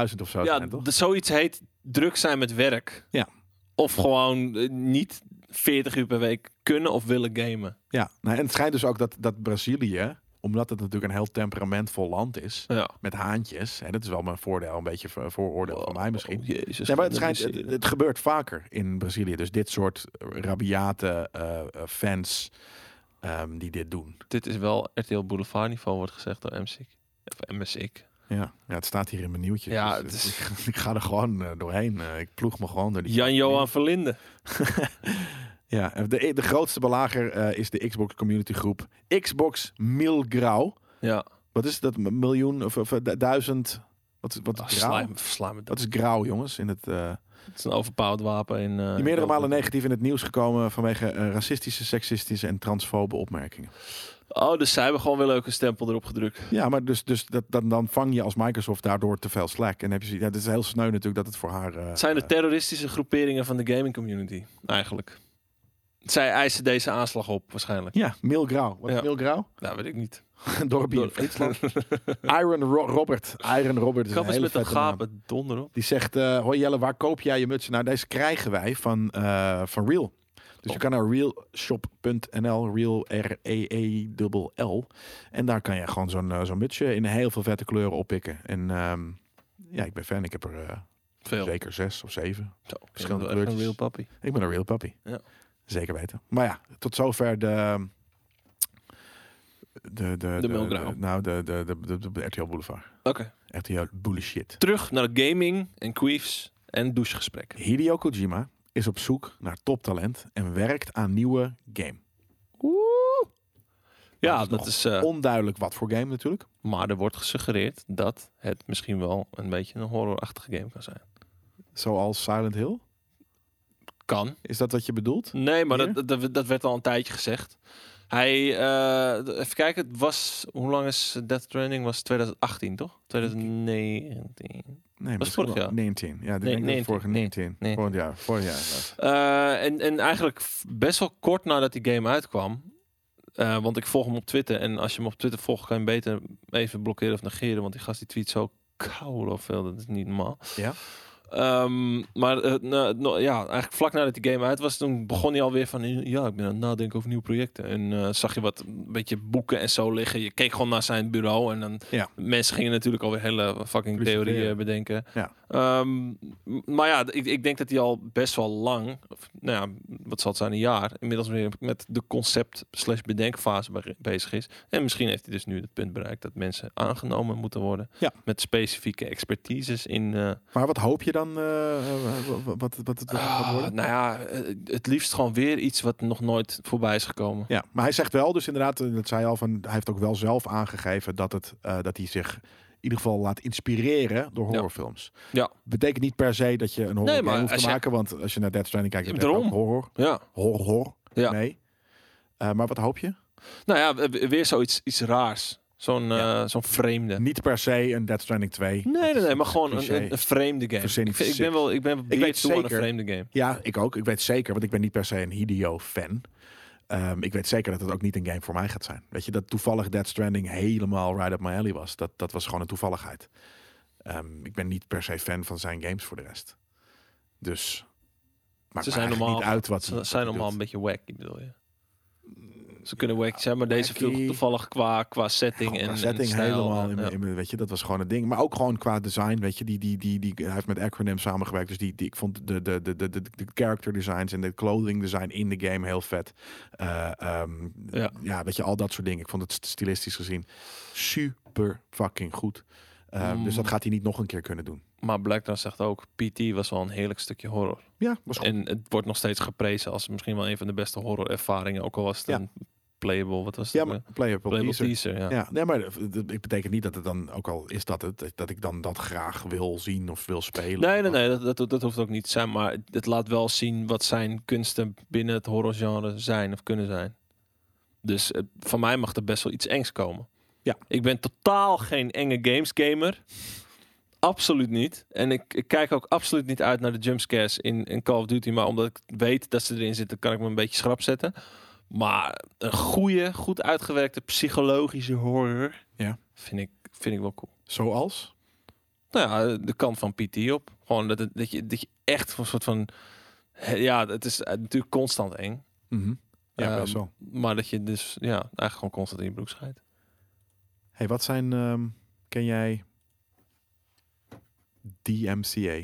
Speaker 1: 12.000 of zo
Speaker 2: Ja,
Speaker 1: zijn, toch?
Speaker 2: d- zoiets heet druk zijn met werk.
Speaker 1: Ja.
Speaker 2: Of gewoon eh, niet 40 uur per week kunnen of willen gamen.
Speaker 1: Ja, nou, en het schijnt dus ook dat, dat Brazilië, omdat het natuurlijk een heel temperamentvol land is,
Speaker 2: Ja.
Speaker 1: met haantjes, en dat is wel mijn voordeel, een beetje voor- vooroordeel van mij misschien.
Speaker 2: Oh, jezus.
Speaker 1: Nee, maar het,
Speaker 2: Wat
Speaker 1: schijnt,
Speaker 2: is eh,
Speaker 1: het,
Speaker 2: hier?
Speaker 1: het gebeurt vaker in Brazilië. Dus dit soort rabiate eh, eh, fans ehm, die dit doen.
Speaker 2: Dit is wel RTL Boulevard niveau, wordt gezegd door MSIC. Of MSIC.
Speaker 1: Ja. ja, het staat hier in mijn nieuwtje. dus,
Speaker 2: Ja, het is-
Speaker 1: ik, ik ga er gewoon eh, doorheen. Eh, ik ploeg me gewoon door die...
Speaker 2: Jan-Johan Verlinde.
Speaker 1: Ja, en de, de grootste belager eh, is de Xbox community groep. Xbox Milgrau.
Speaker 2: Ja.
Speaker 1: Wat is dat? Een Miljoen of, of, eh, du- duizend? Wat, is- wat is
Speaker 2: Ah,
Speaker 1: grauw?
Speaker 2: sla, me- sla me dood.
Speaker 1: Dat is grauw, jongens. In het, eh,
Speaker 2: Het is een overpowered wapen. In, eh,
Speaker 1: die meerdere
Speaker 2: Europa.
Speaker 1: malen negatief in het nieuws gekomen vanwege eh, racistische, seksistische en transfobe opmerkingen.
Speaker 2: Oh, dus zij hebben gewoon weer leuke stempel erop gedrukt.
Speaker 1: Ja, maar dus, dus dat, dan, dan vang je als Microsoft daardoor te veel slack. En heb je, ja, het is heel sneu natuurlijk dat het voor haar... eh,
Speaker 2: Het zijn de
Speaker 1: eh,
Speaker 2: terroristische groeperingen van de gaming community, eigenlijk. Zij eisen deze aanslag op, waarschijnlijk.
Speaker 1: ja, Milgrauw. Wat
Speaker 2: Ja.
Speaker 1: is Milgrauw?
Speaker 2: Nou, weet ik niet.
Speaker 1: Een dorpje in
Speaker 2: Door-
Speaker 1: Friesland. Iron Ro- Robert. Iron Robert is
Speaker 2: Kap
Speaker 1: een
Speaker 2: eens
Speaker 1: hele
Speaker 2: met dat
Speaker 1: vette naam.
Speaker 2: gapen, donder op.
Speaker 1: Die zegt, eh hoi Jelle, waar koop jij je mutsen? Nou, deze krijgen wij van, eh, van Real. Dus je
Speaker 2: Top.
Speaker 1: kan naar realshop.nl, E real R-E-E-L-L. En daar kan je gewoon zo'n eh, zo'n mutsje in heel veel vette kleuren oppikken. En ehm, ja, ik ben fan. Ik heb er eh,
Speaker 2: Veel.
Speaker 1: zeker zes of zeven.
Speaker 2: Zo, ik ben
Speaker 1: verschillende
Speaker 2: wel echt
Speaker 1: kleurtjes.
Speaker 2: Een real puppy.
Speaker 1: Ik ben een real puppy.
Speaker 2: Ja.
Speaker 1: Zeker weten. Maar ja, tot zover de... De, de, de,
Speaker 2: Milgrauw.
Speaker 1: de- nou, de, de, de, de, de RTL Boulevard.
Speaker 2: Oké.
Speaker 1: RTL Bullshit.
Speaker 2: Terug naar gaming en queefs en douchegesprekken.
Speaker 1: Hideo Kojima is op zoek naar toptalent en werkt aan nieuwe game.
Speaker 2: Ja,
Speaker 1: Dat is
Speaker 2: dat
Speaker 1: nog
Speaker 2: is... eh,
Speaker 1: Onduidelijk wat voor game natuurlijk.
Speaker 2: maar er wordt gesuggereerd dat het misschien wel een beetje een horrorachtige game kan zijn.
Speaker 1: Zoals Silent Hill.
Speaker 2: Kan.
Speaker 1: Is dat wat je bedoelt?
Speaker 2: Nee, maar
Speaker 1: Hier?
Speaker 2: dat, dat, dat werd al een tijdje gezegd. Hij, eh, d- even kijken, het was, hoe lang is Death Training? Was 2018 toch? 2019.
Speaker 1: Nee,
Speaker 2: was
Speaker 1: misschien
Speaker 2: vorig
Speaker 1: wel.
Speaker 2: jaar.
Speaker 1: 19. Ja, ik denk dat
Speaker 2: 19,
Speaker 1: het vorige 19.
Speaker 2: nee.
Speaker 1: Vorig jaar. Vorig jaar. inderdaad.
Speaker 2: Eh, en, en eigenlijk f- best wel kort nadat die game uitkwam. eh, want ik volg hem op Twitter. En als je hem op Twitter volgt, kan je hem beter even blokkeren of negeren. Want die gast die tweet zo koud of veel. Dat is niet normaal.
Speaker 1: Ja.
Speaker 2: Ehm, maar eh, nou, nou, ja, eigenlijk vlak nadat die game uit was, toen begon hij alweer van... Ja, ik ben aan het nadenken over nieuwe projecten. En eh, zag je wat een beetje boeken en zo liggen. Je keek gewoon naar zijn bureau. En dan
Speaker 1: Ja.
Speaker 2: mensen gingen natuurlijk alweer hele fucking
Speaker 1: Filosoferen.
Speaker 2: theorieën bedenken.
Speaker 1: Ja.
Speaker 2: Ehm, m- maar ja, d- ik, ik denk dat hij al best wel lang, of, nou ja, wat zal het zijn, een jaar, inmiddels weer met de concept slash bedenkfase be- bezig is. En misschien heeft hij dus nu het punt bereikt dat mensen aangenomen moeten worden
Speaker 1: Ja.
Speaker 2: met specifieke expertises in... eh,
Speaker 1: Maar wat hoop je dan? eh, eh, wat, wat, wat het gaat worden?
Speaker 2: Ah, nou ja, eh, het liefst gewoon weer iets wat nog nooit voorbij is gekomen.
Speaker 1: Ja, maar hij zegt wel, dus inderdaad, eh, dat zei je al, van, hij heeft ook wel zelf aangegeven dat, het, eh, dat hij zich in ieder geval laat inspireren door
Speaker 2: Ja.
Speaker 1: horrorfilms.
Speaker 2: Ja.
Speaker 1: Betekent niet per se dat je een horror
Speaker 2: Nee,
Speaker 1: game
Speaker 2: maar
Speaker 1: hoeft
Speaker 2: als
Speaker 1: te
Speaker 2: je-
Speaker 1: maken, want als je naar Death Stranding kijkt,
Speaker 2: Ja,
Speaker 1: dan denk je ook
Speaker 2: daarom.
Speaker 1: horror,
Speaker 2: Ja.
Speaker 1: horror, horror.
Speaker 2: Ja.
Speaker 1: Nee. Eh, maar wat hoop je?
Speaker 2: Nou ja, we- we- weer zoiets iets raars. Zo'n
Speaker 1: Ja.
Speaker 2: eh, zo'n vreemde.
Speaker 1: Niet per se een Death Stranding 2.
Speaker 2: Nee,
Speaker 1: Dat
Speaker 2: nee,
Speaker 1: is
Speaker 2: nee, maar
Speaker 1: een
Speaker 2: gewoon een,
Speaker 1: cliché.
Speaker 2: een, een vreemde game. Ik,
Speaker 1: Verzin iets
Speaker 2: vind- ik ben
Speaker 1: sick.
Speaker 2: wel, ik ben
Speaker 1: weet
Speaker 2: weet toe aan een
Speaker 1: zeker-
Speaker 2: vreemde game.
Speaker 1: Ja, ik ook. Ik weet zeker, want ik ben niet per se een Hideo-fan. Ehm, ik weet zeker dat het ook niet een game voor mij gaat zijn. Weet je, dat toevallig Dead Stranding helemaal right up my alley was. Dat, dat was gewoon een toevalligheid. Ehm, ik ben niet per se fan van zijn games voor de rest. Dus maakt
Speaker 2: Ze
Speaker 1: me
Speaker 2: zijn
Speaker 1: eigenlijk
Speaker 2: normaal-
Speaker 1: niet uit wat
Speaker 2: Ze zijn allemaal een
Speaker 1: allemaal
Speaker 2: beetje wacky, bedoel je? Ze kunnen Mm, wacky zijn, maar deze viel
Speaker 1: wacky.
Speaker 2: toevallig qua, qua setting en, en
Speaker 1: setting
Speaker 2: stijl
Speaker 1: helemaal
Speaker 2: en-
Speaker 1: in,
Speaker 2: ja.
Speaker 1: mijn- in mijn- weet je, dat was gewoon het ding. Maar ook gewoon qua design, weet je, die, die, die, die, hij heeft met Acronym samengewerkt. Dus die, die, ik vond de, de, de, de, de, de character designs en de clothing design in de game heel vet. Eh, ehm,
Speaker 2: Ja.
Speaker 1: ja. weet je, al dat soort dingen. Ik vond het st- stilistisch gezien super fucking goed. Eh,
Speaker 2: Mm.
Speaker 1: Dus dat gaat hij niet nog een keer kunnen doen.
Speaker 2: Maar Blackdown zegt ook, PT was wel een heerlijk stukje horror.
Speaker 1: Ja, was goed.
Speaker 2: En het wordt nog steeds geprezen als misschien wel een van de beste horrorervaringen. Ook al was het
Speaker 1: Ja.
Speaker 2: een playable, wat was het?
Speaker 1: ja,
Speaker 2: ook,
Speaker 1: maar
Speaker 2: eh?
Speaker 1: playable
Speaker 2: playable
Speaker 1: teaser.
Speaker 2: teaser, ja.
Speaker 1: Ja, nee, maar dat- dat- ik betekent niet dat het dan, ook al is dat het, dat- dat ik dan dat graag wil zien of wil spelen.
Speaker 2: Nee, nee, nee, dat, dat, dat hoeft ook niet te zijn. Maar het laat wel zien wat zijn kunsten binnen het horrorgenre zijn of kunnen zijn. Dus eh, van mij mag er best wel iets engs komen.
Speaker 1: Ja.
Speaker 2: Ik ben totaal geen enge games gamer. Absoluut niet. En ik, ik kijk ook absoluut niet uit naar de jumpscares in, in Call of Duty. Maar omdat ik weet dat ze erin zitten, kan ik me een beetje schrap zetten. Maar een goede, goed uitgewerkte psychologische horror
Speaker 1: Ja.
Speaker 2: vind, ik, vind ik wel cool.
Speaker 1: Zoals?
Speaker 2: Nou ja, de kant van PT op. Gewoon dat, het- dat, je, dat je echt een soort van... he- Ja, het is eh, natuurlijk constant eng.
Speaker 1: Mhm. Ja,
Speaker 2: Ehm,
Speaker 1: best wel.
Speaker 2: Maar dat je dus ja, eigenlijk gewoon constant in je broek schijt.
Speaker 1: Hey, wat zijn, ehm, ken jij DMCA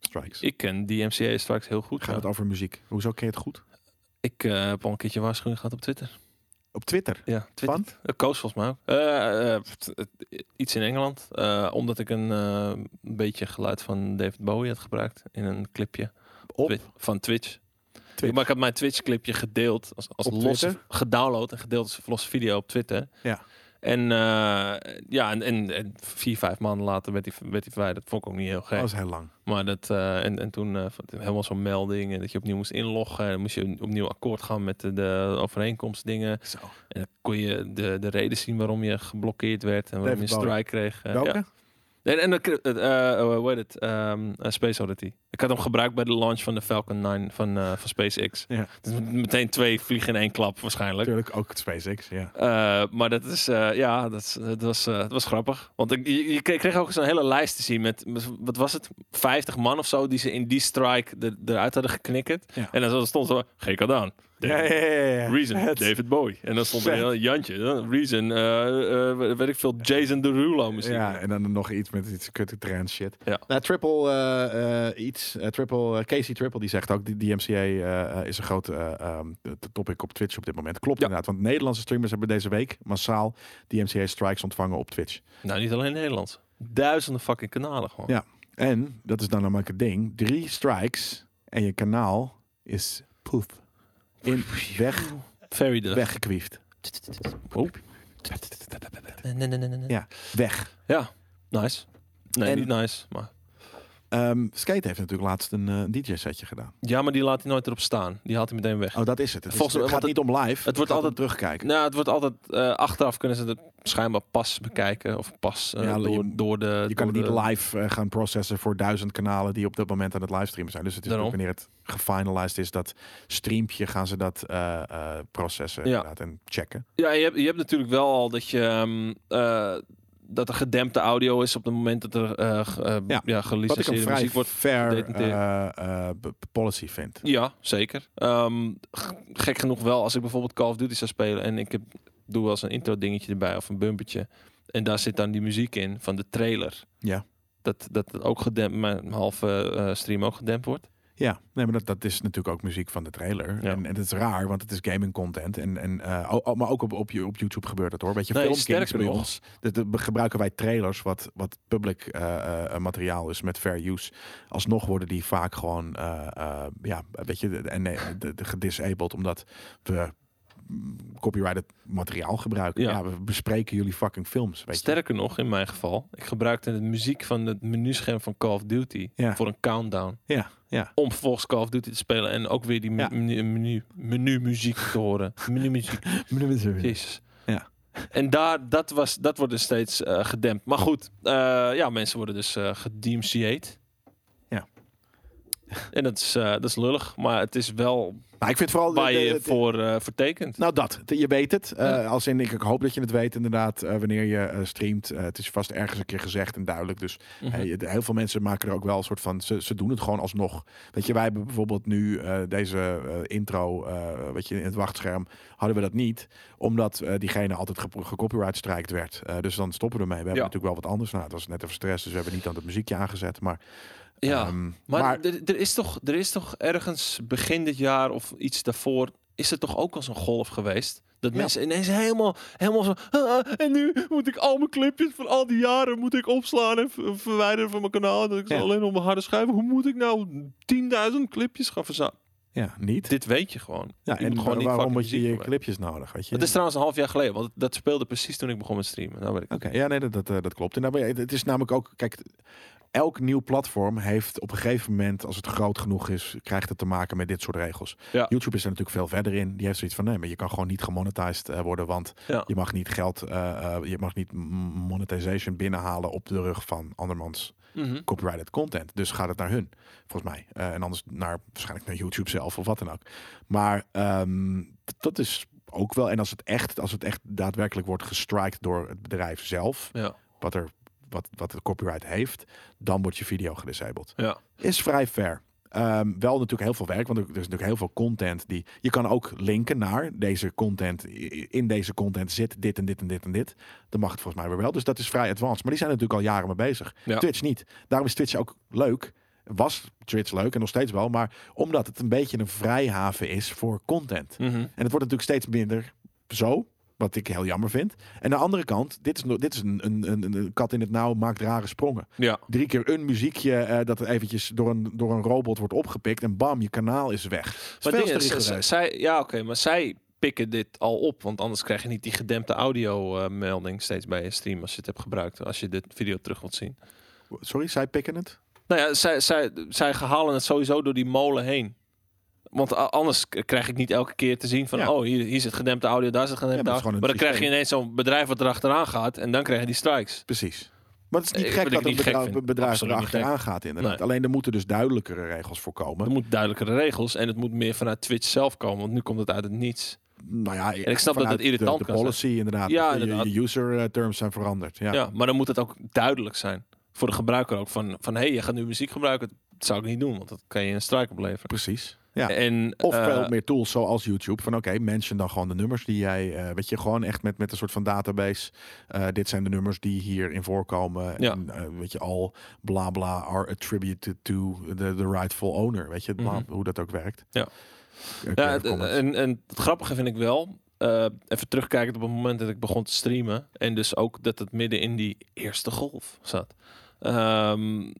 Speaker 1: strikes?
Speaker 2: Ik ken DMCA straks heel goed.
Speaker 1: Gaat
Speaker 2: ja.
Speaker 1: het over muziek? Hoezo ken je het goed?
Speaker 2: Ik eh, heb al een keertje waarschuwing gehad op Twitter.
Speaker 1: Op Twitter.
Speaker 2: Ja, Twitter.
Speaker 1: Van?
Speaker 2: Eh, Koos volgens mij ook. Eh, eh, pff, eh, iets in Engeland. Eh, omdat ik een eh, een beetje geluid van David Bowie had gebruikt in een clipje
Speaker 1: Op
Speaker 2: Twi- van Twitch.
Speaker 1: Twitch.
Speaker 2: Maar ik had mijn Twitch-clipje gedeeld als, als
Speaker 1: Op
Speaker 2: losse,
Speaker 1: Twitter?
Speaker 2: gedownload en gedeeld als losse video op Twitter.
Speaker 1: Ja.
Speaker 2: En eh, ja, en, en, en vier, vijf maanden later werd hij werd die verwijderd. Dat vond ik ook niet heel gek.
Speaker 1: dat is heel lang.
Speaker 2: Maar dat, eh, en, en toen eh, helemaal zo'n melding en dat je opnieuw moest inloggen. En dan moest je opnieuw akkoord gaan met de, de overeenkomstdingen.
Speaker 1: Zo.
Speaker 2: En dan kon je de, de reden zien waarom je geblokkeerd werd en waarom
Speaker 1: David
Speaker 2: je een strike kreeg. Eh,
Speaker 1: Welke?
Speaker 2: ja. En, en dan, kreeg- eh, eh, hoe heet het? Ehm, eh, Space Oddity. Ik had hem gebruikt bij de launch van de Falcon 9 van, eh, van SpaceX.
Speaker 1: Ja.
Speaker 2: Dus met- meteen twee vliegen in één klap waarschijnlijk.
Speaker 1: Natuurlijk ook het SpaceX, ja.
Speaker 2: Eh, maar dat is, eh, ja, dat, is- dat was, eh, dat was grappig. Want ik, je, je kreeg- kreeg ook zo'n hele lijst te zien met, met- wat was het, 50 man of zo die ze in die strike er- eruit hadden geknikkerd.
Speaker 1: Ja.
Speaker 2: En dan stond zo, GK Daan,
Speaker 1: Ja, ja, ja, ja, ja.
Speaker 2: Reason,
Speaker 1: Het-
Speaker 2: David Bowie. En dan stond
Speaker 1: Vet.
Speaker 2: er een Jantje, eh, Reason, eh, eh, weet ik veel, Jason Derulo misschien.
Speaker 1: Ja, en dan nog iets met iets kutte trend shit.
Speaker 2: Ja.
Speaker 1: Nou, triple eh, eh, iets. eh, triple, eh, Casey Triple die zegt ook, die DMCA eh, eh, is een groot eh, ehm, t- topic op Twitch op dit moment. Klopt
Speaker 2: Ja.
Speaker 1: inderdaad, want Nederlandse streamers hebben deze week massaal DMCA strikes ontvangen op Twitch.
Speaker 2: Nou, niet alleen Nederland. Duizenden fucking kanalen gewoon.
Speaker 1: Ja. En dat is dan namelijk het ding: drie strikes en je kanaal is poef. In weg,
Speaker 2: Very the...
Speaker 1: weggekwieft.
Speaker 2: Oh.
Speaker 1: Ja. Weg.
Speaker 2: Nice. Nee,
Speaker 1: En-
Speaker 2: niet nice, maar...
Speaker 1: Ehm, Skate heeft natuurlijk laatst een DJ-setje gedaan.
Speaker 2: Ja, maar die laat hij nooit erop staan. Die haalt hij meteen weg.
Speaker 1: Oh, dat is het. Het, is-
Speaker 2: Volgens mij-
Speaker 1: het gaat
Speaker 2: want
Speaker 1: niet om live.
Speaker 2: wordt
Speaker 1: gaat om
Speaker 2: altijd-
Speaker 1: terugkijken.
Speaker 2: Nou, het wordt altijd eh, achteraf kunnen ze het schijnbaar pas bekijken of pas eh,
Speaker 1: Ja, je-
Speaker 2: door, door de.
Speaker 1: Je kan het
Speaker 2: door
Speaker 1: niet
Speaker 2: de-
Speaker 1: live eh, gaan processen voor duizend kanalen die op dat moment aan het livestreamen zijn. Dus het is
Speaker 2: Daarom.
Speaker 1: natuurlijk wanneer het gefinalized is, dat streampje gaan ze dat eh, eh, processen
Speaker 2: Ja.
Speaker 1: inderdaad en checken.
Speaker 2: Ja, je hebt, je hebt natuurlijk wel al dat je. ehm, eh, dat er gedempte audio is op het moment dat er eh ge- eh, ja.
Speaker 1: Ja. Wat ik Dus een
Speaker 2: gelicenseerde
Speaker 1: vrij
Speaker 2: muziek wordt.
Speaker 1: fair
Speaker 2: gedetenteerd.
Speaker 1: eh, eh, b- policy vind.
Speaker 2: Ja, zeker. Ehm, g- gek genoeg wel, als ik bijvoorbeeld Call of Duty zou spelen en ik heb, doe wel eens een intro dingetje erbij of een bumpertje. En daar zit dan die muziek in van de trailer.
Speaker 1: Ja.
Speaker 2: Dat, dat het ook gedempt, mijn halve eh, stream ook gedempt wordt.
Speaker 1: Ja, nee, maar dat, dat is natuurlijk ook muziek van de trailer.
Speaker 2: Ja.
Speaker 1: En, en dat is raar, want het is gaming content. En, en, eh, oh, oh, maar ook op, op, je- op YouTube gebeurt het hoor. Weet je,
Speaker 2: Nee,
Speaker 1: Filmkings
Speaker 2: sterker
Speaker 1: bij
Speaker 2: nog.
Speaker 1: ons. Dat, dat gebruiken wij trailers, wat, wat public eh, eh, materiaal is met fair use. Alsnog worden die vaak gewoon, eh, eh, ja, weet je, de- en eh, de, de gedisabled, omdat we mm, copyrighted materiaal gebruiken.
Speaker 2: Ja.
Speaker 1: Ja, we bespreken jullie fucking films. Weet je.
Speaker 2: Sterker nog, in mijn geval, ik gebruikte de muziek van het menuscherm van Call of Duty
Speaker 1: Ja.
Speaker 2: voor een countdown.
Speaker 1: Ja, ja.
Speaker 2: Om vervolgens Call of Duty te spelen en ook weer die me-
Speaker 1: Ja.
Speaker 2: menu, menu, menumuziek te horen. Menumuziek, jezus.
Speaker 1: Ja.
Speaker 2: En daar, dat, was, dat wordt dus steeds eh, gedempt. Maar goed, eh, ja, mensen worden dus eh gedemcieerd.
Speaker 1: Ja.
Speaker 2: En dat is, eh, dat is lullig, maar het is wel
Speaker 1: Maar ik vind vooral...
Speaker 2: waar
Speaker 1: de- de-
Speaker 2: je
Speaker 1: het-
Speaker 2: voor eh, voor vertekent.
Speaker 1: Nou, dat. Je weet het. Eh,
Speaker 2: Ja.
Speaker 1: Als in, ik, ik hoop dat je het weet inderdaad, eh, wanneer je eh, streamt. Eh, het is vast ergens een keer gezegd en duidelijk. Dus
Speaker 2: Mhm.
Speaker 1: eh, je- de- heel veel mensen maken er ook wel een soort van... Ze, ze doen het gewoon alsnog. Weet je, wij hebben bijvoorbeeld nu eh, deze eh, intro, eh weet je, in het wachtscherm... hadden we dat niet, omdat eh, diegene altijd ge- gecopyright strijkt werd. Eh, dus dan stoppen we ermee. We hebben natuurlijk wel wat anders. Nou, het was net even stress, dus we hebben niet aan het muziekje aangezet. Maar,
Speaker 2: ja.
Speaker 1: ehm,
Speaker 2: Maar,
Speaker 1: maar-
Speaker 2: Er, er is toch, er is toch ergens begin dit jaar of iets daarvoor, is er toch ook als een golf geweest? Dat
Speaker 1: Ja.
Speaker 2: mensen ineens helemaal, helemaal zo. "Ah, en nu moet ik al mijn clipjes van al die jaren moet ik opslaan en ver- verwijderen van mijn kanaal. Dat ik ze
Speaker 1: Ja.
Speaker 2: alleen op mijn harde schijf. Hoe moet ik nou 10.000 clipjes gaan verzamelen?
Speaker 1: ja, niet.
Speaker 2: Dit weet je gewoon.
Speaker 1: Ja,
Speaker 2: je moet
Speaker 1: en
Speaker 2: gewoon niet
Speaker 1: waarom
Speaker 2: fucking
Speaker 1: moet je
Speaker 2: muziek
Speaker 1: je
Speaker 2: maken.
Speaker 1: clipjes nodig, weet je?
Speaker 2: Dat is trouwens een half jaar geleden, want dat speelde precies toen ik begon met streamen. Nou weet ik.
Speaker 1: Oké, ja, nee, dat, dat, eh, dat klopt. En daarbij, het- het is namelijk ook, kijk, elk nieuw platform heeft op een gegeven moment, als het groot genoeg is, krijgt het te maken met dit soort regels.
Speaker 2: Ja.
Speaker 1: YouTube is er natuurlijk veel verder in. Die heeft zoiets van, nee, maar je kan gewoon niet gemonetized eh, worden, want
Speaker 2: Ja.
Speaker 1: je mag niet geld, eh, eh, je mag niet m- monetization binnenhalen op de rug van andermans
Speaker 2: Mhm.
Speaker 1: copyrighted content. Dus gaat het naar hun, volgens mij. Eh, en anders naar, waarschijnlijk naar YouTube zelf of wat dan ook. Maar ehm, d- dat is ook wel, en als het echt, als het echt daadwerkelijk wordt gestrikt door het bedrijf zelf
Speaker 2: Ja.
Speaker 1: wat, er, wat, wat de copyright heeft, dan wordt je video gedisabled.
Speaker 2: Ja.
Speaker 1: Is vrij fair. Ehm, wel natuurlijk heel veel werk, want er er is natuurlijk heel veel content die... Je kan ook linken naar deze content. i- In deze content zit dit en dit en dit en dit. Dan mag het volgens mij weer wel. Dus dat is vrij advanced. Maar die zijn er natuurlijk al jaren mee bezig.
Speaker 2: Ja.
Speaker 1: Twitch niet. Daarom is Twitch ook leuk. Was Twitch leuk en nog steeds wel. Maar omdat het een beetje een vrijhaven is voor content.
Speaker 2: Mhm.
Speaker 1: En het wordt natuurlijk steeds minder zo. Wat ik heel jammer vind. En aan de andere kant, dit is, no- dit is een, een, een, een kat in het nauw, maakt rare sprongen.
Speaker 2: ja.
Speaker 1: Drie keer een muziekje eh, dat er eventjes door een, door een robot wordt opgepikt. En bam, je kanaal is weg. Het is
Speaker 2: Maar
Speaker 1: veel
Speaker 2: het ding
Speaker 1: te
Speaker 2: is,
Speaker 1: rigoureus.
Speaker 2: z- zij, ja, oké, maar zij pikken dit al op, want anders krijg je niet die gedempte audio-melding steeds bij je stream als je het hebt gebruikt, als je dit video terug wilt zien.
Speaker 1: Sorry, zij pikken het?
Speaker 2: Nou ja, zij, zij, zij halen het sowieso door die molen heen. Want a- anders k- krijg ik niet elke keer te zien van,
Speaker 1: Ja.
Speaker 2: oh, hier, hier zit gedempte audio, daar zit
Speaker 1: Ja,
Speaker 2: gedempte
Speaker 1: maar het is
Speaker 2: audio.
Speaker 1: gewoon een
Speaker 2: Maar dan krijg je
Speaker 1: systeem.
Speaker 2: ineens zo'n bedrijf wat erachteraan gaat en dan krijg je die strikes.
Speaker 1: Precies. Maar het is niet
Speaker 2: Eh,
Speaker 1: gek
Speaker 2: wat
Speaker 1: dat
Speaker 2: ik
Speaker 1: een
Speaker 2: niet gek
Speaker 1: bedrijf,
Speaker 2: vind.
Speaker 1: bedrijf
Speaker 2: Absoluut niet
Speaker 1: erachteraan gaat inderdaad.
Speaker 2: Nee.
Speaker 1: Alleen er moeten dus duidelijkere regels
Speaker 2: Er
Speaker 1: voorkomen.
Speaker 2: moet duidelijkere regels en het moet meer vanuit Twitch zelf komen, want nu komt het uit het niets.
Speaker 1: Nou ja,
Speaker 2: ik snap dat
Speaker 1: vanuit
Speaker 2: het
Speaker 1: de,
Speaker 2: irritant
Speaker 1: de
Speaker 2: kan zijn.
Speaker 1: policy inderdaad.
Speaker 2: Ja,
Speaker 1: Je- je-
Speaker 2: inderdaad.
Speaker 1: Je user eh, terms zijn veranderd. Ja.
Speaker 2: Ja. maar dan moet het ook duidelijk zijn. Voor de gebruiker ook. Van, van hé, je gaat nu muziek gebruiken. Dat zou ik niet doen, want dat kan je een strike opleveren.
Speaker 1: precies. Ja.
Speaker 2: En,
Speaker 1: Of
Speaker 2: eh,
Speaker 1: veel meer tools zoals YouTube. Van oké, mention dan gewoon de nummers die jij. eh, weet je, gewoon echt met, met een soort van database. eh, dit zijn de nummers die hierin voorkomen.
Speaker 2: Ja.
Speaker 1: En, eh, weet je, al bla bla are attributed to the, the rightful owner. Weet je, bla-
Speaker 2: Mhm.
Speaker 1: hoe dat ook werkt.
Speaker 2: Ja.
Speaker 1: Eh,
Speaker 2: ja,
Speaker 1: creative
Speaker 2: het-
Speaker 1: Commons.
Speaker 2: en, en het grappige vind ik wel. eh, even terugkijkend op het moment dat ik begon te streamen. En dus ook dat het midden in die eerste golf zat. Ehm,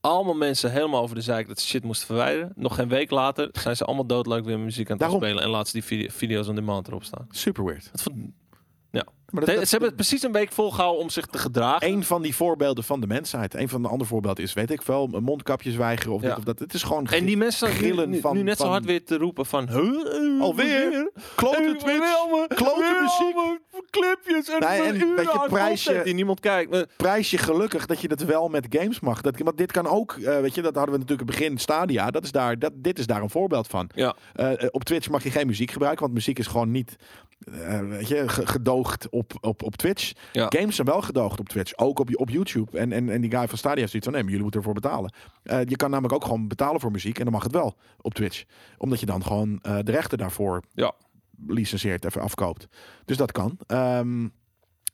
Speaker 2: allemaal mensen helemaal over de zeik dat ze shit moesten verwijderen. Nog geen week later zijn ze allemaal doodleuk weer muziek aan het
Speaker 1: Daarom.
Speaker 2: spelen. En laten ze die vide- video's on demand erop staan.
Speaker 1: Super weird.
Speaker 2: Dat vond-
Speaker 1: Maar
Speaker 2: ze hebben het precies een week volgehouden om zich te gedragen.
Speaker 1: een van die voorbeelden van de mensheid. Een van de andere voorbeelden is, weet ik veel, mondkapjes weigeren of
Speaker 2: Ja.
Speaker 1: dit of dat. Het is gewoon
Speaker 2: En die mensen staan nu,
Speaker 1: grillen
Speaker 2: nu,
Speaker 1: van-
Speaker 2: nu net zo
Speaker 1: van-
Speaker 2: hard weer te roepen van... "Huh? Eh,
Speaker 1: Alweer? klote
Speaker 2: Eh,
Speaker 1: Twitch.
Speaker 2: weer allemaal-
Speaker 1: klote
Speaker 2: weer
Speaker 1: muziek."
Speaker 2: allemaal Clipjes en,
Speaker 1: Nee,
Speaker 2: nee,
Speaker 1: en
Speaker 2: en
Speaker 1: weet je, prijs je-
Speaker 2: die niemand kijkt. Maar-
Speaker 1: prijs je gelukkig dat je dat wel met games mag. Dat, want dit kan ook, eh, weet je, dat hadden we natuurlijk in het begin Stadia. Dat is daar, dat, dit is daar een voorbeeld van.
Speaker 2: Ja.
Speaker 1: Eh, eh, op Twitch mag je geen muziek gebruiken, want muziek is gewoon niet eh, weet je, ge- gedoogd op, op, op Twitch.
Speaker 2: Ja.
Speaker 1: Games zijn wel gedoogd op Twitch, ook op, op YouTube. En, en, en die guy van Stadia heeft zoiets van, nee, maar jullie moeten ervoor betalen. Eh, je kan namelijk ook gewoon betalen voor muziek en dan mag het wel op Twitch. Omdat je dan gewoon eh, de rechten daarvoor
Speaker 2: Ja.
Speaker 1: licenseert, even afkoopt. Dus dat kan. Ehm,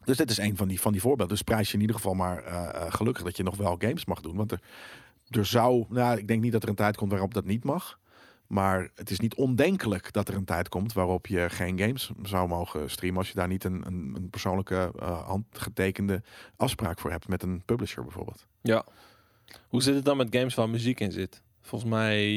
Speaker 1: dus dit is een van die, van die voorbeelden. Dus prijs je in ieder geval maar eh, eh, gelukkig dat je nog wel games mag doen. Want er, er zou, nou, ik denk niet dat er een tijd komt waarop dat niet mag. Maar het is niet ondenkelijk dat er een tijd komt waarop je geen games zou mogen streamen. als je daar niet een, een, een persoonlijke, eh, handgetekende afspraak voor hebt met een publisher bijvoorbeeld.
Speaker 2: Hoe zit het dan met games waar muziek in zit? Volgens mij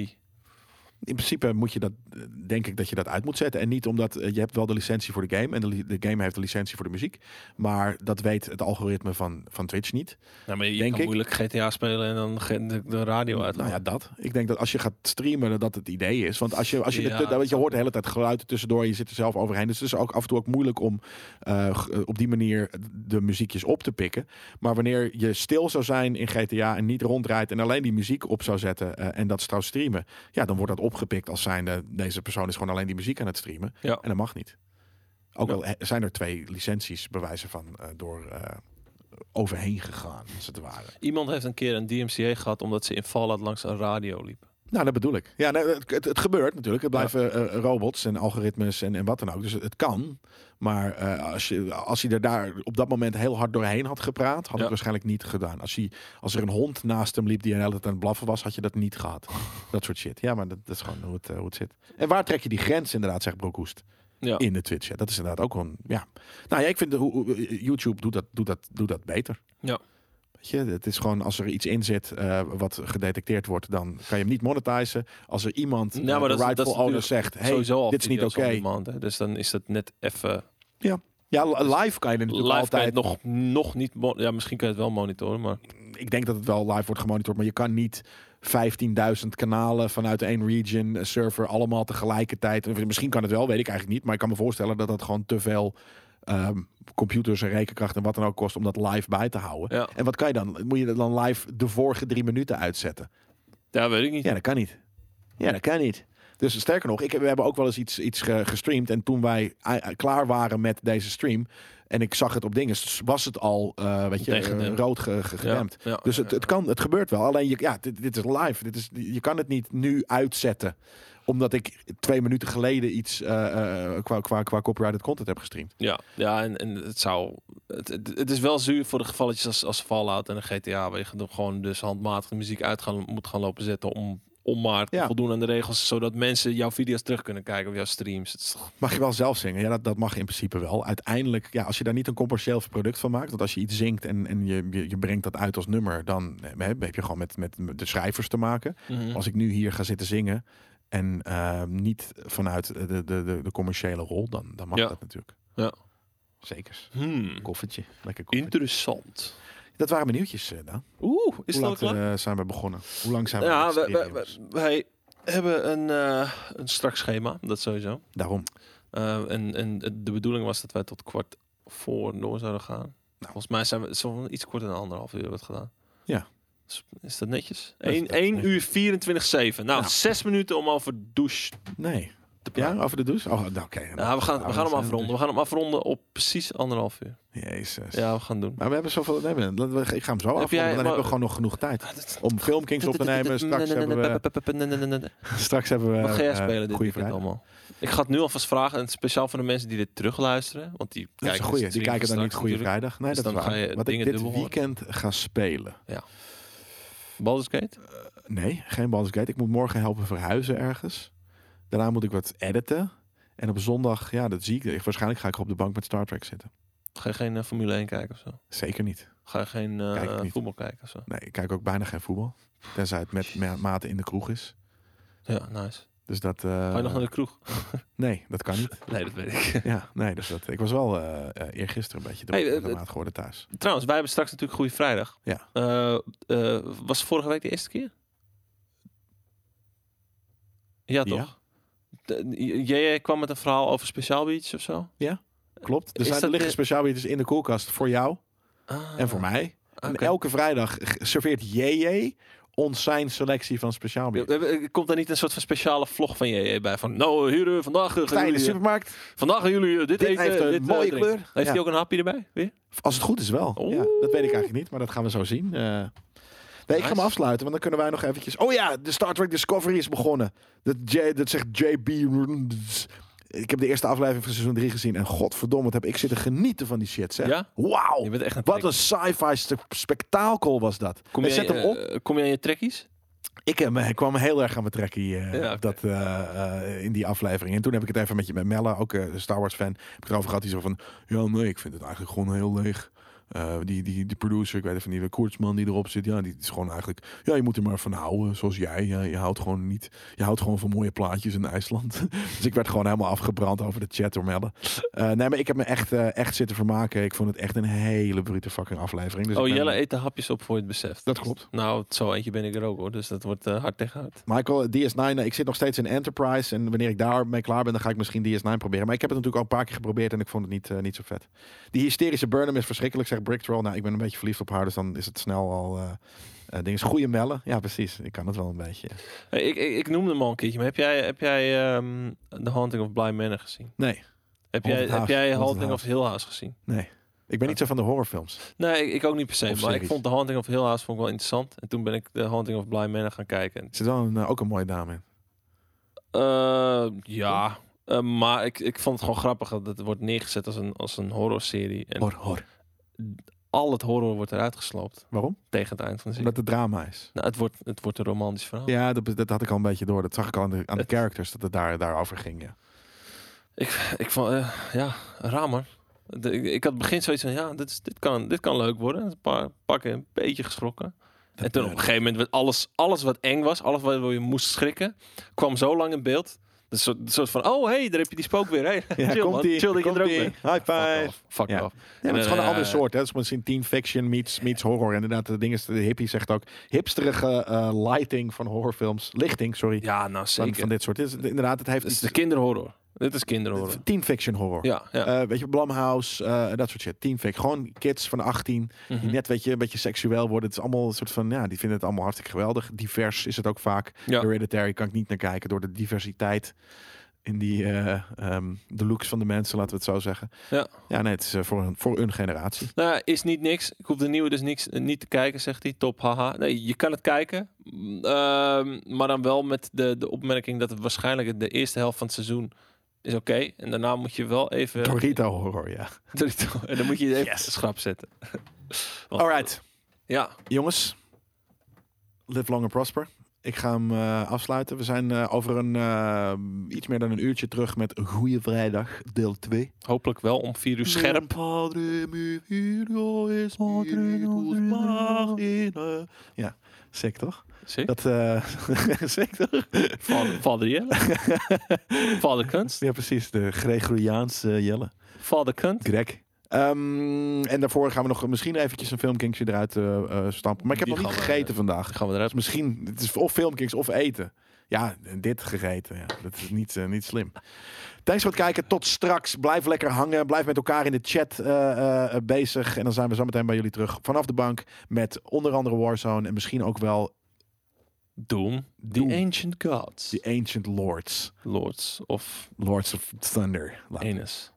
Speaker 1: in principe moet je dat, eh, denk ik, dat je dat uit moet zetten. En niet omdat eh, je hebt wel de licentie voor de game en de, li- de game heeft de licentie voor de muziek. Maar dat weet het algoritme van, van Twitch niet.
Speaker 2: Nou, maar je
Speaker 1: Denk
Speaker 2: kan
Speaker 1: ik.
Speaker 2: moeilijk GTA spelen en dan ge- de, de radio uit.
Speaker 1: Nou ja, dat. Ik denk dat als je gaat streamen, dat dat het idee is. Want als je, als je,
Speaker 2: Ja.
Speaker 1: de, dat- weet je je hoort de hele tijd geluiden tussendoor, je zit er zelf overheen. Dus het is ook af en toe ook moeilijk om eh, g- op die manier de muziekjes op te pikken. Maar wanneer je stil zou zijn in GTA en niet rondrijdt en alleen die muziek op zou zetten eh, en dat zou streamen, ja, dan wordt dat opgepikt als zijnde deze persoon is gewoon alleen die muziek aan het streamen.
Speaker 2: Ja.
Speaker 1: En dat mag niet. Ook
Speaker 2: Ja.
Speaker 1: al he- zijn er twee licenties bewijzen van eh, door eh, overheen gegaan, als het ware.
Speaker 2: Iemand heeft een keer een DMCA gehad omdat ze in Fallout langs een radio liep.
Speaker 1: Nou, dat bedoel ik. Ja, nou, het, het, het gebeurt natuurlijk. Het blijven eh, robots en algoritmes en, en wat dan ook. Dus het, het kan. Maar eh, als, je, als hij er daar op dat moment heel hard doorheen had gepraat, had ik
Speaker 2: Ja.
Speaker 1: het waarschijnlijk niet gedaan. Als, hij, als er een hond naast hem liep die een hele tijd aan het blaffen was, had je dat niet gehad. dat soort shit. Ja, maar dat, dat is gewoon hoe het, eh, hoe het zit. En waar trek je die grens inderdaad, zegt Broekhoest
Speaker 2: Ja.
Speaker 1: in de Twitch. Ja, dat is inderdaad ook gewoon. Ja. Nou ja, ik vind de, hoe- hoe- YouTube doet dat, doet, dat, doet dat beter.
Speaker 2: Ja.
Speaker 1: Weet je, het is gewoon als er iets in zit eh, wat gedetecteerd wordt, dan kan je hem niet monetizen. Als er iemand,
Speaker 2: Nou,
Speaker 1: nou,
Speaker 2: maar dat is-
Speaker 1: de
Speaker 2: dat is
Speaker 1: rightful owner,
Speaker 2: natuurlijk
Speaker 1: zegt: hey,
Speaker 2: Sowieso al
Speaker 1: dit is niet
Speaker 2: video's
Speaker 1: oké.
Speaker 2: on demand, hè. Dus dan is dat net even...
Speaker 1: Ja, li- live kan je er natuurlijk
Speaker 2: Live kan
Speaker 1: altijd.
Speaker 2: je het nog, nog niet... mo- Ja, misschien kan je het wel monitoren, maar...
Speaker 1: Ik denk dat het wel live wordt gemonitord, maar je kan niet 15.000 kanalen vanuit één region eh, server allemaal tegelijkertijd. Of Misschien kan het wel, weet ik eigenlijk niet. Maar ik kan me voorstellen dat dat gewoon te veel ehm, computers en rekenkracht en wat dan ook kost om dat live bij te houden.
Speaker 2: Ja,
Speaker 1: En wat kan je dan? Moet je dan live de vorige drie minuten uitzetten?
Speaker 2: ja weet ik niet.
Speaker 1: Ja, dat kan niet. Ja, dat kan niet. Dus sterker nog, ik, we hebben ook wel eens iets, iets ge- gestreamd. En toen wij eh, klaar waren met deze stream. En ik zag het op dingen, s- was het al eh weet je, eh,
Speaker 2: Tegendempt.
Speaker 1: rood ge, ge- gedempt.
Speaker 2: Ja, ja.
Speaker 1: Dus het, het, kan, het gebeurt wel. Alleen, je, ja, dit, dit is live. Dit is, je kan het niet nu uitzetten. Omdat ik twee minuten geleden iets eh, eh, qua, qua, qua copyrighted content heb gestreamd.
Speaker 2: Ja, ja en, en het zou. Het, het, het is wel zuur voor de gevalletjes als, als Fallout en een GTA, waar je dan gewoon dus handmatig de muziek uit gaan, moet gaan lopen zetten om, om maar te
Speaker 1: Ja.
Speaker 2: voldoen aan de regels, zodat mensen jouw video's terug kunnen kijken of jouw streams. Het is toch-
Speaker 1: Mag je wel zelf zingen? Ja, dat, dat mag in principe wel. Uiteindelijk, ja, als je daar niet een commercieel product van maakt, want als je iets zingt en, en je, je, je brengt dat uit als nummer, dan eh, heb heb je gewoon met, met de schrijvers te maken.
Speaker 2: Mhm. Hm.
Speaker 1: Als ik nu hier ga zitten zingen en eh, niet vanuit de, de, de, de commerciële rol, dan, dan mag
Speaker 2: Ja.
Speaker 1: dat natuurlijk.
Speaker 2: Ja.
Speaker 1: Zeker.
Speaker 2: Hmm,
Speaker 1: Koffertje. Lekker koffertje.
Speaker 2: Interessant.
Speaker 1: Dat waren mijn nieuwtjes, eh, Daan.
Speaker 2: Oeh, is
Speaker 1: Hoe
Speaker 2: dat al
Speaker 1: laat
Speaker 2: klaar?
Speaker 1: eh, zijn we begonnen? Hoe lang zijn we? aan
Speaker 2: Ja,
Speaker 1: het
Speaker 2: wij,
Speaker 1: streamen,
Speaker 2: wij,
Speaker 1: jongens?
Speaker 2: wij- wij hebben een, eh, een strak schema, dat sowieso.
Speaker 1: Daarom.
Speaker 2: Eh, en, en de bedoeling was dat wij tot kwart voor door zouden gaan. Volgens mij zijn we zo iets korter dan anderhalf uur hebben we het gedaan.
Speaker 1: Nou. Ja.
Speaker 2: Dus is dat netjes?
Speaker 1: Dat is- dat is
Speaker 2: 1
Speaker 1: netjes.
Speaker 2: uur 24-7. Nou,
Speaker 1: Ja.
Speaker 2: zes minuten om over douche
Speaker 1: Nee.
Speaker 2: te praten.
Speaker 1: Ja, over de douche? Oh, nou, oké.
Speaker 2: Nou, we gaan, we gaan hem
Speaker 1: zijn dus.
Speaker 2: afronden. We gaan hem afronden op precies anderhalf uur.
Speaker 1: Jezus.
Speaker 2: Ja, we gaan doen.
Speaker 1: Maar we hebben zoveel. We hebben, laten we- ik ga hem zo afronden.
Speaker 2: jij-
Speaker 1: dan
Speaker 2: maar-
Speaker 1: hebben we gewoon nog genoeg tijd om filmkings op te nemen. Straks hebben we. Straks hebben we.
Speaker 2: Wat ga jij
Speaker 1: eh,
Speaker 2: spelen dit
Speaker 1: Goeie
Speaker 2: weekend
Speaker 1: vrijdag.
Speaker 2: allemaal? Ik ga het nu alvast vragen, en speciaal voor de mensen die dit terugluisteren. Want die
Speaker 1: Dat is
Speaker 2: kijken, dus
Speaker 1: een goeie. Die kijken dan niet Goede
Speaker 2: naar.
Speaker 1: Vrijdag. Nee,
Speaker 2: Dus
Speaker 1: dat is
Speaker 2: dan
Speaker 1: waar.
Speaker 2: ga je
Speaker 1: Wat ik
Speaker 2: dingen
Speaker 1: dit
Speaker 2: dubbel horen.
Speaker 1: weekend ga spelen.
Speaker 2: Baldur's Gate?
Speaker 1: Nee, geen Baldur's Gate. Ik moet morgen helpen verhuizen ergens. Daarna moet ik wat editen. En op zondag, ja, dat zie ik. Ik- Waarschijnlijk ga ik op de bank met Star Trek zitten.
Speaker 2: Ga je geen eh, Formule 1 kijken of zo?
Speaker 1: Zeker niet.
Speaker 2: Ga je geen eh,
Speaker 1: Kijk ik niet.
Speaker 2: voetbal kijken of zo?
Speaker 1: Nee, ik kijk ook bijna geen voetbal. Tenzij het met ma- mate in de kroeg is.
Speaker 2: Ja, nice.
Speaker 1: Dus dat. eh,
Speaker 2: Ga je nog naar de kroeg?
Speaker 1: Nee, dat kan niet.
Speaker 2: Nee, dat weet ik.
Speaker 1: Ja, nee, dus dat. Ik was wel eh eh, eergisteren een beetje door
Speaker 2: Hey, eh,
Speaker 1: de
Speaker 2: eh,
Speaker 1: maat geworden thuis.
Speaker 2: Trouwens, wij hebben straks natuurlijk Goede Vrijdag.
Speaker 1: Ja.
Speaker 2: Eh, eh, was vorige week de eerste keer? Ja,
Speaker 1: Ja.
Speaker 2: toch? De- j- Jij kwam met een verhaal over Speciaal Beach of zo?
Speaker 1: Klopt. Er,
Speaker 2: eh, Is
Speaker 1: zijn, er
Speaker 2: dat
Speaker 1: liggen
Speaker 2: de-
Speaker 1: speciaal biertjes in de koelkast voor jou
Speaker 2: Ah,
Speaker 1: en voor mij.
Speaker 2: mij.
Speaker 1: En elke vrijdag g- serveert JJ ons zijn selectie van speciaal bier.
Speaker 2: eh, Komt daar niet een soort van speciale vlog van je bij? Van, nou, hier eh, vandaag gaan
Speaker 1: Sta je in de
Speaker 2: jullie, eh,
Speaker 1: supermarkt?
Speaker 2: vandaag gaan jullie eh, dit,
Speaker 1: Dit
Speaker 2: eten.
Speaker 1: heeft een
Speaker 2: dit, eh,
Speaker 1: mooie
Speaker 2: drinken.
Speaker 1: kleur.
Speaker 2: Heeft
Speaker 1: Ja.
Speaker 2: hij ook een hapje erbij? Weer?
Speaker 1: Als het goed is wel. Ja, dat weet ik eigenlijk niet, maar dat gaan we zo zien. Eh, nee, ik ga
Speaker 2: Nice.
Speaker 1: hem afsluiten, want dan kunnen wij nog eventjes... Oh ja, de Star Trek Discovery is begonnen. Dat, J, dat zegt JB... Roonds. Ik heb de eerste aflevering van seizoen 3 gezien. En godverdomme, wat heb ik zitten genieten van die shit, zeg.
Speaker 2: Ja?
Speaker 1: Wauw.
Speaker 2: Je bent echt een
Speaker 1: Wat een sci-fi spe- spektakel was dat.
Speaker 2: Kom
Speaker 1: Hey,
Speaker 2: jij,
Speaker 1: zet hem
Speaker 2: eh,
Speaker 1: op.
Speaker 2: eh, kom je aan je trekkies?
Speaker 1: Ik, eh, me- kwam heel erg aan mijn trekkie eh,
Speaker 2: Ja,
Speaker 1: op
Speaker 2: oké.
Speaker 1: dat, eh, eh, in die aflevering. En toen heb ik het even met, je, met Mella, ook eh, een Star Wars fan, heb ik het erover gehad. Die zo van, ja nee, ik vind het eigenlijk gewoon heel leeg. eh, die, die, die producer, ik weet even niet, de Koertsman die erop zit. Ja, die is gewoon eigenlijk... Ja, je moet er maar van houden, zoals jij. Ja, je houdt gewoon niet... Je houdt gewoon van mooie plaatjes in IJsland. dus ik werd gewoon helemaal afgebrand over de chat door Melle. Eh, nee, maar ik heb me echt, eh, echt zitten vermaken. Ik vond het echt een hele brute fucking aflevering. Dus
Speaker 2: oh,
Speaker 1: ik ben-
Speaker 2: Jelle eet de hapjes op voor je het beseft.
Speaker 1: Dat klopt.
Speaker 2: Nou, zo eentje ben ik er ook hoor, dus dat wordt eh, hard tegen hard.
Speaker 1: Michael, DS9, eh, ik zit nog steeds in Enterprise. En wanneer ik daarmee klaar ben, dan ga ik misschien DS9 proberen. Maar ik heb het natuurlijk al een paar keer geprobeerd en ik vond het niet, eh, niet zo vet. Die hysterische Burnham is verschrikkelijk, zegt Bricktroll. Nou, ik ben een beetje verliefd op haar, dus dan is het snel al... eh eh ding is goede mellen. Ja, precies. Ik kan het wel een beetje.
Speaker 2: Hey, ik, ik, ik noemde hem al een keertje, maar heb jij, heb jij ehm, The Haunting of Bly Manor gezien?
Speaker 1: Nee,
Speaker 2: Heb
Speaker 1: Haunted
Speaker 2: jij, heb
Speaker 1: House.
Speaker 2: jij
Speaker 1: Haunted
Speaker 2: Haunting of
Speaker 1: House.
Speaker 2: Hill House gezien?
Speaker 1: nee. Ik ben niet zo van de horrorfilms.
Speaker 2: Nee, ik, ik ook niet per se.
Speaker 1: Of
Speaker 2: Maar ik
Speaker 1: series.
Speaker 2: vond The Haunting of Hill House vond ik wel interessant. En toen ben ik The Haunting of Bly Manor gaan kijken. En,
Speaker 1: Er zit wel een, eh, ook een mooie dame in.
Speaker 2: eh, ja, eh, maar ik, ik vond het gewoon grappig. Dat het wordt neergezet als een, als een horrorserie. En
Speaker 1: Hor, hor.
Speaker 2: al het horror wordt eruit gesloopt
Speaker 1: Waarom?
Speaker 2: tegen het eind van de serie.
Speaker 1: Omdat het drama is.
Speaker 2: Nou, het, wordt, het wordt een romantisch verhaal.
Speaker 1: Ja, dat, dat had ik al een beetje door. Dat zag ik al aan de, aan de
Speaker 2: Oh. Het-
Speaker 1: characters, dat het daar, daarover ging. Ja.
Speaker 2: Ik vond, eh, ja, raar man. De- ik, ik had het begin zoiets van, ja, dit, is- dit, kan, dit kan leuk worden. Een paar pakken een beetje geschrokken. en toen op een gegeven moment werd alles, alles wat eng was, alles waar je moest schrikken, kwam zo lang in beeld. Een soort, een soort van, oh hey, daar heb je die spook weer. Hey,
Speaker 1: Ja,
Speaker 2: chill man,
Speaker 1: komt-ie,
Speaker 2: chill dat je er ook
Speaker 1: komt-ie.
Speaker 2: bent.
Speaker 1: High five.
Speaker 2: Fuck off, fuck
Speaker 1: Ja.
Speaker 2: off.
Speaker 1: Ja, maar het is
Speaker 2: En,
Speaker 1: gewoon een andere
Speaker 2: eh,
Speaker 1: soort. Hè? Dat is misschien teen fiction meets, meets horror. Inderdaad, de, ding is, de hippie zegt ook hipsterige eh, lighting van horrorfilms. Lichting, sorry.
Speaker 2: Ja, nou
Speaker 1: van,
Speaker 2: zeker.
Speaker 1: van dit soort. Dit is, inderdaad, het heeft
Speaker 2: dit is de
Speaker 1: iets,
Speaker 2: kinderhorror. Dit is kinderhorror.
Speaker 1: teen fiction horror.
Speaker 2: Ja, ja.
Speaker 1: Eh, weet je, Blumhouse, eh, dat soort shit. Teen fiction. Gewoon kids van 18 die
Speaker 2: Mhm.
Speaker 1: net weet je, een beetje seksueel worden. Het is allemaal een soort van, ja, die vinden het allemaal hartstikke geweldig. Divers is het ook vaak.
Speaker 2: Ja.
Speaker 1: Hereditary kan ik niet naar kijken door de diversiteit in die, eh, ehm, de looks van de mensen, laten we het zo zeggen.
Speaker 2: Ja.
Speaker 1: Ja, nee, het is eh, voor, een, voor een generatie.
Speaker 2: Nou, ja, is niet niks. Ik hoef de nieuwe dus niks, eh, niet te kijken, zegt hij. Top, haha. Nee, je kan het kijken. Mm, ehm, maar dan wel met de, de opmerking dat het waarschijnlijk de eerste helft van het seizoen is oké. En daarna moet je wel even...
Speaker 1: Dorito horror, ja.
Speaker 2: Dorito. En dan moet je even
Speaker 1: Yes.
Speaker 2: schrap zetten. Want-
Speaker 1: Alright,
Speaker 2: Ja,
Speaker 1: jongens. Live long and prosper. Ik ga hem eh, afsluiten. We zijn eh, over een, eh, iets meer dan een uurtje terug met Goeie Vrijdag, deel 2.
Speaker 2: hopelijk wel om vier uur
Speaker 1: Mm.
Speaker 2: scherp.
Speaker 1: Ja, sick toch?
Speaker 2: Zie?
Speaker 1: Dat, eh sick toch?
Speaker 2: Vader, vader Jelle. vader Kunst.
Speaker 1: Ja, precies. De Gregoriaanse Jelle.
Speaker 2: Vader Kunt.
Speaker 1: Greg. Ehm, en daarvoor gaan we nog misschien eventjes een filmkinkje eruit eh, eh, stampen. Maar ik heb
Speaker 2: Die
Speaker 1: nog niet
Speaker 2: gaan we-
Speaker 1: gegeten vandaag.
Speaker 2: Dan gaan we eruit.
Speaker 1: Dus misschien, het is of filmkings of eten. Ja, en dit gegeten. Ja. Dat is niet, eh, niet slim. Thanks voor het kijken. Tot straks. Blijf lekker hangen. Blijf met elkaar in de chat eh, eh, bezig. En dan zijn we zo meteen bij jullie terug vanaf de bank. Met onder andere Warzone. En misschien ook wel
Speaker 2: Doom. The
Speaker 1: Doom.
Speaker 2: Ancient Gods.
Speaker 1: The Ancient Lords.
Speaker 2: Lords of
Speaker 1: Lords of Thunder. Laat-
Speaker 2: Enes.